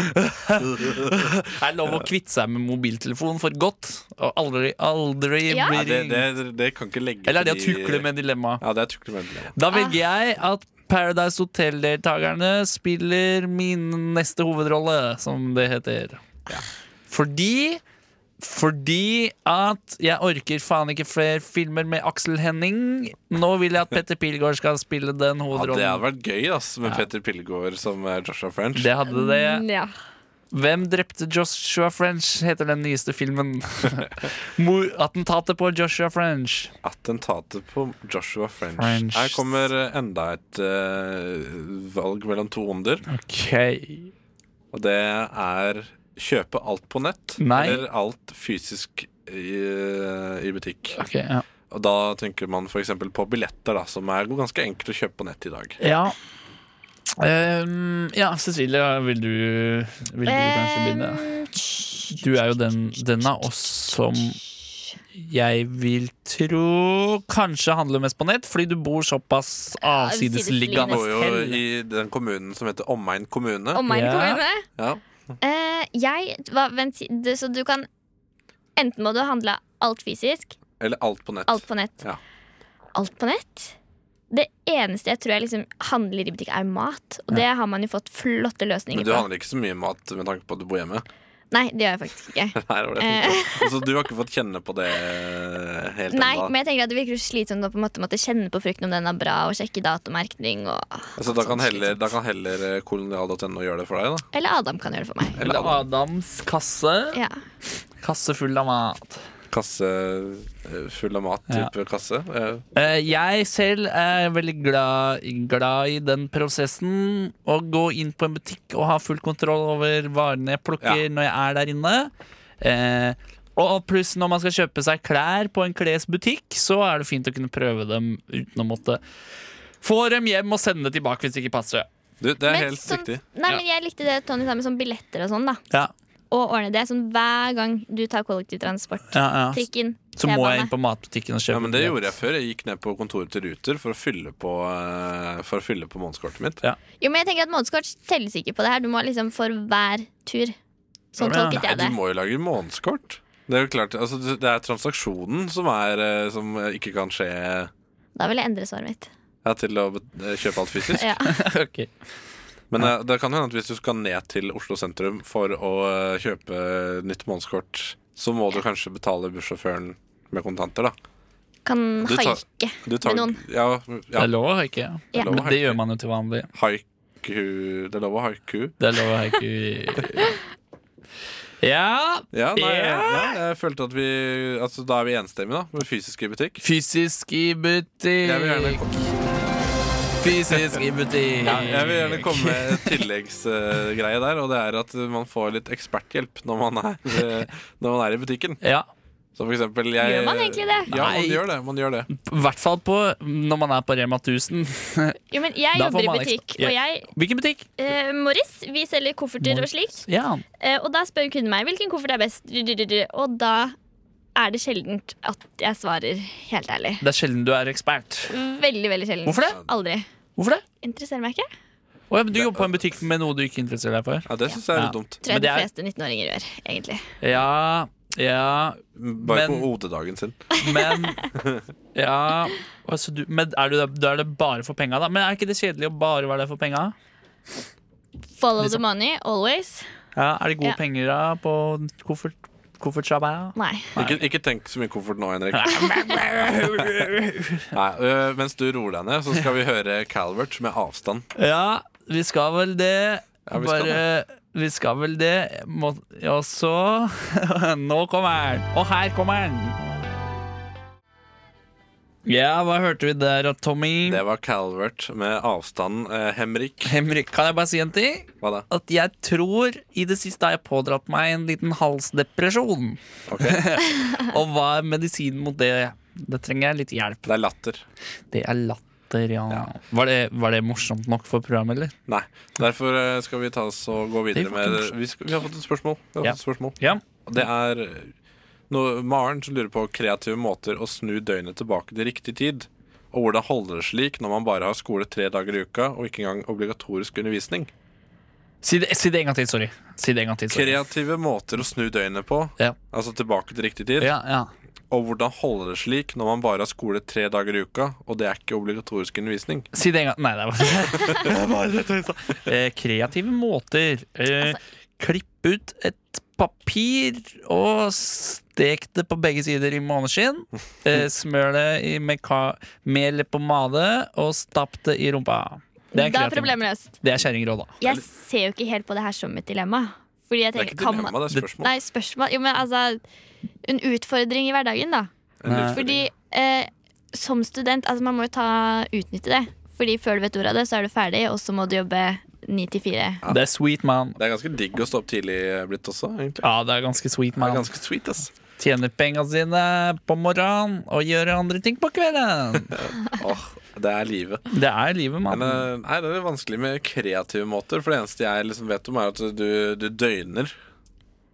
S6: er det lov å kvitte seg med mobiltelefon for godt? Og aldri, aldri
S7: Ja.
S5: Nei,
S6: bli
S5: det,
S6: ringt?
S5: det, det kan ikke legge
S6: Eller er det å
S5: til de-
S6: tukle med dilemmaet?
S5: Ja, det er tukle med.
S6: Da velger jeg at Paradise Hotel-deltakerne spiller min neste hovedrolle, som det heter. Fordi fordi at jeg orker faen ikke flere filmer med Aksel Henning. Nå vil jeg at Petter Pilgaard skal spille den
S5: Ja, det hadde
S6: hovedrollen.
S5: vært gøy ass, med Petter Pilgaard som eh, Joshua French.
S6: Det hadde det.
S7: Mm, Ja.
S6: Hvem drepte Joshua French? heter den nyeste filmen. Mor- Attentatet på Joshua French.
S5: Attentatet på Joshua French.
S6: French.
S5: Her kommer eh, enda et eh, valg mellom to onder,
S6: Ok
S5: og det er kjøpe alt på nett
S6: Nei.
S5: eller alt fysisk i, eh, i butikk.
S6: Ok, ja.
S5: Og da tenker man f.eks. på billetter, da, som er ganske enkelt å kjøpe på nett i dag.
S6: Ja. Ehm, ja, Cecilie, vil du, vil du kanskje begynne?
S7: Ehm,
S6: Du er jo den, den av oss som jeg vil tro kanskje handler mest på nett, fordi du bor såpass
S5: Jeg
S6: avsidesliggende
S5: bor jo
S6: selv.
S5: i den kommunen som heter Omegn kommune.
S7: Om meg
S6: Ja.
S7: kommune.
S5: Ja.
S7: Eh, jeg hva, Vent, du, så du kan Enten må du handle alt fysisk,
S5: Eller alt på nett.
S7: alt på nett.
S5: Ja.
S7: Alt på nett? Det eneste jeg tror jeg liksom handler i butikk, er mat. Og det har man jo fått flotte løsninger
S5: Men du
S7: på.
S5: handler ikke så mye mat med tanke på at du bor hjemme.
S7: Nei, det gjør jeg faktisk ikke.
S5: Her var det jeg tenkte. Så du har ikke fått kjenne på det eh, helt
S7: Eh. Nei,
S5: ennå?
S7: men jeg tenker at det virker så slitsomt å på en måte måtte kjenne på frukten om den er bra, og sjekke datomerkning og
S5: Altså, da, kan heller, da kan heller eh, kolonial.no gjøre det for deg, da.
S7: Eller Adam kan gjøre det for meg.
S5: Eller
S6: Eller Adams kasse.
S7: Ja.
S6: Kasse full av mat.
S5: kasse eh, full av mat.
S6: Ja.
S5: Type kasse. Eh,
S6: Eh, jeg selv er veldig glad, glad i den prosessen. Å gå inn på en butikk og ha full kontroll over varene jeg plukker
S5: Ja.
S6: når jeg er der inne. Eh, og pluss når man skal kjøpe seg klær på en klesbutikk, så er det fint å kunne prøve dem uten å måtte få dem hjem og sende det tilbake hvis det ikke passer.
S5: Du, det er
S7: Men
S5: helt
S7: sånn-
S5: riktig.
S7: Nei,
S6: Ja.
S7: men jeg likte det Tony sa med sånn billetter og sånn, da.
S6: Ja,
S7: Og ordne det sånn hver gang du tar kollektivtransport.
S6: ja, ja.
S7: Trikken,
S6: Så må jeg
S7: T-bane.
S6: inn på matbutikken og kjøpe
S5: Ja, men Det
S6: billett.
S5: gjorde jeg før. Jeg gikk ned på kontoret til Ruter for å fylle på, eh, for å fylle på månedskortet mitt.
S7: Jo, men jeg tenker at månedskort telles ikke på det her. Du må liksom for hver tur. Sånn
S6: Ja, men-
S7: tolket
S5: Nei,
S7: jeg
S5: du
S7: det.
S5: må jo lage månedskort. Det er jo klart, altså, det er transaksjonen som, er, eh, som ikke kan skje ja,
S7: Da vil jeg endre svaret mitt.
S5: til å eh, kjøpe alt fysisk.
S7: Ja.
S6: Ok.
S5: Men eh, det kan hende at hvis du skal ned til Oslo sentrum for å eh, kjøpe nytt månedskort, så må du kanskje betale bussjåføren med kontanter, da.
S7: Kan
S5: Du tar-
S7: haike.
S5: Du tar,
S7: Med
S5: Ja,
S6: Det
S5: ja,
S6: er lov å haike.
S7: Ja.
S5: lov
S6: Men
S5: å
S6: det
S5: haike.
S6: gjør man jo til vanlig.
S5: haiku Det er lov å haiku.
S6: Det er lov å haike. Ja,
S5: Ja, nei,
S6: Ja!
S5: nei, jeg følte at vi Altså, da er vi enstemmige, da. Med fysisk i butikk.
S6: Fysisk i butikk.
S5: Jeg vil gjerne, kom-
S6: Fysisk i butikk.
S5: jeg vil gjerne komme med en tilleggsgreie der, og det er at man får litt eksperthjelp når man er, eh, når man er i butikken.
S6: Ja,
S5: Så for eksempel jeg
S7: Gjør man egentlig det?
S5: Ja, man
S6: Nei.
S5: gjør det. Man gjør det.
S6: I hvert fall på når man er på Rema 1000.
S7: Jo, men jeg
S6: Da får
S7: jobber i
S6: man
S7: butikk,
S6: ekstra-
S7: og jeg
S6: Hvilken butikk?
S7: eh, Morris, vi selger kofferter og
S6: Morris.
S7: slikt.
S6: Ja.
S7: Eh, og da spør kunden meg hvilken koffert er best, og da er det sjeldent at jeg svarer helt ærlig.
S6: Det er sjelden du er ekspert.
S7: Veldig, veldig sjelden.
S6: Hvorfor det?
S7: Aldri.
S6: Hvorfor det?
S7: Interesserer meg ikke.
S6: Å, ja, men du jobber på en butikk med noe du ikke interesserer deg for.
S5: Ja, det syns jeg er
S6: Ja.
S5: litt dumt.
S7: Tror
S6: Men
S7: jeg de
S6: det er-
S7: fleste 19-åringer gjør, egentlig.
S6: Ja, ja,
S5: Bare
S6: Men-
S5: på OD-dagen sin.
S6: men Ja. Altså, du, men er du der, da er det bare for penga, da? Men er ikke det kjedelig å bare være der for penga?
S7: Follow
S6: Liksom-
S7: the money, always.
S6: Ja, er det gode
S7: Ja.
S6: penger da på koffert, koffertsjappa?
S7: Nei.
S5: Ikke, ikke tenk så mye koffert nå, Henrik. Nei, øh, mens du roer deg ned, så skal vi høre Calvert med avstand.
S6: Ja, vi skal vel det.
S5: Ja, vi
S6: vi
S5: skal
S6: Bare Vi skal vel det. Må, og så Nå kommer den! Og her kommer den! Ja, hva hørte vi der, Tommy?
S5: Det var Calvert med avstanden. Eh, Henrik,
S6: Henrik, kan jeg bare si en ting?
S5: hva da?
S6: At jeg tror i det siste har jeg pådratt meg en liten halsdepresjon. Og hva er medisinen mot det? Det trenger jeg litt hjelp.
S5: Det er latter.
S6: Det er latter, ja. Var, det, var det morsomt nok for programmet, eller?
S5: Nei. Derfor eh, skal vi ta oss og gå
S6: Det
S5: videre
S6: er
S5: med
S6: faktisk-
S5: vi, skal, vi har fått et spørsmål. Vi har
S6: Ja.
S5: fått et spørsmål.
S6: Ja.
S5: Og Det er noe, Maren som lurer på kreative måter å snu døgnet tilbake til riktig tid. Og hvordan holder det slik når man bare har skole tre dager i uka og ikke engang obligatorisk undervisning?
S6: Si det, si det en gang til, sorry. Si det en gang til, sorry.
S5: Kreative måter å snu døgnet på,
S6: Ja.
S5: altså tilbake til riktig tid.
S6: Ja, ja.
S5: Og hvordan holder det slik når man bare har skole tre dager i uka, og det er ikke obligatorisk undervisning?
S6: Si det en gang Nei, det var bare eh, Kreative måter. Eh, Klipp ut et papir og stek det på begge sider i måneskinn. Eh, smør det i med ka mel eller pomade og stapp det i rumpa. Det er,
S7: Da er
S6: kreativ-
S7: problemet løst.
S6: det er kjerringråd, da.
S7: Jeg ser jo ikke helt på det her som et dilemma. Fordi jeg
S5: Det er
S7: tenker,
S5: ikke
S7: kan man
S5: dilemma, det er spørsmål.
S7: Nei, spørsmål Jo, men altså En utfordring i hverdagen, da.
S5: En
S6: Nei.
S5: utfordring.
S7: Fordi eh, som student Altså, man må jo ta utnytte det. Fordi før du vet ordet av det, så er du ferdig, og så må du jobbe ni til fire.
S6: Det er sweet man.
S5: Det er ganske digg å stå opp tidlig eh, blitt også, egentlig.
S6: Ja, det er ganske sweet
S5: Det er
S6: man.
S5: ganske sweet, ass.
S6: Tjener penga sine på morgenen og gjør andre ting på kvelden.
S5: Åh, det er livet.
S6: Det er livet,
S5: Men
S6: mann.
S5: eh, nei, det er vanskelig med kreative måter, for det eneste jeg liksom vet om, er at du, du døgner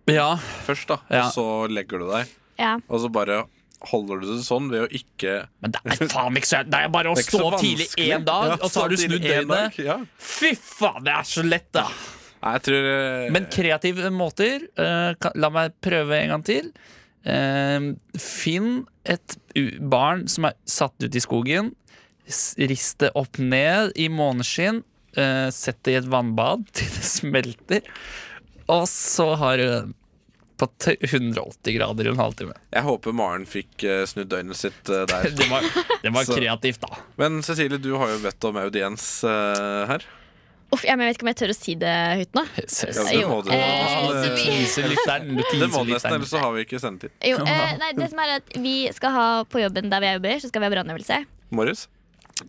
S6: Ja.
S5: først, da.
S6: Ja.
S5: Og så legger du deg.
S7: Ja.
S5: Og så bare holder du det sånn ved å ikke
S6: Men det er faen ikke så Det er bare å
S5: Det er ikke
S6: stå
S5: så
S6: opp tidlig
S5: vanskelig.
S6: én dag,
S5: Ja,
S6: og så har du
S5: stå tidlig
S6: snudd
S5: en dag,
S6: døgnet.
S5: Ja.
S6: Fy faen, det er så lett, da!
S5: Nei, jeg tror eh,
S6: Men kreative måter. eh, kan- la meg prøve en gang til. Eh, finn et u- barn som er satt ut i skogen. s- Rist det opp ned i måneskinn. eh, sett det i et vannbad til det smelter. Og så har du den på t- 180 grader i en halvtime.
S5: Jeg håper Maren fikk eh, snudd døgnet sitt eh, der.
S6: Det var, det var
S5: Så-
S6: kreativt, da.
S5: Men Cecilie, du har jo bedt om audiens eh, her.
S7: Uff, ja, men jeg vet ikke om jeg tør å si det høyt nå.
S5: Ja,
S6: Ses.
S5: det
S7: Jo,
S5: må du.
S7: eh,
S5: Ah,
S7: så
S5: Det-
S7: vi-
S6: Teaselytteren.
S5: Det må du nesten,
S6: teaselytteren.
S5: ellers så har vi ikke sendetid.
S7: Jo, eh, nei, det som er at Vi skal ha på jobben der vi jobber, så skal vi ha brannøvelse.
S5: Morris?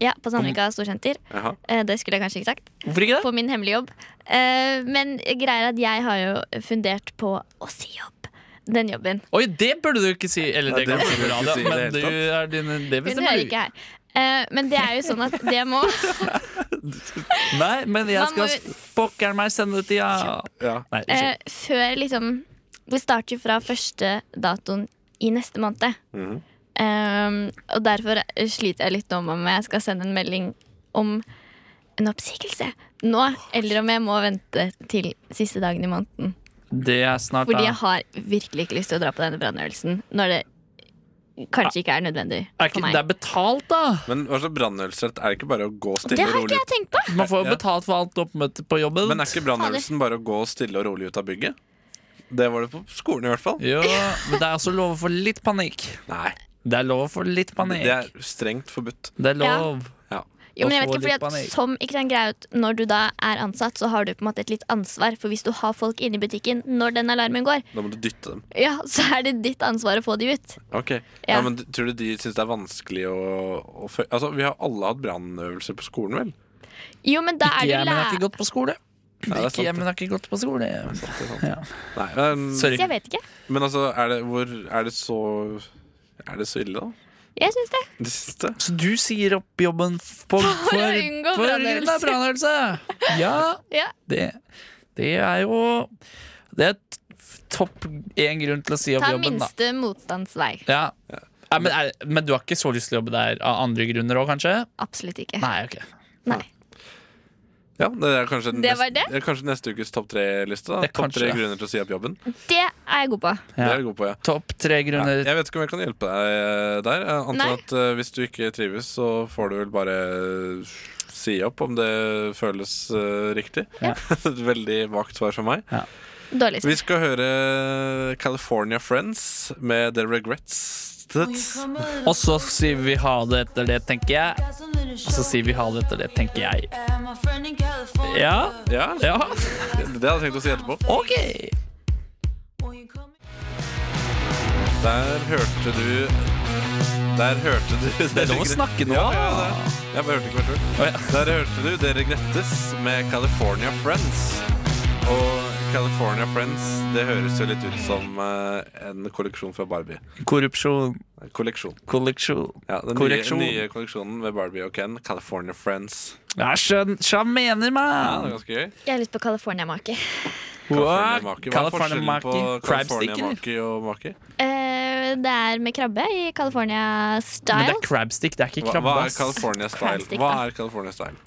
S7: Ja, på Sandvika storsenter.
S5: Jaha.
S7: Eh, det skulle jeg kanskje ikke sagt.
S6: Hvorfor ikke det?
S7: På min hemmelige jobb. Eh, men greier at jeg har jo fundert på å si opp den jobben.
S6: Oi, det burde du ikke si! Eller
S5: Nei,
S6: det, kan
S5: det
S6: du
S5: burde
S6: si på
S5: du ikke
S6: radio,
S5: si i
S6: men
S5: det
S6: du
S5: hele
S6: er din, det
S7: Hun
S6: bestemmer
S7: hører
S6: du.
S7: ikke her. Eh, men det er jo sånn at det må
S6: Nei, men jeg
S7: Man må
S6: skal
S7: jo-
S6: pokkeren meg sende det til ja.
S5: Ja.
S6: Nei,
S7: eh,
S6: unnskyld.
S7: Før liksom Vi starter jo fra første datoen i neste måned.
S6: Mhm.
S7: Eh, og derfor sliter jeg litt nå med om jeg skal sende en melding om en oppsigelse nå, eller om jeg må vente til siste dagen i måneden.
S6: det er snart
S7: Fordi
S6: da.
S7: jeg har virkelig ikke lyst til å dra på denne brannøvelsen når det kanskje ikke er nødvendig
S6: er
S7: for
S6: ikke, Det
S7: meg.
S6: er betalt, da!
S5: Men hva slags brannøvelsesrett? Er det ikke bare å gå
S7: Det
S5: stille
S7: har
S5: og
S7: ikke
S5: rolig
S7: jeg tenkt på!
S6: Man får jo
S5: Ja.
S6: betalt for alt oppmøte på jobben.
S5: Men er ikke brannøvelsen bare å gå stille og rolig ut av bygget? Det var det på skolen i hvert fall.
S6: Jo, men det er også lov for litt panikk.
S5: Nei,
S6: Det er lov for litt panikk.
S5: det er strengt forbudt.
S6: lov.
S5: Ja.
S7: Jo, men jeg
S6: Og
S7: vet
S6: få
S7: ikke,
S6: litt
S7: fordi
S6: panikk.
S7: at som, ikke sant, greia er at Når du da er ansatt, så har du på en måte et litt ansvar. For hvis du har folk inne i butikken når den alarmen går,
S5: Da må du dytte dem.
S7: ja, så er det ditt ansvar å få de ut.
S5: Ok, ja.
S7: Ja.
S5: men Tror du de syns det er vanskelig å, å fø- Altså, Vi har alle hatt brannøvelser på skolen, vel?
S7: Jo, men da
S6: Ikke
S7: er
S6: jeg, men
S7: du
S6: jeg har ikke
S7: lærer.
S6: gått på skole.
S5: det er sant,
S6: Ikke jeg,
S5: det.
S6: men jeg har ikke gått på skole.
S5: Nei, men,
S6: Sorry.
S7: Jeg vet ikke.
S5: men altså, er det, hvor, er det så Er det så ille, da?
S7: Jeg syns det.
S5: Det siste?
S6: Så du sier opp jobben f- på, for, for,
S7: unngå brannøvelse.
S6: grunn av brannøvelse? Ja,
S7: Ja.
S6: det, det er jo Det er t- topp én grunn til å si opp
S7: Ta
S6: jobben, da.
S7: minste motstandsvei.
S6: Ja. Nei, men, er, men du har ikke så lyst til å jobbe der av andre grunner òg, kanskje?
S7: Absolutt ikke.
S6: Nei, ok.
S7: Nei.
S5: Ja, det er kanskje,
S7: Det var
S5: nest-
S7: det?
S5: er kanskje neste ukes topp tre-liste. da.
S6: Det er
S5: Topp
S6: kanskje
S5: tre
S6: det.
S5: grunner til å si opp jobben.
S7: Det er jeg god på.
S5: Det
S6: Ja.
S5: er jeg god på, ja.
S6: Topp tre grunner.
S5: Jeg vet ikke om jeg kan hjelpe deg eh, der. Jeg
S7: Nei.
S5: antar at eh, hvis du ikke trives, så får du vel bare eh, si opp om det føles eh, riktig.
S6: Ja.
S5: Et veldig vagt svar for meg.
S7: Dårlig.
S5: Vi skal høre eh, California Friends med The Regrets.
S6: Og så sier vi ha det etter det, tenker jeg. Og så sier vi ha det etter det, tenker jeg. Ja?
S5: Ja, det
S6: Ja?
S5: hadde jeg tenkt å si etterpå.
S6: OK!
S5: Der hørte du Der hørte du Det
S6: er lov å snakke nå.
S5: Ja, ja, det er. Jeg bare hørte ikke meg selv.
S6: Å, ja.
S5: Der hørte du Det regrettes med California Friends. Og California Friends, det høres jo litt ut som eh, en kolleksjon fra Barbie.
S6: Korrupsjon,
S5: Kolleksjon.
S6: kolleksjon
S5: Ja, den nye,
S6: Korreksjon.
S5: nye kolleksjonen med Barbie og Ken, California Friends.
S6: Ja, skjønn, skjønn mener
S5: Ja, det er
S6: man
S5: ganske gøy.
S7: Jeg har lyst på California-make.
S5: California Maki. Hva er
S6: California
S5: forskjellen på
S6: Maki. Crab stick,
S5: California
S6: eller?
S5: Maki og Maki?
S7: Eh, det er med krabbe i California
S6: Men det
S7: style.
S6: er crabstick, det er ikke
S5: Hva,
S6: krabbe
S5: hva er
S6: ass.
S5: California style?
S7: Crabstick,
S5: Hva
S7: da.
S5: er California style?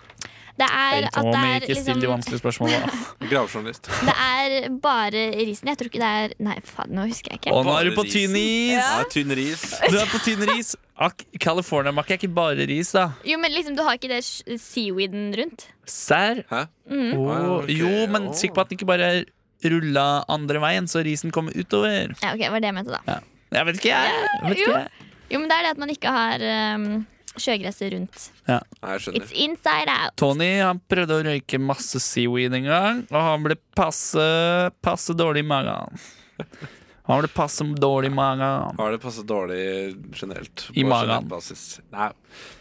S7: Det er
S6: Nei,
S7: at
S6: nå må
S7: det
S6: vi
S7: er
S6: ikke stille
S7: liksom
S6: de vanskelige spørsmålene da.
S5: Gravejournalist.
S7: Det er bare risen. Jeg tror ikke det er Nei, faen, nå husker jeg ikke.
S6: Og nå er du på
S5: Bare
S6: tynn
S5: risen.
S6: is!
S5: Ja, tynn ris.
S6: Du er på tynn ris. Ak California Mac er ikke bare ris, da.
S7: Jo, men liksom, du har ikke det sj- seaweeden rundt.
S6: Serr?
S5: Hæ?
S7: Mm.
S6: Åh,
S5: Ah, ok,
S6: Jo, men
S5: åh.
S6: sikker på at den ikke bare er rulla andre veien, så risen kommer utover.
S7: Ja, ok, det var det jeg mente da.
S6: Jeg vet ikke, jeg. jeg, vet
S7: jo.
S6: ikke, jeg.
S7: Jo, men det er det at man ikke har um, sjøgresset rundt.
S5: Nei, jeg skjønner.
S7: It's inside out.
S6: Tony han prøvde å røyke masse seaweed en gang, og han ble passe, passe dårlig i magen. Han ble passe dårlig i magen.
S5: Har det passet dårlig generelt?
S6: I
S5: på
S6: magen.
S5: generell Basis. Nei.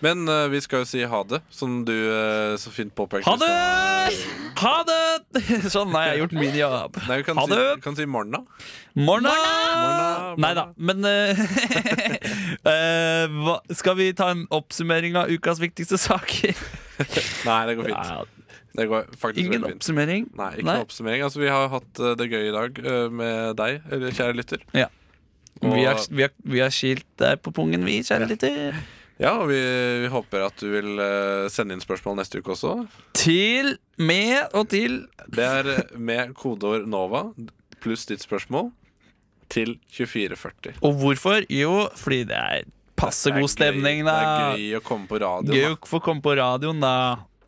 S5: Men eh, vi skal jo si ha det, som du eh, så fint påpekte.
S6: Ha det! Ha det! Sånn har jeg gjort min jobb.
S5: Nei, vi kan
S6: Ha
S5: Si,
S6: det!
S5: vi kan si morgen, da.
S6: Morna!
S5: Morna, morna.
S6: Nei da, men eh, eh, hva, Skal vi ta en oppsummering av ukas viktigste saker?
S5: Nei, det går fint.
S6: Ja,
S5: Det går faktisk
S6: ingen
S5: veldig fint.
S6: oppsummering?
S5: Nei, ikke noe oppsummering. Altså, vi har hatt eh, det gøy i dag eh, med deg, eller kjære lytter.
S6: Ja. Vi har,
S5: Og-
S6: vi, har, vi har skilt deg på pungen, vi, kjære lytter.
S5: Ja, og vi, vi håper at du vil eh, sende inn spørsmål neste uke også.
S6: Til, med og til.
S5: Det er eh, med kodeord NOVA pluss ditt spørsmål til 2440.
S6: Og hvorfor? Jo, fordi det er passe god stemning,
S5: det
S6: da.
S5: er gøy å komme på radioen.
S6: Gøy å få komme på radioen, da.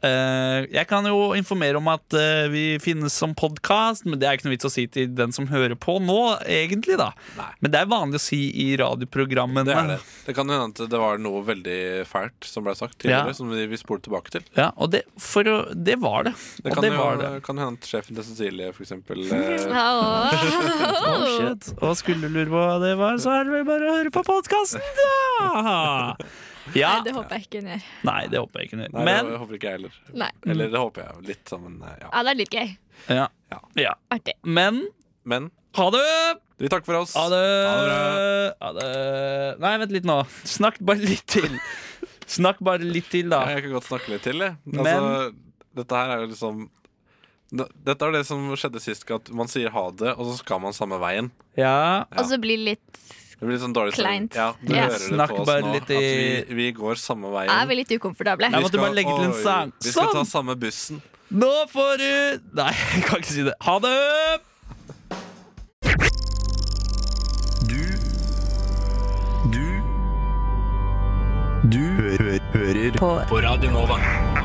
S6: Eh, jeg kan jo informere om at eh, vi finnes som podkast, men det er ikke noe vits å si til den som hører på nå, egentlig, da.
S5: Nei.
S6: Men det er vanlig å si i radioprogrammene.
S5: Det er det. Det kan hende at det var noe veldig fælt som ble sagt tidligere,
S6: Ja.
S5: som vi vi spoler tilbake til.
S6: Ja, og det, for å, det var det.
S5: Det
S6: Og
S5: kan,
S6: det
S5: jo,
S6: var det.
S5: kan hende at sjefen til Cecilie, for eksempel eh,
S7: Åh.
S6: Oh, shit. Og skulle du lure på hva det var, så er det vel bare å høre på podkasten, da! Ja.
S7: Nei, det håper jeg ikke hun gjør.
S6: Nei, det håper jeg ikke.
S5: Nei,
S6: Men
S5: det håper ikke jeg heller.
S7: Nei.
S5: Eller det håper jeg jo litt, da, men eh, ja.
S7: Ja, det er litt gøy.
S6: ja.
S5: Ja.
S6: ja.
S7: Artig.
S6: Men
S5: Men
S6: ha det!
S5: vi takker for oss.
S6: Ha det!
S5: Ha det
S6: Ha det! Nei, vent litt nå. Snakk bare litt til. Snakk bare litt til, da.
S5: Ja, jeg kan godt snakke litt til, jeg. Altså, dette her er jo liksom Dette er det som skjedde sist, at man sier ha det, og så skal man samme veien.
S6: Ja.
S7: Og så blir det litt
S5: Det blir litt sånn dårlig stemning.
S7: Kleint.
S5: Ja, du
S7: Ja.
S5: hører det
S6: Snakk
S5: på oss
S6: bare
S5: nå,
S6: litt
S5: at
S6: i-
S5: vi, vi går samme veien.
S7: Er vi litt ukomfortable?
S6: Jeg måtte
S5: skal-
S6: bare legge til en
S5: Oi,
S6: sang.
S5: Vi skal ta
S6: Sånn!
S5: samme bussen.
S6: Nå får du Nei, jeg kan ikke si det. Ha det!
S3: Du Du Du hø hø hører på. på Radio Nova.